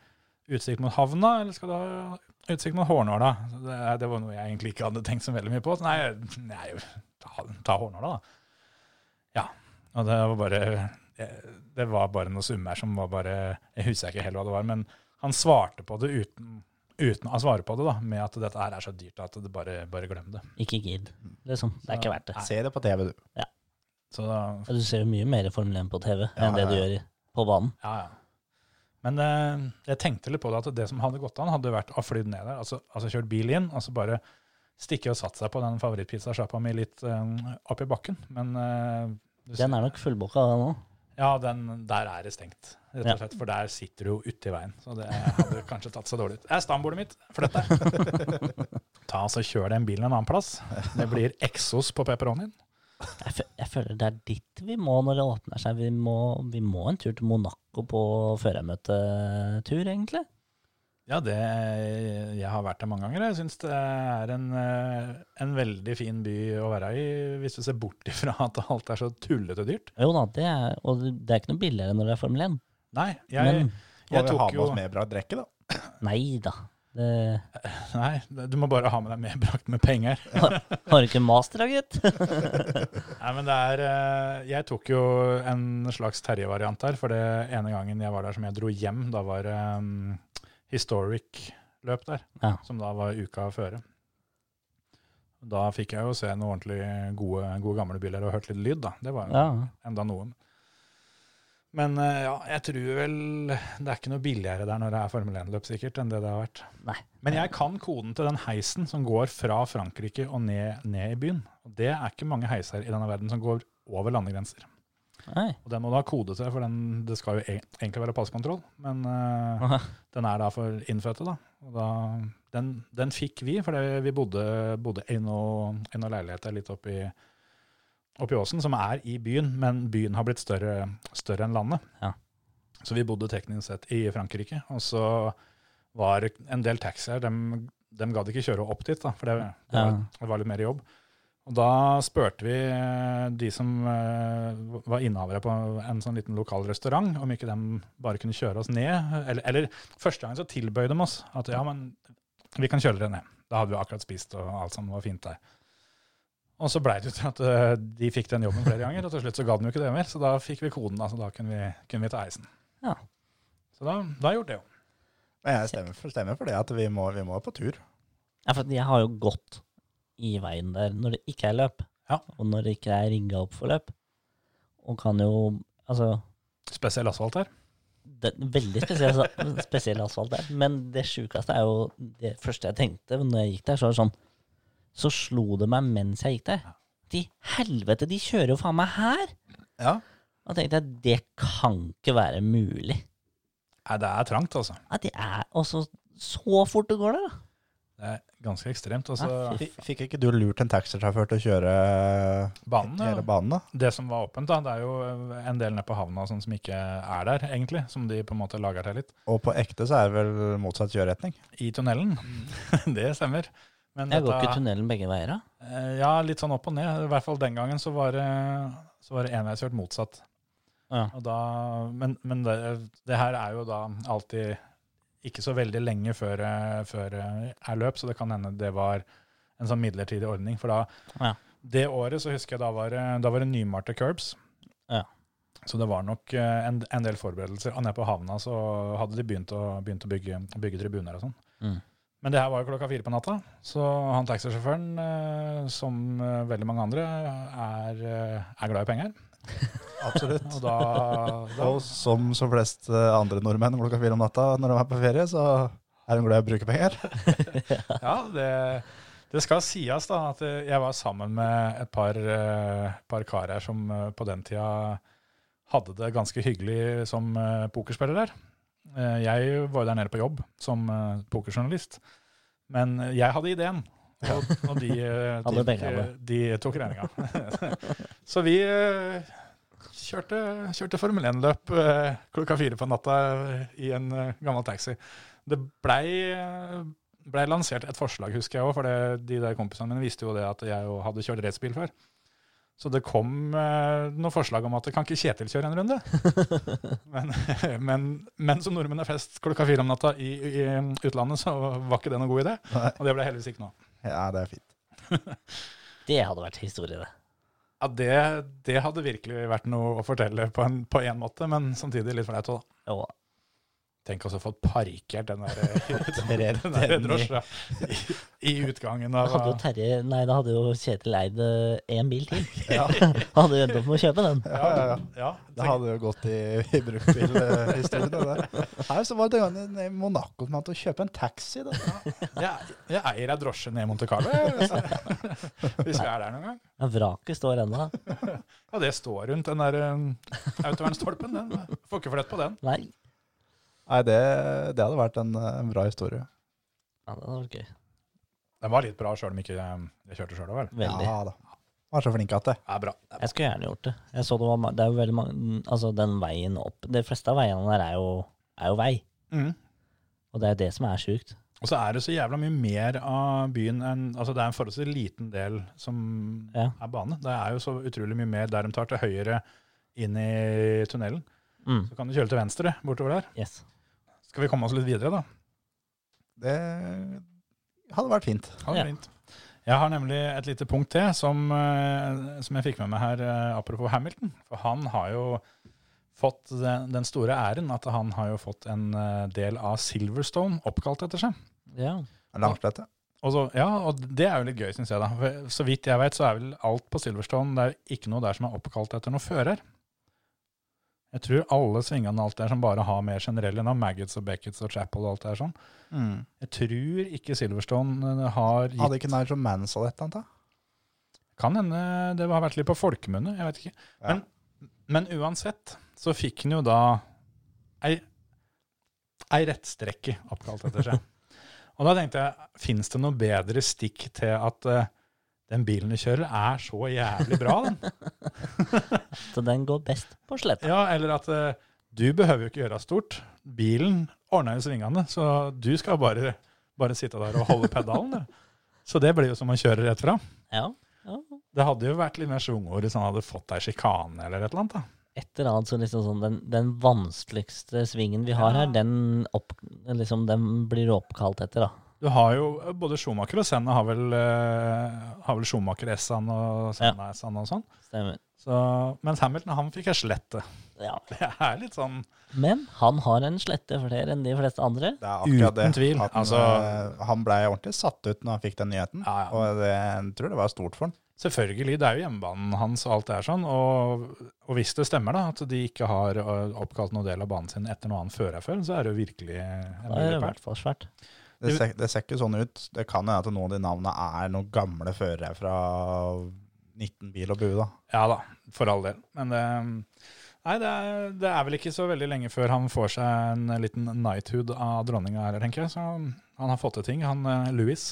Speaker 1: utsikt mot havna, eller skal du ha utsikt mot hårnåla? Det, er- det var noe jeg egentlig ikke hadde tenkt så veldig mye på. Så nei, nei ta, ta hårnåla, da. Ja. Og det var bare eh, Det var bare noen summer som var bare Jeg husker ikke helt hva det var, men han svarte på det uten Uten å svare på det, da, med at dette her er så dyrt at det bare, bare glem det.
Speaker 5: Ikke gidd. Liksom. Det er ikke verdt det.
Speaker 4: Se det på TV, du.
Speaker 1: Så da
Speaker 5: Ja, Du ser jo mye mer Formel 1 på TV
Speaker 4: Ja,
Speaker 5: enn det du
Speaker 4: ja,
Speaker 5: gjør i- på banen.
Speaker 1: Ja, ja. Men eh, jeg tenkte litt på det at det som hadde gått an, hadde vært å fly ned der, altså, altså kjørt bil inn, og så bare stikke og satt seg på den favorittpizzasjappa mi litt eh, opp i bakken. Men eh, du ser-
Speaker 5: Den er nok fullbooka den òg.
Speaker 1: ja, den, der er det stengt, rett
Speaker 5: Ja.
Speaker 1: og slett. For der sitter du jo uti veien. Så det hadde (laughs) kanskje tatt seg dårlig ut. Det er stambordet mitt. Flytt deg. Ta og så Kjør den bilen en annen plass. Det blir Exos på pepperonien.
Speaker 5: Jeg, fø- jeg føler det er dit vi må når det åpner seg. Vi må, vi må en tur til Monaco på førermøtetur, egentlig.
Speaker 1: Ja, det, jeg har vært der mange ganger. Jeg syns det er en, eh, en veldig fin by å være i, hvis du ser bort (laughs) ifra at alt er så tullete dyrt.
Speaker 5: Jo da, det er, og det er ikke noe billigere når det er Formel 1.
Speaker 1: Nei, jeg,
Speaker 5: Men
Speaker 1: jeg
Speaker 4: Må vi ha
Speaker 1: tok
Speaker 4: med
Speaker 1: jo
Speaker 4: oss mer bra drikke, da?
Speaker 5: nei da. Det,
Speaker 1: Nei, du må bare ha med deg medbrakt med penger.
Speaker 4: (laughs)
Speaker 5: har du ikke master, da, gitt?
Speaker 1: Nei, men det er eh, Jeg tok jo en slags Terje-variant her, for det ene gangen jeg var der som jeg dro hjem, da var det um, Historic-løp der,
Speaker 5: Ja.
Speaker 1: som da var uka føre. Da fikk jeg jo se noen ordentlig gode, gode gamle biler og hørt litt lyd, da. Det var jo
Speaker 5: Ja.
Speaker 1: enda noen. Men eh, ja, jeg tror vel det er ikke noe billigere der når det er Formel 1-løp, sikkert, enn det det har vært.
Speaker 5: Nei.
Speaker 1: Men jeg kan koden til den heisen som går fra Frankrike og ned, ned i byen. Og det er ikke mange heiser i denne verden som går over landegrenser.
Speaker 5: Nei.
Speaker 1: Og den må du ha kode til, for den, det skal jo e- egentlig være passkontroll. Men eh,
Speaker 5: Aha.
Speaker 1: den er da for innfødte, da. Og da den, den fikk vi, fordi vi bodde, bodde i noen noe leiligheter litt oppi, oppi åsen, som er i byen, men byen har blitt større, større enn landet.
Speaker 5: Ja.
Speaker 1: Så vi bodde teknisk sett i Frankrike. Og så var en del taxier, de, de gadd ikke kjøre opp dit, da, for det, det, var,
Speaker 5: Ja.
Speaker 1: det var litt mer jobb. Og da spurte vi eh, de som eh, var innehavere på en sånn liten lokal restaurant, om ikke de bare kunne kjøre oss ned. Eller, eller første gangen så tilbød de oss at ja, men vi kan kjøre dere ned. Da hadde vi akkurat spist, og alt sammen var fint der. Og så blei det jo til at eh, de fikk den jobben flere ganger, og til slutt så gadd de jo ikke det mer. Så da fikk vi koden, altså da kunne vi, kunne vi ta heisen.
Speaker 5: Ja.
Speaker 1: Så da, da har jeg gjort det jo.
Speaker 4: Men jeg stemmer for, stemmer for det at vi må, vi må på tur.
Speaker 5: Ja, for jeg har jo gått i veien der når det ikke er løp,
Speaker 1: Ja.
Speaker 5: og når det ikke er rigga opp for løp. Og kan jo Altså,
Speaker 1: Spesiell asfalt her.
Speaker 5: det er veldig spesiell, (laughs) spesiell asfalt der. Men det sjukeste er jo det første jeg tenkte når jeg gikk der, så var det sånn Så slo det meg mens jeg gikk der. De helvete, de kjører jo faen meg her!
Speaker 4: Ja.
Speaker 5: Og tenkte jeg, det kan ikke være mulig.
Speaker 1: Nei, det er trangt, altså.
Speaker 5: Ja, det er også så fort det går der, da.
Speaker 1: Det er ganske ekstremt.
Speaker 5: Ja,
Speaker 1: Altså,
Speaker 5: fy
Speaker 4: F- Fikk ikke du lurt en taxisjåfør til å kjøre
Speaker 1: Banen, ja.
Speaker 4: hele banen? da?
Speaker 1: det som var åpent, da, det er jo eh, en del nede på havna og sånn som ikke er der, egentlig. Som de på en måte lager til litt.
Speaker 4: Og på ekte så er det vel motsatt kjøreretning.
Speaker 1: I tunnelen. (laughs) det stemmer. Men
Speaker 5: Jeg Mm. går
Speaker 1: dette-
Speaker 5: ikke i tunnelen begge veier, da.
Speaker 1: eh, Ja, litt sånn opp og ned. I hvert fall den gangen så var det, så var det enveiskjørt motsatt.
Speaker 5: Ja.
Speaker 1: Og da, men men det, det her er jo da alltid ikke så veldig lenge før, eh, før eh, er løp, så det kan hende det var en sånn midlertidig ordning. For da,
Speaker 5: Ja.
Speaker 1: det året så husker jeg da var, det- da var det nymalte curbs.
Speaker 5: Ja.
Speaker 1: Så det var nok eh, en, en del forberedelser. Og nede på havna så hadde de begynt å, begynt å bygge, bygge tribuner og sånn.
Speaker 5: Mm.
Speaker 1: Men det her var jo klokka fire på natta, så han taxisjåføren, eh, som eh, veldig mange andre, er, eh, er glad i penger.
Speaker 4: Absolutt.
Speaker 1: Og da, da
Speaker 4: Og som så flest eh, andre nordmenn klokka fire om natta når de er på ferie, så er de glad i å bruke penger. (laughs)
Speaker 1: (laughs) Ja, det, det skal sies da at eh, jeg var sammen med et par, eh, par kar her som eh, på den tida hadde det ganske hyggelig som eh, pokerspiller der. Eh, Jeg var jo der nede på jobb som eh, pokerjournalist, men jeg hadde ideen. Og, og de, eh,
Speaker 5: Alle
Speaker 1: tok,
Speaker 5: begge hadde.
Speaker 1: eh, de tok regninga. (laughs) Så vi eh, kjørte, kjørte Formel 1-løp eh, klokka fire på natta i en eh, gammel taxi. Det blei eh, blei lansert et forslag, husker jeg òg, for det, de der kompisene mine visste jo det at jeg jo hadde kjørt racerbil før. Så det kom eh, noen forslag om at kan ikke Kjetil kjøre en runde? (laughs) men, men, men som nordmenn er fest klokka fire om natta i, i utlandet, så var ikke det noen god idé.
Speaker 4: Nei.
Speaker 1: Og det ble heldigvis ikke noe.
Speaker 4: Ja, det er fint.
Speaker 5: (laughs) Det hadde vært historie, det.
Speaker 1: Ja, det, det hadde virkelig vært noe å fortelle på en, på en måte, men samtidig litt flaut òg.
Speaker 5: Jo,
Speaker 1: Tenk også å få parkert den
Speaker 4: (laughs)
Speaker 1: der, den der
Speaker 4: den i-
Speaker 1: drosja i, i utgangen
Speaker 5: Da
Speaker 1: av
Speaker 5: hadde jo Terje Nei, da hadde jo Kjetil eid eh, en bil til.
Speaker 4: Ja.
Speaker 5: (laughs) Han hadde jo endt opp med å kjøpe den.
Speaker 1: Ja, ja, ja.
Speaker 4: Det hadde jo gått i, i bruktbilhistorien. det der. Nei, så var det en gang i Monaco som hadde å kjøpe en taxi. Da.
Speaker 1: Jeg, jeg eier ei drosje ned i Monte Carlo, jeg, hvis, (laughs) hvis vi er der noen gang.
Speaker 5: Ja, vraket står ennå.
Speaker 1: Ja, det står rundt den der um, autovernstolpen. Den. Får ikke flett på den.
Speaker 5: Nei.
Speaker 4: Nei, det, det hadde vært en, eh, en bra historie.
Speaker 5: Ja, det var gøy.
Speaker 1: Den var litt bra, sjøl om ikke um, jeg kjørte sjøl, vel.
Speaker 5: Veldig.
Speaker 4: Ja da. Var så flink at det.
Speaker 1: Det er bra. Det er bra.
Speaker 5: Jeg skulle gjerne gjort det. Jeg så det var ma- Det er jo veldig mange Altså, den veien opp De fleste av veiene der er jo, er jo vei.
Speaker 1: Mm.
Speaker 5: Og det er jo det som er sjukt.
Speaker 1: Og så er det så jævla mye mer av byen enn Altså, det er en forholdsvis liten del som
Speaker 5: Ja.
Speaker 1: er bane. Det er jo så utrolig mye mer der de tar til høyre inn i tunnelen.
Speaker 5: Mm.
Speaker 1: Så kan du kjøre til venstre bortover der.
Speaker 5: Yes.
Speaker 1: Skal vi komme oss litt videre, da?
Speaker 4: Det hadde vært fint.
Speaker 1: Ha det
Speaker 5: Ja.
Speaker 1: fint. Jeg har nemlig et lite punkt til som, eh, som jeg fikk med meg her, eh, apropos Hamilton. For han har jo fått den, den store æren at han har jo fått en eh, del av Silverstone oppkalt etter seg.
Speaker 5: Ja.
Speaker 4: Langslette.
Speaker 1: Og så, ja, og det er jo litt gøy, syns jeg. da. For så vidt jeg vet, så er vel alt på Silverstone det er jo ikke noe der som er oppkalt etter noen fører. Jeg tror alle svingene og alt der som bare har mer generelle navn, Maggots og Beckets og Chapel og alt det der sånn.
Speaker 4: Mm.
Speaker 1: Jeg tror ikke Silverstone eh, har gitt
Speaker 4: Hadde ikke Nigel Mansell et eller annet? da?
Speaker 1: Kan hende det har vært litt på folkemunne, jeg vet ikke.
Speaker 4: Ja.
Speaker 1: Men Men uansett så fikk han jo da ei, ei rettstrekke oppkalt etter seg. Og da tenkte jeg, fins det noe bedre stikk til at eh, den bilen du kjører, er så jævlig bra, den?
Speaker 5: Så den går best på sletta.
Speaker 1: Ja, eller at eh, du behøver jo ikke gjøre stort. Bilen ordner jo svingene, så du skal bare, bare sitte der og holde pedalen. du. Så det blir jo som å kjøre rett fram.
Speaker 5: Ja. ja.
Speaker 1: Det hadde jo vært litt mer svungår hvis han hadde fått ei sjikane eller et eller annet. da.
Speaker 5: Et eller annet så liksom sånn den, den vanskeligste svingen vi har her, den, opp, liksom, den blir oppkalt etter, da.
Speaker 1: Du har jo eh, både Schumacher og Senna har vel, eh, har vel Schumacher S-an og Senna S-an og sånn.
Speaker 5: Stemmer.
Speaker 1: Så, mens Hamilton han fikk ei slette.
Speaker 5: Ja.
Speaker 1: Det (laughs) er litt sånn
Speaker 5: Men han har en slette flere enn de fleste andre.
Speaker 4: Det er akkurat det.
Speaker 1: Uten tvil.
Speaker 4: At Han,
Speaker 1: Altså-
Speaker 4: eh, han ble ordentlig satt ut når han fikk den nyheten,
Speaker 1: Ja, ja.
Speaker 4: og det, jeg tror det var stort for han.
Speaker 1: Selvfølgelig, det er jo hjemmebanen hans og alt det er sånn. Og, og hvis det stemmer da, at de ikke har eh, oppkalt noen del av banen sin etter noe annet førerfølg, så er det jo virkelig en
Speaker 5: Da er det i
Speaker 1: ulykke.
Speaker 5: hvert fall svært.
Speaker 4: Det ser, det ser ikke sånn ut. Det kan hende at noen av de navnene er noen gamle førere fra 19 bil og bue, da.
Speaker 1: Ja da, for all del. Men det, nei, det, er, det er vel ikke så veldig lenge før han får seg en liten knighthood av dronninga her, tenker jeg. Så han har fått til ting, han eh, Louis.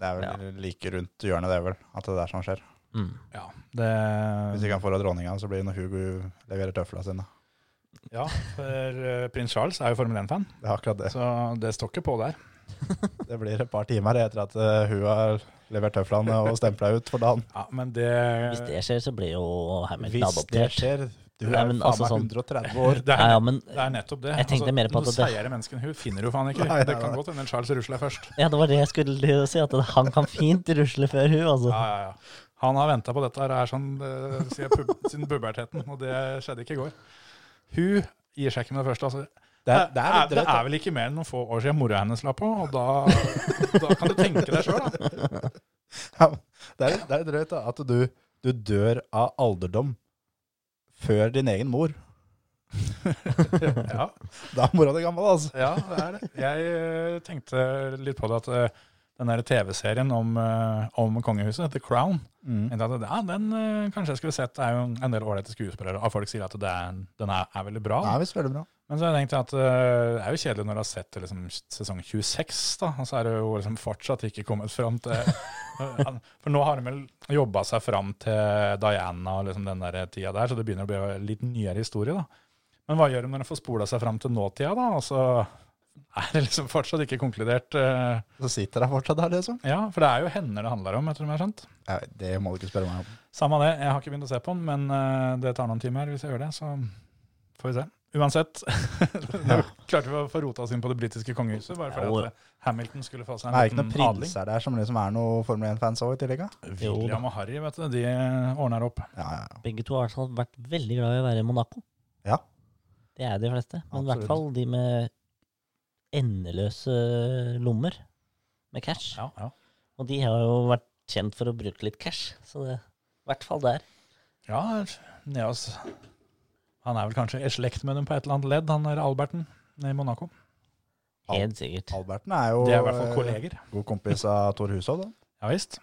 Speaker 4: Det er vel like rundt hjørnet, det er vel, at det er der som skjer.
Speaker 5: Mm.
Speaker 1: Ja, det,
Speaker 4: Hvis ikke han får av dronninga, så blir det når Hugo leverer tøfla sine.
Speaker 1: ja, for eh, prins Charles er jo Formel 1-fan,
Speaker 4: Det er akkurat det.
Speaker 1: så det står ikke på der.
Speaker 4: Det blir et par timer etter at eh, hun har levert tøflene og stempla ut for dagen.
Speaker 1: Ja, men det,
Speaker 5: Hvis det skjer, så blir jo Hamilton
Speaker 4: Hvis det
Speaker 5: adoptert.
Speaker 4: skjer Du er
Speaker 5: Nei,
Speaker 4: faen
Speaker 5: men
Speaker 4: meg
Speaker 5: altså sånn-
Speaker 4: 130 år.
Speaker 1: det,
Speaker 5: Ja,
Speaker 1: er,
Speaker 5: ja, men
Speaker 1: det er nettopp det. Altså,
Speaker 5: Jeg tenkte mer på at
Speaker 1: noe
Speaker 5: det-
Speaker 1: seigere menneske enn hun finner jo
Speaker 4: (laughs)
Speaker 1: faen ikke.
Speaker 4: Nei, nei,
Speaker 1: det kan
Speaker 4: nei.
Speaker 1: godt hende Charles rusler først.
Speaker 5: ja, det var det jeg skulle til å si, at han kan fint rusle før hun, altså.
Speaker 1: Ja, ja, ja. Han har venta på dette her er sånn, eh, siden, pub siden puberteten, og det skjedde ikke i går. Hun gir seg ikke med det første. altså.
Speaker 4: Det er, det er
Speaker 1: er,
Speaker 4: litt drøyt. da.
Speaker 1: vel ikke mer enn noen få år siden mora hennes la på, og da, da kan du tenke deg sjøl, da.
Speaker 4: (laughs) Ja, det er, det er litt drøyt da, at du, du dør av alderdom før din egen (laughs) mor. (laughs)
Speaker 1: Ja,
Speaker 4: Da er mora di gammel, altså.
Speaker 1: ja, det er det. Jeg eh, tenkte litt på det at eh, den der TV-serien om, eh, om kongehuset, The Crown,
Speaker 4: Mm.
Speaker 1: tenkte at, ja, den eh, kanskje jeg skulle sett. Det er jo en del ålreite skuespillere, og folk sier at det er, den er, er veldig bra.
Speaker 4: Det er visst veldig bra.
Speaker 1: Men så har jeg tenkt at eh, det er jo kjedelig når du har sett det liksom, sesong 26, da, og så er det jo liksom fortsatt ikke kommet fram til (laughs) For nå har de vel jobba seg fram til Diana og liksom den der tida der, så det begynner å bli en litt nyere historie, da. Men hva gjør de når de får spola seg fram til nåtida, da? Og så er det liksom fortsatt ikke konkludert. eh,
Speaker 4: Så sitter jeg fortsatt der, liksom.
Speaker 1: ja, for det er jo henne det handler om, etter som jeg har skjønt.
Speaker 4: Nei, Det må du ikke spørre meg om.
Speaker 1: Samme det, jeg har ikke begynt å se på den, men eh, det tar noen timer hvis jeg gjør det, så får vi se. Uansett, (laughs) nå klarte vi å få rota oss inn på det britiske kongehuset, bare
Speaker 5: Jo.
Speaker 1: fordi at eh, Hamilton skulle få seg
Speaker 4: Det er
Speaker 1: en
Speaker 4: ikke noen
Speaker 1: liten adling.
Speaker 4: prinser der som liksom er noe Formel 1-fans òg, i tillegg? da?
Speaker 5: Jo da.
Speaker 1: William og Harry, vet du, de eh, ordner opp.
Speaker 4: Ja, ja, ja.
Speaker 5: Begge to har i hvert fall vært veldig glad i å være i Monaco.
Speaker 4: Ja.
Speaker 5: Det er de fleste. Men i
Speaker 4: Absolutt.
Speaker 5: hvert fall de med endeløse lommer med cash.
Speaker 1: Ja, ja.
Speaker 5: Og de har jo vært kjent for å bruke litt cash, så det i hvert fall der.
Speaker 1: ja Neos. Han er vel kanskje i slekt med dem på et eller annet ledd, han er Alberten i Monaco.
Speaker 4: Al-
Speaker 5: Helt sikkert.
Speaker 4: Alberten er jo
Speaker 1: De er i hvert fall
Speaker 4: eh,
Speaker 1: kolleger.
Speaker 4: god kompis av Thor Hushov, da. (laughs)
Speaker 1: Ja visst.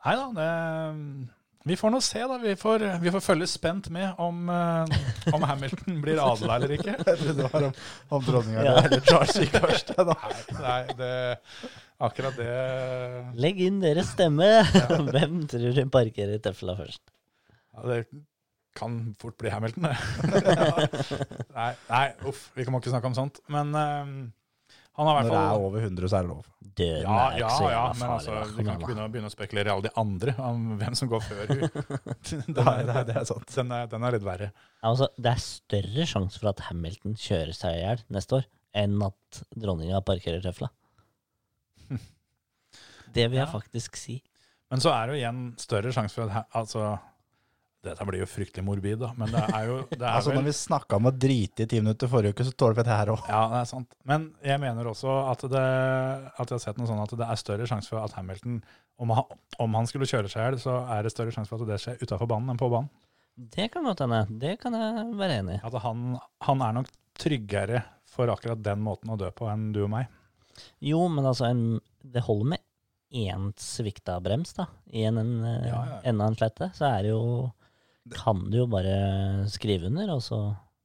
Speaker 1: Nei da, det Vi får nå se, da. Vi får, vi får følge spent med om, eh, om Hamilton (laughs) blir adla eller ikke.
Speaker 4: Jeg trodde
Speaker 1: (laughs)
Speaker 4: det var om, om dronninga
Speaker 5: Ja.
Speaker 4: eller Charles gikk først. Da.
Speaker 1: Nei, det, akkurat det ja,
Speaker 5: Legg inn deres stemme. (laughs) Hvem tror du parkerer tøfla
Speaker 1: (laughs)
Speaker 5: først?
Speaker 1: Det kan fort bli Hamilton, det. nei, nei, uff, vi må ikke snakke om sånt. Men ehm, han har i
Speaker 4: Når
Speaker 1: hvert
Speaker 4: det er
Speaker 1: fall
Speaker 4: over 100, så er det lov.
Speaker 5: Døden
Speaker 1: ja, ja,
Speaker 5: er ikke så
Speaker 1: ja,
Speaker 5: jævla
Speaker 1: men altså,
Speaker 5: farlig.
Speaker 1: vi kan ikke begynne å, begynne å spekulere i alle de andre, om hvem som går før
Speaker 4: (laughs)
Speaker 1: hun. Den
Speaker 4: Nei,
Speaker 1: er,
Speaker 4: nei, det er sant.
Speaker 1: den er, den er litt verre.
Speaker 5: Altså, det er større sjanse for at Hamilton kjører seg i hjel neste år, enn at dronninga parkerer tøfla.
Speaker 1: (laughs)
Speaker 5: Det vil jeg
Speaker 1: Ja.
Speaker 5: faktisk si.
Speaker 1: Men så er det jo igjen større sjanse for at he- altså, Dette blir jo fryktelig morbid, da, men det er jo det er
Speaker 4: Altså,
Speaker 1: vel,
Speaker 4: når vi snakka om å drite i ti minutter forrige uke, så tåler vi det her òg.
Speaker 1: Ja, det er sant. Men jeg mener også at, det, at jeg har sett noe sånn at det er større sjanse for at Hamilton om han, om han skulle kjøre seg i hjel, så er det større sjanse for at det skjer utafor banen enn på banen.
Speaker 5: Det kan godt hende. Det kan jeg være enig i.
Speaker 1: At han, han er nok tryggere for akkurat den måten å dø på enn du og meg.
Speaker 5: Jo, men altså, en, det holder med én svikta brems, da. I en, en,
Speaker 1: Ja, ja, ja.
Speaker 5: enda en slette. Så er det jo kan du jo bare skrive under, og så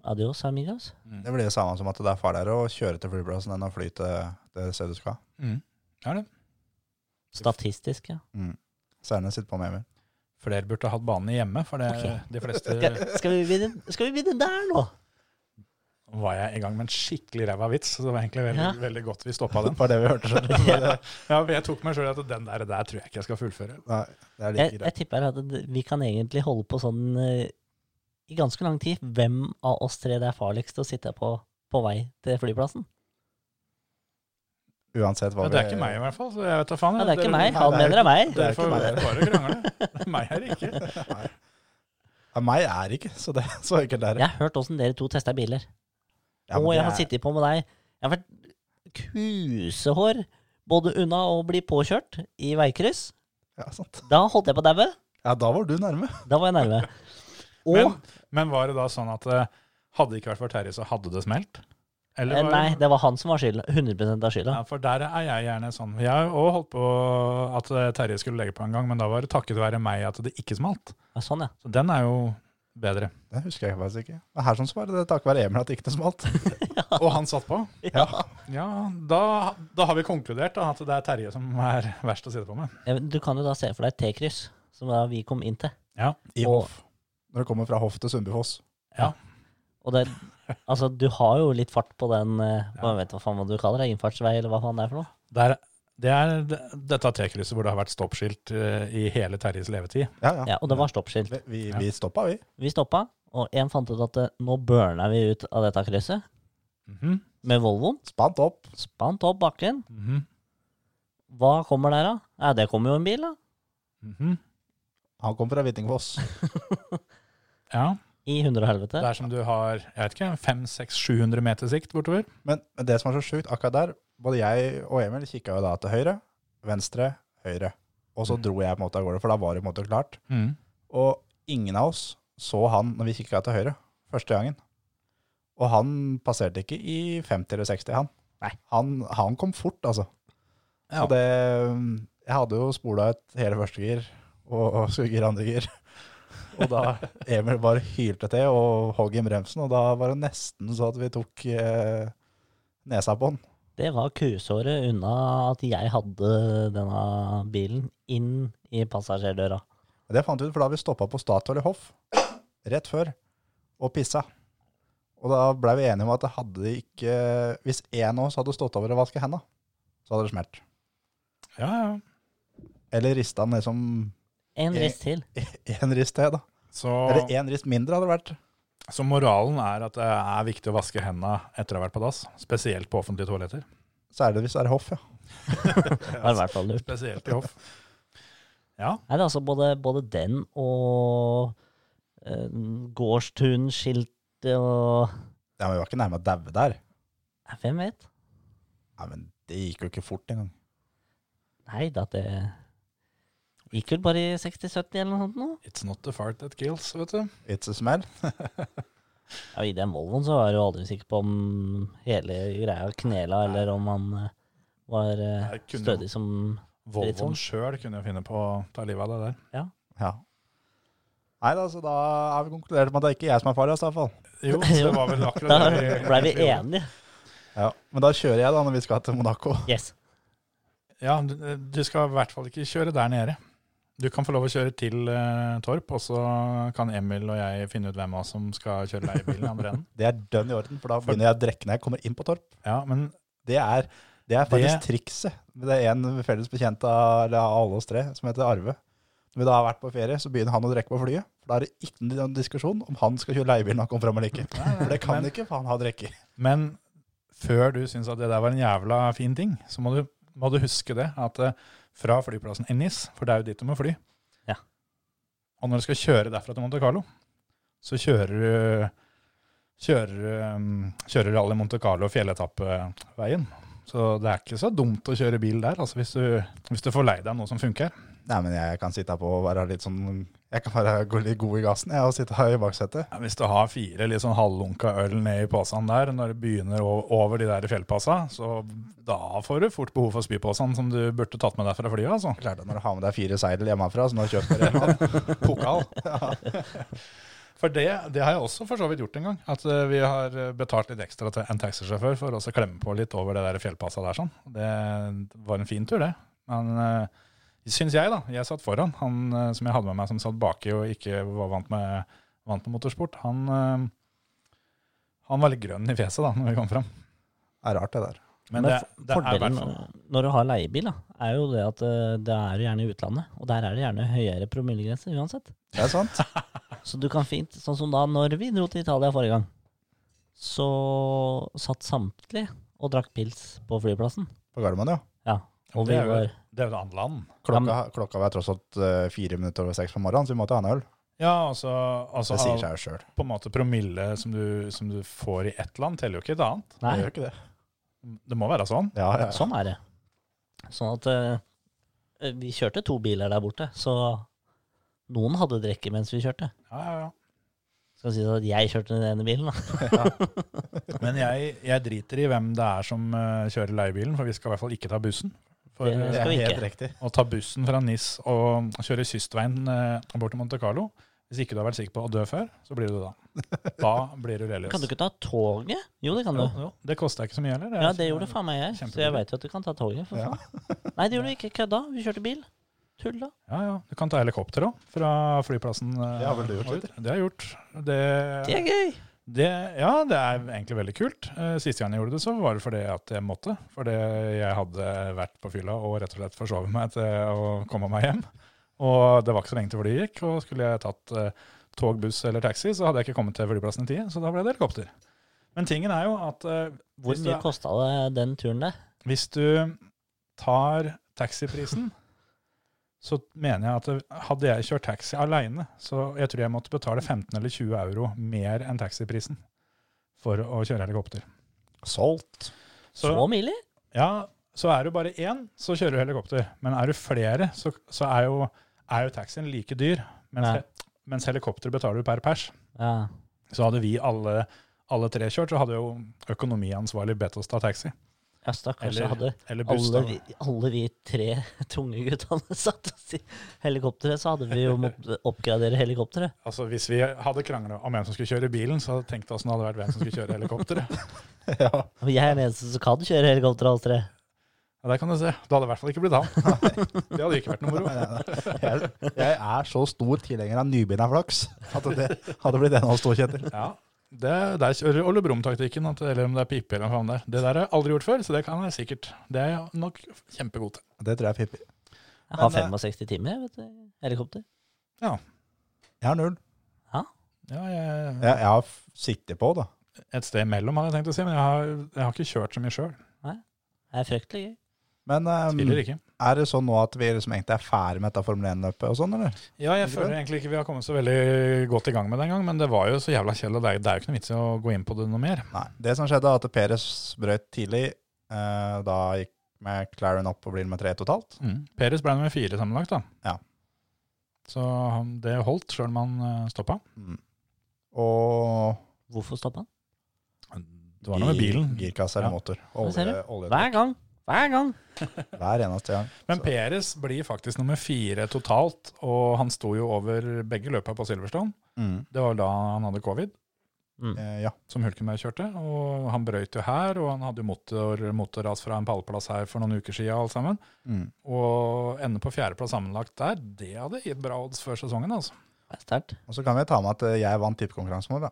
Speaker 5: adios, amigos.
Speaker 4: Det blir det samme som at det er farligere å kjøre til flyplassen enn å fly til det stedet du skal.
Speaker 1: Mm. Ja, det.
Speaker 5: Statistisk, ja.
Speaker 4: Særlig sitte på med Emil.
Speaker 1: Flere burde hatt banene hjemme, for det,
Speaker 5: (laughs) Ok.
Speaker 1: de fleste
Speaker 5: Skal, skal, vi begynne, skal vi begynne der nå?
Speaker 1: var jeg i gang med en skikkelig ræva vits, så det var egentlig veldig,
Speaker 5: Ja.
Speaker 1: veldig godt vi stoppa
Speaker 4: (laughs) Det
Speaker 1: den.
Speaker 4: var det vi hørte. skjønner du.
Speaker 1: (laughs) Ja, for jeg tok meg sjøl i at den der, der tror jeg ikke jeg skal fullføre.
Speaker 4: Nei, det er like
Speaker 5: Jeg,
Speaker 4: greit.
Speaker 5: jeg tipper at det- vi kan egentlig holde på sånn eh, i ganske lang tid. Hvem av oss tre det er farligst å sitte på på vei til flyplassen?
Speaker 4: Uansett hva
Speaker 1: Ja, det er ikke meg i hvert fall, så jeg vet da faen.
Speaker 5: Ja, det er
Speaker 1: jeg.
Speaker 5: ikke
Speaker 1: Dere-
Speaker 5: meg.
Speaker 4: nei,
Speaker 5: Han
Speaker 4: det er
Speaker 5: mener det er meg.
Speaker 4: det er ikke
Speaker 1: Derfor
Speaker 4: meg.
Speaker 1: er det bare å krangle. (laughs) Meg er det ikke.
Speaker 4: Ja, meg er det ikke, så det (laughs) så enkelt er det.
Speaker 5: Jeg har hørt åssen dere to tester biler.
Speaker 4: Ja, men
Speaker 5: og
Speaker 4: det
Speaker 5: jeg har
Speaker 4: er-
Speaker 5: sittet på med deg. Jeg har vært kusehår både unna å bli påkjørt i veikryss.
Speaker 4: Ja, sant.
Speaker 5: Da holdt jeg på å daue.
Speaker 4: ja, da var du nærme. (laughs)
Speaker 5: Da var jeg nærme. Og
Speaker 1: Men, men var det da sånn at eh, hadde det ikke vært for Terje, så hadde det smelt? Eller
Speaker 5: eh,
Speaker 1: var-
Speaker 5: Nei, det var han som var skylda. 100 av skylda.
Speaker 1: Ja, for der er jeg gjerne sånn. Jeg har òg holdt på at eh, Terje skulle legge på en gang, men da var det takket være meg at det ikke smalt.
Speaker 5: Ja, sånn, ja.
Speaker 1: Så den er jo bedre.
Speaker 4: Det husker jeg faktisk ikke. Men her som svarer det takket være Emil at det ikke
Speaker 1: (laughs)
Speaker 4: smalt.
Speaker 1: Og han satt på.
Speaker 4: Ja.
Speaker 1: Ja, da, da har vi konkludert da, at det er Terje som er verst å sitte på med.
Speaker 5: Eh, Du kan jo da se for deg et T-kryss, som da vi kom inn til.
Speaker 1: Ja,
Speaker 4: I
Speaker 5: Og-
Speaker 4: hoff. Når det kommer fra hoff til Sundbyfoss.
Speaker 5: Og det, altså, du har jo litt fart på den eh, hva, vet du hva faen hva du kaller det? Innfartsvei, eller hva faen det er for noe?
Speaker 1: der, det er d- dette T-krysset hvor det har vært stoppskilt eh, i hele Terjes levetid.
Speaker 4: Ja, ja.
Speaker 5: Ja, Og det var stoppskilt.
Speaker 4: Vi, vi, vi stoppa, vi.
Speaker 5: Vi stoppa, og én fant ut at eh, nå burna vi ut av dette krysset
Speaker 1: Mhm,
Speaker 5: med Volvoen.
Speaker 4: Spant opp.
Speaker 5: Spant opp bakken.
Speaker 1: mhm,
Speaker 5: Hva kommer der, da? Ja, det kommer jo en bil, da.
Speaker 1: mhm.
Speaker 4: Han kom fra Hvittingfoss.
Speaker 1: Ja,
Speaker 5: I hundre og helvete.
Speaker 1: det er som du har, jeg vet ikke, 500-600-700 meter sikt bortover.
Speaker 4: Men men det som er så sjukt, akkurat der, både jeg og Emil kikka jo da til høyre, venstre, høyre. Og så dro jeg på en måte av gårde, for da var det på en måte klart.
Speaker 1: Mhm.
Speaker 4: Og ingen av oss så han når vi kikka til høyre første gangen. Og han passerte ikke i 50 eller 60, han.
Speaker 5: Nei.
Speaker 4: Han, han kom fort, altså.
Speaker 1: Ja.
Speaker 4: Og det Jeg hadde jo spola ut hele første gir og, og skulle gire andre gir. Og da Emil bare hylte til og hogg i bremsen, og da var det nesten så at vi tok eh, nesa på han.
Speaker 5: Det var kusåret unna at jeg hadde denne bilen inn i passasjerdøra.
Speaker 4: Og Det fant vi ut, for da vi stoppa på Statoil i Hoff rett før og pissa. Og da blei vi enige om at det hadde de ikke Hvis én av oss hadde stått over og vasket henda, så hadde det smelt.
Speaker 1: Ja, ja.
Speaker 4: Eller rista den liksom
Speaker 5: En rist til.
Speaker 4: én rist til, da.
Speaker 1: Så,
Speaker 4: Eller én rist mindre hadde det vært.
Speaker 1: så moralen er at det er viktig å vaske hendene etter å ha vært på dass, spesielt på offentlige toaletter.
Speaker 4: Særlig hvis det er Hoff, ja.
Speaker 5: Det var i hvert fall lurt.
Speaker 1: Spesielt i hoff. (laughs) Ja,
Speaker 5: Nei, det er altså både, både den og eh, gårdstun-skiltet og
Speaker 4: ja men vi var ikke nærme å daue der.
Speaker 5: Nei, Hvem vet?
Speaker 4: Nei, men det gikk jo ikke fort engang.
Speaker 5: Nei da, det gikk vel bare i 60-70 eller noe sånt nå.
Speaker 1: it's not the fart that kills, vet du.
Speaker 4: It's a smell.
Speaker 5: Ja, I den Volvoen så var jeg jo aldri sikker på om hele greia knela, eller om han eh, var eh,
Speaker 1: Nei, kunne-
Speaker 5: stødig som
Speaker 1: Volvoen sjøl kunne jo finne på å ta livet av det der.
Speaker 4: Ja. Nei da, så da har vi konkludert med at det er ikke jeg som er farligst, i hvert fall.
Speaker 1: Jo, det var vel
Speaker 5: (laughs) Da
Speaker 1: akkurat det.
Speaker 5: blei vi enige.
Speaker 4: Ja. Men da kjører jeg, da, når vi skal til Monaco.
Speaker 5: Yes.
Speaker 1: Ja, du, du skal i hvert fall ikke kjøre der nede. Du kan få lov å kjøre til eh, Torp, og så kan Emil og jeg finne ut hvem av oss som skal kjøre leiebilen i andre
Speaker 4: (laughs)
Speaker 1: enden.
Speaker 4: Det er dønn i orden, for da begynner jeg å drikke når jeg kommer inn på Torp.
Speaker 1: Ja, men
Speaker 4: Det er, det er faktisk trikset. Det er en felles bekjent av, eller av alle oss tre, som heter Arve. Når vi da har vært på ferie, så begynner han å drikke på flyet. For da er det ikke noen diskusjon om han skal kjøre leiebilen når han kommer fram eller ikke. For det kan ikke, for han har drikke.
Speaker 1: Men før du syns at det der var en jævla fin ting, så må du, må du huske det. At eh, fra flyplassen Ennis, for det er jo dit du må fly
Speaker 5: Ja.
Speaker 1: Og når du skal kjøre derfra til Monte Carlo, så kjører du Kjører, um, kjører du alle Monte Carlo fjelletappeveien. Så det er ikke så dumt å kjøre bil der, altså hvis du, hvis du får lei deg av noe som funker.
Speaker 4: Nei, men jeg kan sitte her på og være litt sånn Jeg kan bare gå litt god i gassen jeg, og sitte her i baksetet.
Speaker 1: Ja, hvis du har fire litt sånn halvlunka øl ned i posen der, når det begynner o- over de der fjellpassa, så da får du fort behov for spyposen som du burde tatt med deg fra flyet, altså.
Speaker 4: Klart det når du har med deg fire seidel hjemmefra som du har kjøpt på Rema. Pokal.
Speaker 1: (laughs)
Speaker 4: Ja.
Speaker 1: For det, det har jeg også for så vidt gjort en gang. At eh, vi har eh, betalt litt ekstra til en taxisjåfør for også å klemme på litt over det der fjellpassa der. sånn. Det var en fin tur, det. Men uh, syns jeg, da. Jeg satt foran. Han eh, som jeg hadde med meg som satt baki og ikke var vant med, vant med motorsport, han, eh, han var litt grønn i fjeset da når vi kom fram.
Speaker 4: Det er rart, det der.
Speaker 1: Men det,
Speaker 5: for-
Speaker 1: det er i hvert
Speaker 5: fordelen
Speaker 1: fall
Speaker 5: når du har leiebil, da, er jo det at eh, det er jo gjerne i utlandet. Og der er det gjerne høyere promillegrense uansett.
Speaker 4: Det er sant.
Speaker 5: Så du kan fint, sånn som da når vi dro til Italia forrige gang, så satt samtlige og drakk pils på flyplassen.
Speaker 4: På Gardermoen, ja.
Speaker 5: Ja.
Speaker 1: Og
Speaker 5: Og
Speaker 1: det
Speaker 5: vi
Speaker 1: er jo-
Speaker 5: var
Speaker 1: Det er jo et annet land.
Speaker 4: Klokka, klokka var tross alt eh, fire minutter over seks på morgenen, så vi måtte ha en øl.
Speaker 1: Ja, altså, altså
Speaker 4: Det sier seg jo sjøl.
Speaker 1: på en måte promille som du, som du får i ett land, teller jo ikke i et annet.
Speaker 5: Nei,
Speaker 4: ikke det.
Speaker 1: Det må være sånn.
Speaker 4: Ja, ja.
Speaker 5: sånn er det. Sånn at eh, vi kjørte to biler der borte, så noen hadde drikke mens vi kjørte.
Speaker 1: Ja, ja, ja.
Speaker 5: Skal si at jeg kjørte den ene bilen, da.
Speaker 1: Men jeg, jeg driter i hvem det er som eh, kjører leiebilen, for vi skal i hvert fall ikke ta bussen. For
Speaker 5: Det
Speaker 1: eh,
Speaker 5: skal vi
Speaker 4: Helt
Speaker 5: ikke. Sånn
Speaker 4: riktig.
Speaker 1: å ta bussen fra NIS og kjøre kystveien eh, bort til Monte Carlo, hvis ikke du har vært sikker på å dø før, så blir du det da. Da blir du religiøs.
Speaker 5: Kan du ikke ta toget? Jo, det kan du.
Speaker 1: Jo, jo, det kosta ikke så mye heller.
Speaker 5: Ja, det gjorde faen meg jeg, så jeg
Speaker 1: Kjempebil.
Speaker 5: veit jo at du kan ta toget. for
Speaker 4: Ja.
Speaker 5: faen. Nei, det gjorde du ikke. Kødda. Vi kjørte bil. Tulla.
Speaker 1: Ja, ja. Du kan ta helikopter òg, fra flyplassen. eh,
Speaker 4: Det har vel du gjort,
Speaker 1: ut. Det har jeg gjort. Det,
Speaker 5: Det er gøy!
Speaker 1: Det, ja, det er egentlig veldig kult. Eh, Siste gang jeg gjorde det, så var det fordi at jeg måtte. Fordi jeg hadde vært på fylla og rett og slett forsovet meg til å komme meg hjem. Og det var ikke så lenge til flyet gikk, og skulle jeg tatt eh, tog, buss eller taxi, så hadde jeg ikke kommet til flyplassen i tide, så da ble det helikopter. Men tingen er jo at eh,
Speaker 5: Hvor
Speaker 1: hvis du,
Speaker 5: mye kosta det den turen der?
Speaker 1: hvis du tar
Speaker 5: (laughs)
Speaker 1: taxiprisen, så mener jeg at det- hadde jeg kjørt taxi aleine, så jeg tror jeg måtte betale 15 eller 20 euro mer enn taxiprisen for å kjøre helikopter.
Speaker 4: Solgt.
Speaker 5: Så,
Speaker 1: Så,
Speaker 5: miler?
Speaker 1: ja, så er du bare én, så kjører du helikopter. Men er du flere, så, så er, jo, er jo taxien like dyr. Mens,
Speaker 5: Ja.
Speaker 1: he, mens helikopter betaler du per pers.
Speaker 5: Ja.
Speaker 1: Så hadde vi alle, alle tre kjørt, så hadde jo økonomiansvarlig bedt oss ta taxi.
Speaker 5: ja stakkars.
Speaker 1: Eller-
Speaker 5: så hadde
Speaker 1: Eller buss.
Speaker 5: alle
Speaker 1: da.
Speaker 5: vi, alle vi tre (laughs) tunge guttene (laughs) satt oss i helikopteret, så hadde vi jo måttet oppgradere helikopteret.
Speaker 1: Altså, hvis vi hadde krangla om hvem som skulle kjøre bilen, så hadde jeg tenkt åssen det hadde vært hvem som skulle kjøre helikopteret.
Speaker 4: (laughs) Ja.
Speaker 5: Og jeg er den eneste som kan kjøre helikopter, alle tre.
Speaker 1: Ja, der kan du se. Da hadde det i hvert fall ikke blitt han. Det hadde ikke vært noe moro.
Speaker 4: Jeg, jeg er så stor tilhenger av nybegynna flaks at det hadde blitt en av oss to, Kjetil.
Speaker 1: Ja, det, der kjører Ole Brumm-taktikken, at- eller om det er pipe eller noe faen der. Det der har jeg aldri gjort før, så det kan jeg sikkert. Det er jeg nok kjempegod til.
Speaker 4: Det tror jeg er pippi.
Speaker 5: Jeg har
Speaker 4: Men, eh,
Speaker 5: 65 timer, jeg, vet du. Helikopter.
Speaker 4: Jeg har null.
Speaker 1: Ja, jeg,
Speaker 4: Jeg, jeg har f- sikte på, da.
Speaker 1: et sted imellom, hadde jeg tenkt å si, men jeg har, jeg har ikke kjørt så mye sjøl.
Speaker 5: Det er fryktelig gøy.
Speaker 4: Men ehm,
Speaker 1: Tviler ikke.
Speaker 4: er det sånn nå at vi liksom egentlig er ferdig med dette Formel 1-løpet og sånn, eller?
Speaker 1: Ja, jeg føler egentlig ikke vi har kommet så veldig godt i gang med det engang, men det var jo så jævla kjedelig. og Det er det er jo ikke noe vits i å gå inn på det noe mer.
Speaker 4: Nei. Det som skjedde, er at Peres brøt tidlig. Eh, da gikk McLaren opp og blir med tre totalt.
Speaker 1: Mm. Peres ble nummer fire sammenlagt, da.
Speaker 4: Ja.
Speaker 1: Så han- det holdt, sjøl om han eh, stoppa.
Speaker 4: Og
Speaker 5: Hvorfor stoppa han?
Speaker 1: Det var noe med
Speaker 4: gir-
Speaker 1: bilen.
Speaker 4: Girkasse eller
Speaker 1: Ja.
Speaker 4: motor.
Speaker 5: Hva ser
Speaker 4: Olje,
Speaker 5: du?
Speaker 4: olje,
Speaker 5: Hver gang! Hver gang!
Speaker 4: hver eneste gang.
Speaker 1: Men Peres blir faktisk nummer fire totalt, og han sto jo over begge løpa på Silverstone.
Speaker 4: Mm.
Speaker 1: Det var da han hadde covid,
Speaker 5: Mm.
Speaker 4: Eh, ja.
Speaker 1: som Hulkenberg kjørte. Og han brøyt jo her, og han hadde jo motor, motorras fra en pallplass her for noen uker siden, alt sammen.
Speaker 4: Mm.
Speaker 1: Og ende på fjerdeplass sammenlagt der, det hadde gitt bra odds før sesongen, altså.
Speaker 5: Det er sterkt.
Speaker 4: Og så kan vi ta med at eh, jeg vant tippekonkurransen vår, da.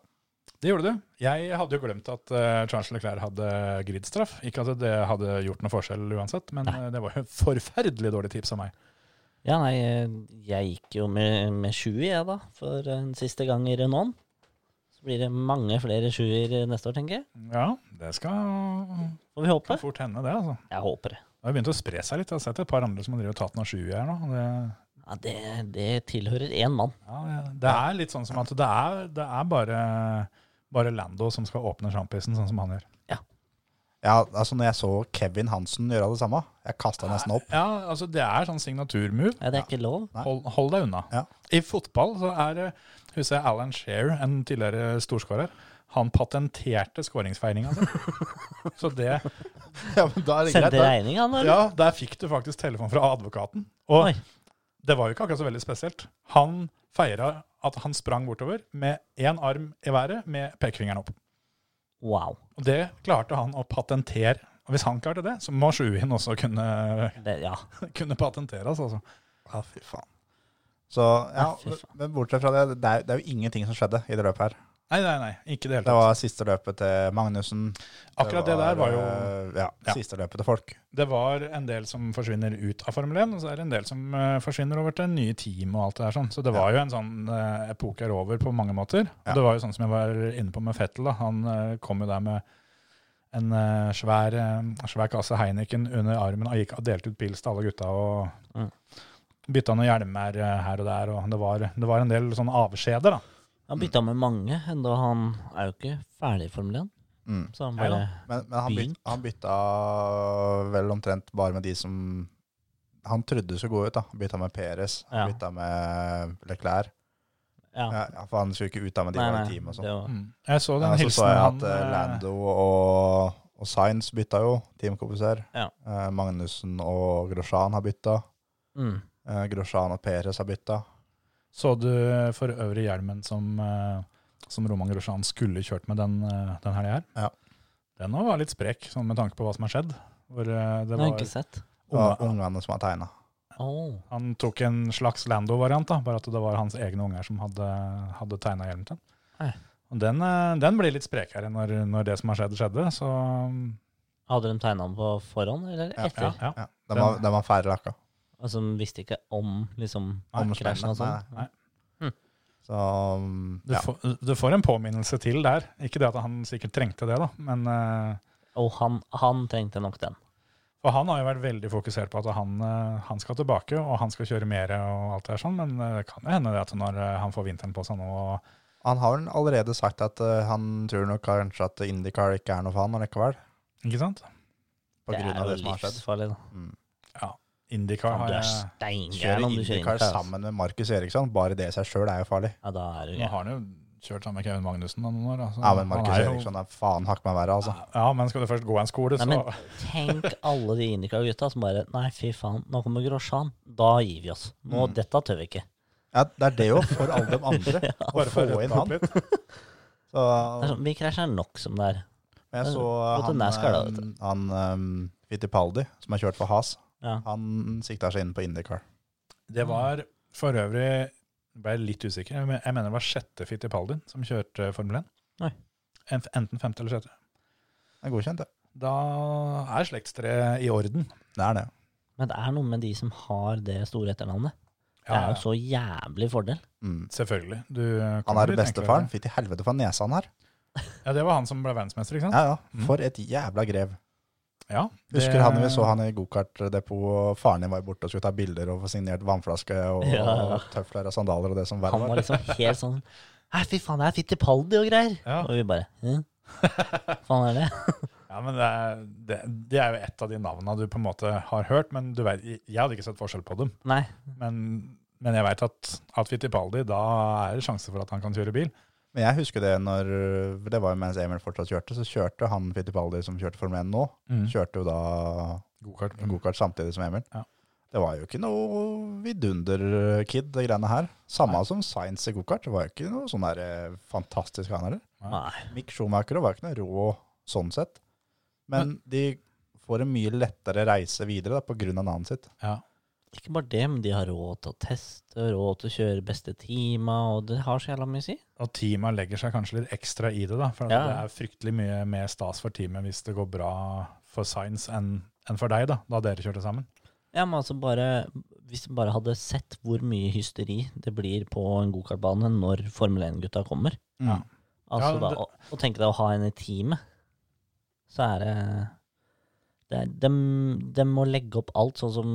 Speaker 1: Det gjorde du. Jeg hadde jo glemt at eh, Charles Leclerc hadde gridstraff. Ikke at det hadde gjort noe forskjell uansett, men eh, det var jo forferdelig dårlig tips av meg.
Speaker 5: Ja, nei, eh, jeg gikk jo med, med 20, jeg, da, for en siste gang i Renault. Så blir det mange flere 20-er neste år, tenker jeg.
Speaker 1: Ja, det skal,
Speaker 5: Får vi håpe?
Speaker 1: skal fort hende, det, altså.
Speaker 5: Jeg håper det.
Speaker 1: Det har begynt å spre seg litt. Jeg har sett et par andre som har drevet og tatt noen sjuer her nå. og Det,
Speaker 5: Ja, det, det tilhører én mann.
Speaker 1: ja, det- det er litt sånn som at det er, det er bare, bare Lando som skal åpne sjampisen, sånn som han gjør.
Speaker 4: Ja, altså når jeg så Kevin Hansen gjøre det samme, jeg kasta nesten opp.
Speaker 1: Ja, altså det er sånn signaturmove.
Speaker 5: Ja, det er ikke lov.
Speaker 4: Nei.
Speaker 1: Hold, hold deg unna.
Speaker 4: Ja.
Speaker 1: I fotball så er det Husker jeg Alan Shearer, en tidligere storskårer. Han patenterte skåringsfeiringa si.
Speaker 4: (laughs)
Speaker 1: Så det
Speaker 4: (laughs) Ja, men da er det greit.
Speaker 5: Sendte
Speaker 4: Da.
Speaker 5: regning, han, eller?
Speaker 1: Ja, der fikk du faktisk telefon fra advokaten. Og
Speaker 5: Oi.
Speaker 1: det var jo ikke akkurat så veldig spesielt. Han feira at han sprang bortover med én arm i været med pekefingeren opp.
Speaker 5: Wow.
Speaker 1: Og det klarte han å patentere. Og hvis han klarte det, så må Sjuin også kunne, (laughs)
Speaker 5: Det, ja.
Speaker 1: kunne patenteres, altså.
Speaker 4: Ja, fy faen. Så,
Speaker 5: Ja, fy
Speaker 4: ja,
Speaker 5: faen.
Speaker 4: men bortsett fra det, det er, det er jo ingenting som skjedde i det løpet her.
Speaker 1: Nei, nei, nei. Ikke i det hele
Speaker 4: Det
Speaker 1: tatt.
Speaker 4: var siste løpet til Magnussen.
Speaker 1: Akkurat det der var jo
Speaker 4: eh, Ja,
Speaker 1: Ja.
Speaker 4: siste løpet til folk.
Speaker 1: Det var en del som forsvinner ut av Formel 1, og så er det en del som eh, forsvinner over til nye team og alt det der sånn. Så det var jo en sånn eh, epoke er over på mange måter. Og
Speaker 4: Ja.
Speaker 1: det var jo sånn som jeg var inne på med Fettel, da. Han eh, kom jo der med en eh, svær, eh, svær kasse Heineken under armen og gikk og delte ut pils til alle gutta og
Speaker 5: Mm.
Speaker 1: bytta noen hjelmer eh, her og der, og det var, det var en del sånne avskjeder, da.
Speaker 5: Han bytta med mange, enda han er jo ikke ferdig i Formel 1.
Speaker 4: Mm.
Speaker 5: Så han
Speaker 1: Nei
Speaker 5: bare
Speaker 1: da.
Speaker 4: Men, men han, byt,
Speaker 5: Begynt.
Speaker 4: han bytta vel omtrent bare med de som han trodde skulle gå ut. da. Han bytta med Peres, han
Speaker 5: Ja.
Speaker 4: bytta med Leclerc.
Speaker 5: Ja.
Speaker 4: Ja. for han skulle ikke ut da med de
Speaker 5: Nei,
Speaker 4: var i
Speaker 5: nei,
Speaker 4: team og sånn.
Speaker 5: det var-
Speaker 1: Mm. Jeg så
Speaker 4: Ja,
Speaker 1: den
Speaker 4: så så
Speaker 1: hilsenen
Speaker 4: jeg at eh,
Speaker 1: eh,
Speaker 4: Lando og, og Sainz bytta jo, teamkompiser.
Speaker 5: Ja.
Speaker 4: Eh, Magnussen og Grosjan har bytta.
Speaker 5: Mm.
Speaker 4: Eh, Grosjan og Peres har bytta.
Speaker 1: Så du for øvrig hjelmen som, eh, som Roman Grosjan skulle kjørt med den, eh, den helga her?
Speaker 4: Ja.
Speaker 1: Den òg var litt sprek, sånn med tanke på hva som har skjedd. Hvor eh, det
Speaker 5: Det har jeg
Speaker 1: var
Speaker 5: ikke sett.
Speaker 4: Det var
Speaker 1: unge,
Speaker 4: ungene som har tegna.
Speaker 5: Oh.
Speaker 1: han tok en slags Lando-variant, da, bare at det var hans egne unger som hadde, hadde tegna hjelmen til
Speaker 5: Nei.
Speaker 1: han. Og den, eh, den blir litt sprekere når, når det som har skjedd, skjedde. Så
Speaker 5: Hadde de tegna han på forhånd eller
Speaker 4: Ja,
Speaker 5: etter?
Speaker 1: ja. ja.
Speaker 4: Ja, de, var, de var færre lakka.
Speaker 5: Altså, de visste ikke om liksom,
Speaker 4: Om
Speaker 5: krasjen og
Speaker 4: smellet,
Speaker 5: sånn?
Speaker 1: nei, nei.
Speaker 4: Så mm,
Speaker 1: Du,
Speaker 4: ja.
Speaker 1: får, du får en påminnelse til der. Ikke det at han sikkert trengte det, da, men eh,
Speaker 5: Og han, han trengte nok den.
Speaker 1: For han har jo vært veldig fokusert på at han, eh, han skal tilbake, og han skal kjøre mer og alt det der sånn, men eh, det kan jo hende det at når eh, han får vinteren på seg nå og
Speaker 4: Han har vel allerede sagt at eh, han tror nok kanskje at Indycar ikke er noe for han likevel.
Speaker 1: Ikke sant?
Speaker 4: På
Speaker 5: det
Speaker 4: grunn
Speaker 5: er jo
Speaker 4: av det som har skjedd. Mm.
Speaker 5: livsfarlig, da.
Speaker 1: Indycar
Speaker 5: Faen,
Speaker 1: har
Speaker 5: du er
Speaker 1: jeg
Speaker 5: steingæren
Speaker 4: Kjøre
Speaker 5: om du altså. kjører
Speaker 4: Indycar
Speaker 5: inn sammen.
Speaker 4: sammen med Markus Eriksson, bare det i seg sjøl er jo farlig.
Speaker 5: Ja, da er du
Speaker 1: Nå
Speaker 5: gæren.
Speaker 1: har han jo kjørt sammen med Kevin Magnussen noen år. da, så
Speaker 4: Ja, men
Speaker 1: han
Speaker 4: Markus
Speaker 1: er jo-
Speaker 4: Eriksson er faen hakk meg verre, altså.
Speaker 1: Ja, men skal du først gå en skole, så
Speaker 5: Nei, men tenk alle de Indica-gutta som bare Nei, fy faen, nå kommer Grosjan. Da gir vi oss. Nå,
Speaker 4: Mm.
Speaker 5: Dette tør vi ikke.
Speaker 4: Ja, det er det jo, for alle de andre, å
Speaker 1: bare
Speaker 4: få
Speaker 1: for å
Speaker 4: inn
Speaker 1: rette opp
Speaker 4: han.
Speaker 1: litt.
Speaker 4: Så,
Speaker 5: Det er sånn, vi krasjer nok som det er.
Speaker 4: men jeg så
Speaker 5: Gå til
Speaker 4: han,
Speaker 5: NASCAR da, vet
Speaker 4: eh, han eh, Fittipaldi, som har kjørt for Has,
Speaker 5: Ja.
Speaker 4: han sikta seg inn på Indycar.
Speaker 1: Det var for øvrig ble jeg litt usikker. Jeg men- jeg mener det var sjette Fittipaldin som kjørte Formel 1.
Speaker 5: Oi.
Speaker 1: En- Enten femte eller sjette.
Speaker 4: Det er godkjent, det.
Speaker 1: Da er slektstreet i orden.
Speaker 4: Det er det.
Speaker 5: Men det er noe med de som har det store etternavnet. Det er jo en så jævlig fordel.
Speaker 4: Mm.
Speaker 1: Selvfølgelig. Du
Speaker 4: Han
Speaker 1: kommer
Speaker 4: er
Speaker 1: litt
Speaker 4: bestefaren.
Speaker 1: enklere.
Speaker 4: Fy til helvete for nesa han har.
Speaker 1: Ja, Det var han som ble verdensmester, ikke sant?
Speaker 4: Ja, ja. For et jævla grev.
Speaker 1: Ja.
Speaker 4: Husker
Speaker 1: det-
Speaker 4: han vi så han i gokartdepot, og faren din var borte og skulle ta bilder og få signert vannflaske og,
Speaker 5: Ja, ja.
Speaker 4: og tøfler og sandaler og det som verre
Speaker 5: Han var
Speaker 4: var.
Speaker 5: liksom helt sånn Nei, fy faen, det er Fittipaldi og greier.
Speaker 1: Ja.
Speaker 5: Og vi bare Hæ? Hva faen er det?
Speaker 1: Ja, men det er, det, det er jo et av de navnene du på en måte har hørt, men du vet, jeg hadde ikke sett forskjell på dem.
Speaker 5: Nei.
Speaker 1: Men, men jeg veit at, at Fittipaldi, da er det sjanse for at han kan kjøre bil.
Speaker 4: Men jeg husker det når Det var jo mens Emil fortsatt kjørte, så kjørte han Fittipaldi som kjørte Formel 1 nå,
Speaker 1: Mm.
Speaker 4: kjørte jo da
Speaker 1: Gokart.
Speaker 4: gokart samtidig som Emil.
Speaker 1: Ja.
Speaker 4: Det var jo ikke noe vidunder-kid, det greiene her. Samme som Science i gokart. Det var jo ikke noe sånn der eh, fantastisk han heller.
Speaker 5: Nei.
Speaker 4: Mick Schumacher var ikke noe rå sånn sett. Men de får en mye lettere reise videre da, på grunn av navnet sitt.
Speaker 1: Ja.
Speaker 5: Ikke bare det, men de har råd til å teste, råd til å kjøre beste teama, og det har så jævla mye å si.
Speaker 1: Og teama legger seg kanskje litt ekstra i det, da. For
Speaker 5: Ja.
Speaker 1: det er fryktelig mye mer stas for teamet hvis det går bra for Science enn enn for deg, da, da dere kjørte sammen.
Speaker 5: Ja, men altså bare Hvis du bare hadde sett hvor mye hysteri det blir på en gokartbane når Formel 1-gutta kommer
Speaker 1: Ja.
Speaker 5: Altså
Speaker 1: Ja,
Speaker 5: da,
Speaker 1: det-
Speaker 5: å, å tenke deg å ha en i teamet, så er det det er, de, må legge opp alt, sånn som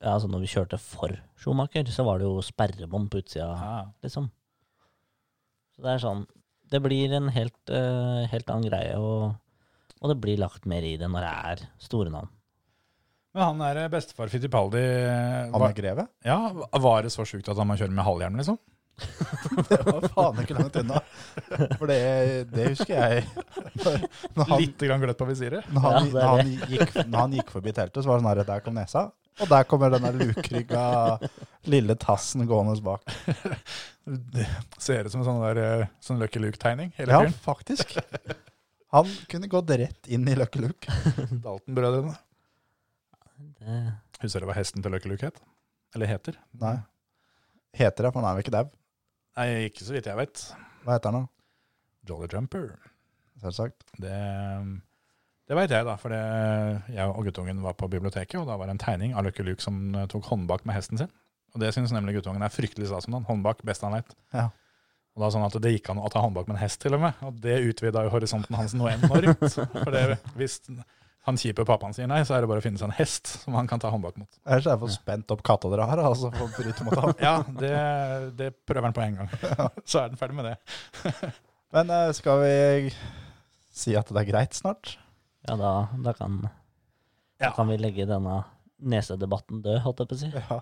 Speaker 5: ja, altså Når vi kjørte for Schumacher, så var det jo sperrebånd på utsida, liksom. Så det er sånn Det blir en helt, eh, helt annen greie. Og Og det blir lagt mer i det når det er store navn.
Speaker 1: Men han er eh, bestefar Fittipaldi eh,
Speaker 4: Han
Speaker 1: var,
Speaker 4: er greve?
Speaker 1: ja, var det så sjukt at han må kjøre med halvhjelm, liksom?
Speaker 4: Det var faen ikke langt unna. For det, det husker jeg. Når, når, han,
Speaker 1: Litt grann gløtt på visiret.
Speaker 4: når,
Speaker 5: Ja,
Speaker 4: han,
Speaker 5: det er
Speaker 4: når, han gikk, når han gikk forbi teltet, så var det sånn her Der kom nesa, og der kommer denne lukrygga lille tassen gående bak.
Speaker 1: Det ser ut som en sånn, der, eh, sånn Lucky Luke-tegning. hele
Speaker 4: Ja,
Speaker 1: fyren.
Speaker 4: faktisk. Han kunne gått rett inn i Lucky Luke.
Speaker 1: Dalton-brødrene.
Speaker 5: Det,
Speaker 1: Husker du hva hesten til Lucky Luke het? Eller heter?
Speaker 4: Nei. Heter det, for han er jo ikke dau.
Speaker 1: Nei, ikke så vidt jeg vet.
Speaker 4: Hva heter han da?
Speaker 1: Jolly Jumper.
Speaker 4: Selvsagt.
Speaker 1: Det, um, det veit jeg, da. For det, jeg og guttungen var på biblioteket, og da var det en tegning av Lucky Luke som eh, tok håndbak med hesten sin. Og det syns nemlig guttungen er fryktelig stas om den. Håndbak, best han veit.
Speaker 4: Ja.
Speaker 1: Og da sånn at Det gikk an å ta håndbak med en hest, til og med. Og det utvida jo horisonten hans noe enormt. For det, hvis han kjipe pappaen sier nei, så er det bare å finne seg en hest som han kan ta håndbak mot.
Speaker 4: Ellers er jeg for spent opp katta dere har, altså, for å bryte mot
Speaker 1: (laughs)
Speaker 4: ham.
Speaker 1: Ja, det, det prøver han på en gang. Så er den ferdig med det.
Speaker 4: Men eh, skal vi si at det er greit snart?
Speaker 5: (laughs) ja, da, da, kan,
Speaker 1: Ja.
Speaker 5: da kan vi legge denne nesedebatten død, holdt jeg på å si.
Speaker 4: Ja.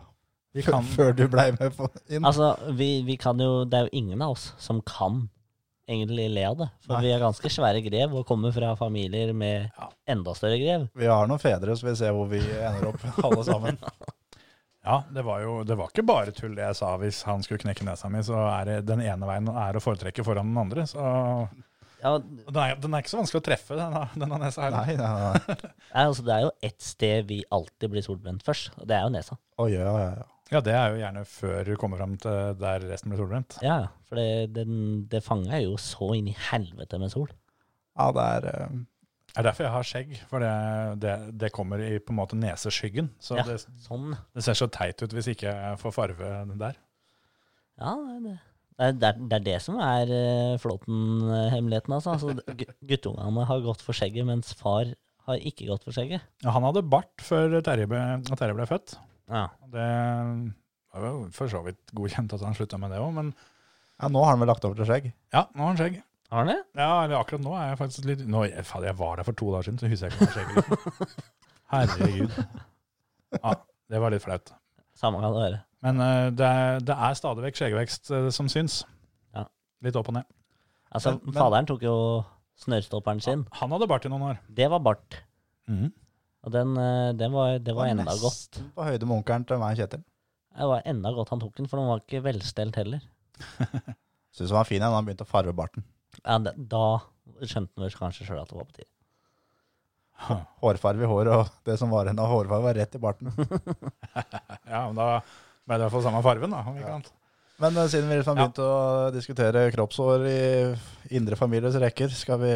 Speaker 1: Vi
Speaker 4: Før,
Speaker 1: kan-
Speaker 4: før du blei med på inn?
Speaker 5: Altså, vi, vi kan jo Det er jo ingen av oss som kan egentlig le av det. For
Speaker 4: Nei.
Speaker 5: vi er ganske svære grev og kommer fra familier med
Speaker 1: Ja.
Speaker 5: enda større grev.
Speaker 4: Vi har noen fedre, så vi ser hvor vi ender
Speaker 1: (laughs)
Speaker 4: opp, alle sammen.
Speaker 1: Ja, det var jo det var ikke bare tull det jeg sa hvis han skulle knekke nesa mi, så er det den ene veien er å foretrekke foran den andre. Så og
Speaker 5: Ja,
Speaker 1: den er, den er ikke så vanskelig å treffe, denne, denne nesa her.
Speaker 4: Nei, nei, nei.
Speaker 5: Nei, altså, det er jo ett sted vi alltid blir solbrent først, og det er jo nesa.
Speaker 4: Oi, ja, ja, ja.
Speaker 1: Ja, det er jo gjerne før du kommer fram til der resten blir solbrent.
Speaker 5: Ja, ja, for det, den, det fanger jo så inn i helvete med sol.
Speaker 4: ja det er eh,
Speaker 1: Det er derfor jeg har skjegg, for det, det, det kommer i på en måte neseskyggen. Så
Speaker 5: Ja,
Speaker 1: det,
Speaker 5: sånn.
Speaker 1: det ser så teit ut hvis ikke jeg får farve der.
Speaker 5: Ja, det, det, er- det, er- det er det som er eh, Flåten-hemmeligheten, altså. altså gu- guttungene har gått for skjegget, mens far har ikke gått for skjegget.
Speaker 1: Ja, han hadde bart før Terje ble, at Terje ble født.
Speaker 5: Ja.
Speaker 1: Det var jo for så vidt godkjent at han slutta med det òg, men
Speaker 4: ja, nå har han vel lagt over til skjegg.
Speaker 1: ja, nå har han skjegg.
Speaker 5: Har han det?
Speaker 1: Ja, eller akkurat nå er jeg faktisk litt nå, Fader, jeg var der for to dager siden, så husker jeg ikke hva skjedde. Liksom. Herregud. Ja, det var litt flaut.
Speaker 5: Samme kan det være.
Speaker 1: Men eh, det, er, det er stadig vekk skjeggvekst eh, som syns.
Speaker 5: Ja.
Speaker 1: Litt opp og ned.
Speaker 5: Altså,
Speaker 4: Men- men-
Speaker 5: faderen tok jo snørrstopperen sin.
Speaker 1: Han hadde bart i noen år.
Speaker 5: Det var bart. Og den, eh, den var, det var enda godt.
Speaker 4: Nesten på høyde med onkelen til meg og Kjetil.
Speaker 5: Det var enda godt han tok den, for den var ikke velstelt heller.
Speaker 4: Syns han var fin ja, da han begynte å farve barten.
Speaker 5: Ja, det, da skjønte han vel kanskje sjøl at det var på tide.
Speaker 4: Hårfarve i håret, og det som var igjen av hårfarve, var rett i barten.
Speaker 1: Ja, men da ble det i hvert fall samme fargen, da. Om ikke
Speaker 4: Ja.
Speaker 1: annet.
Speaker 4: Men eh, siden vi liksom har begynt å diskutere kroppshår i indre families rekker, skal vi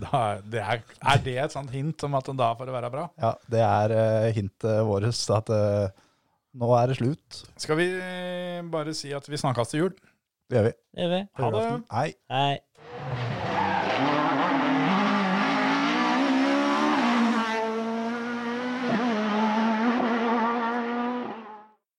Speaker 1: Da, er- det er, er det et sånt hint om at da får det være bra?
Speaker 4: Ja, det er eh, hintet vårt at eh, nå er det slutt.
Speaker 1: Skal vi eh, bare si at vi snakkes til jul?
Speaker 4: Det gjør vi.
Speaker 5: Det gjør vi.
Speaker 1: Ha det.
Speaker 4: Julaften. Hei.
Speaker 5: Hei.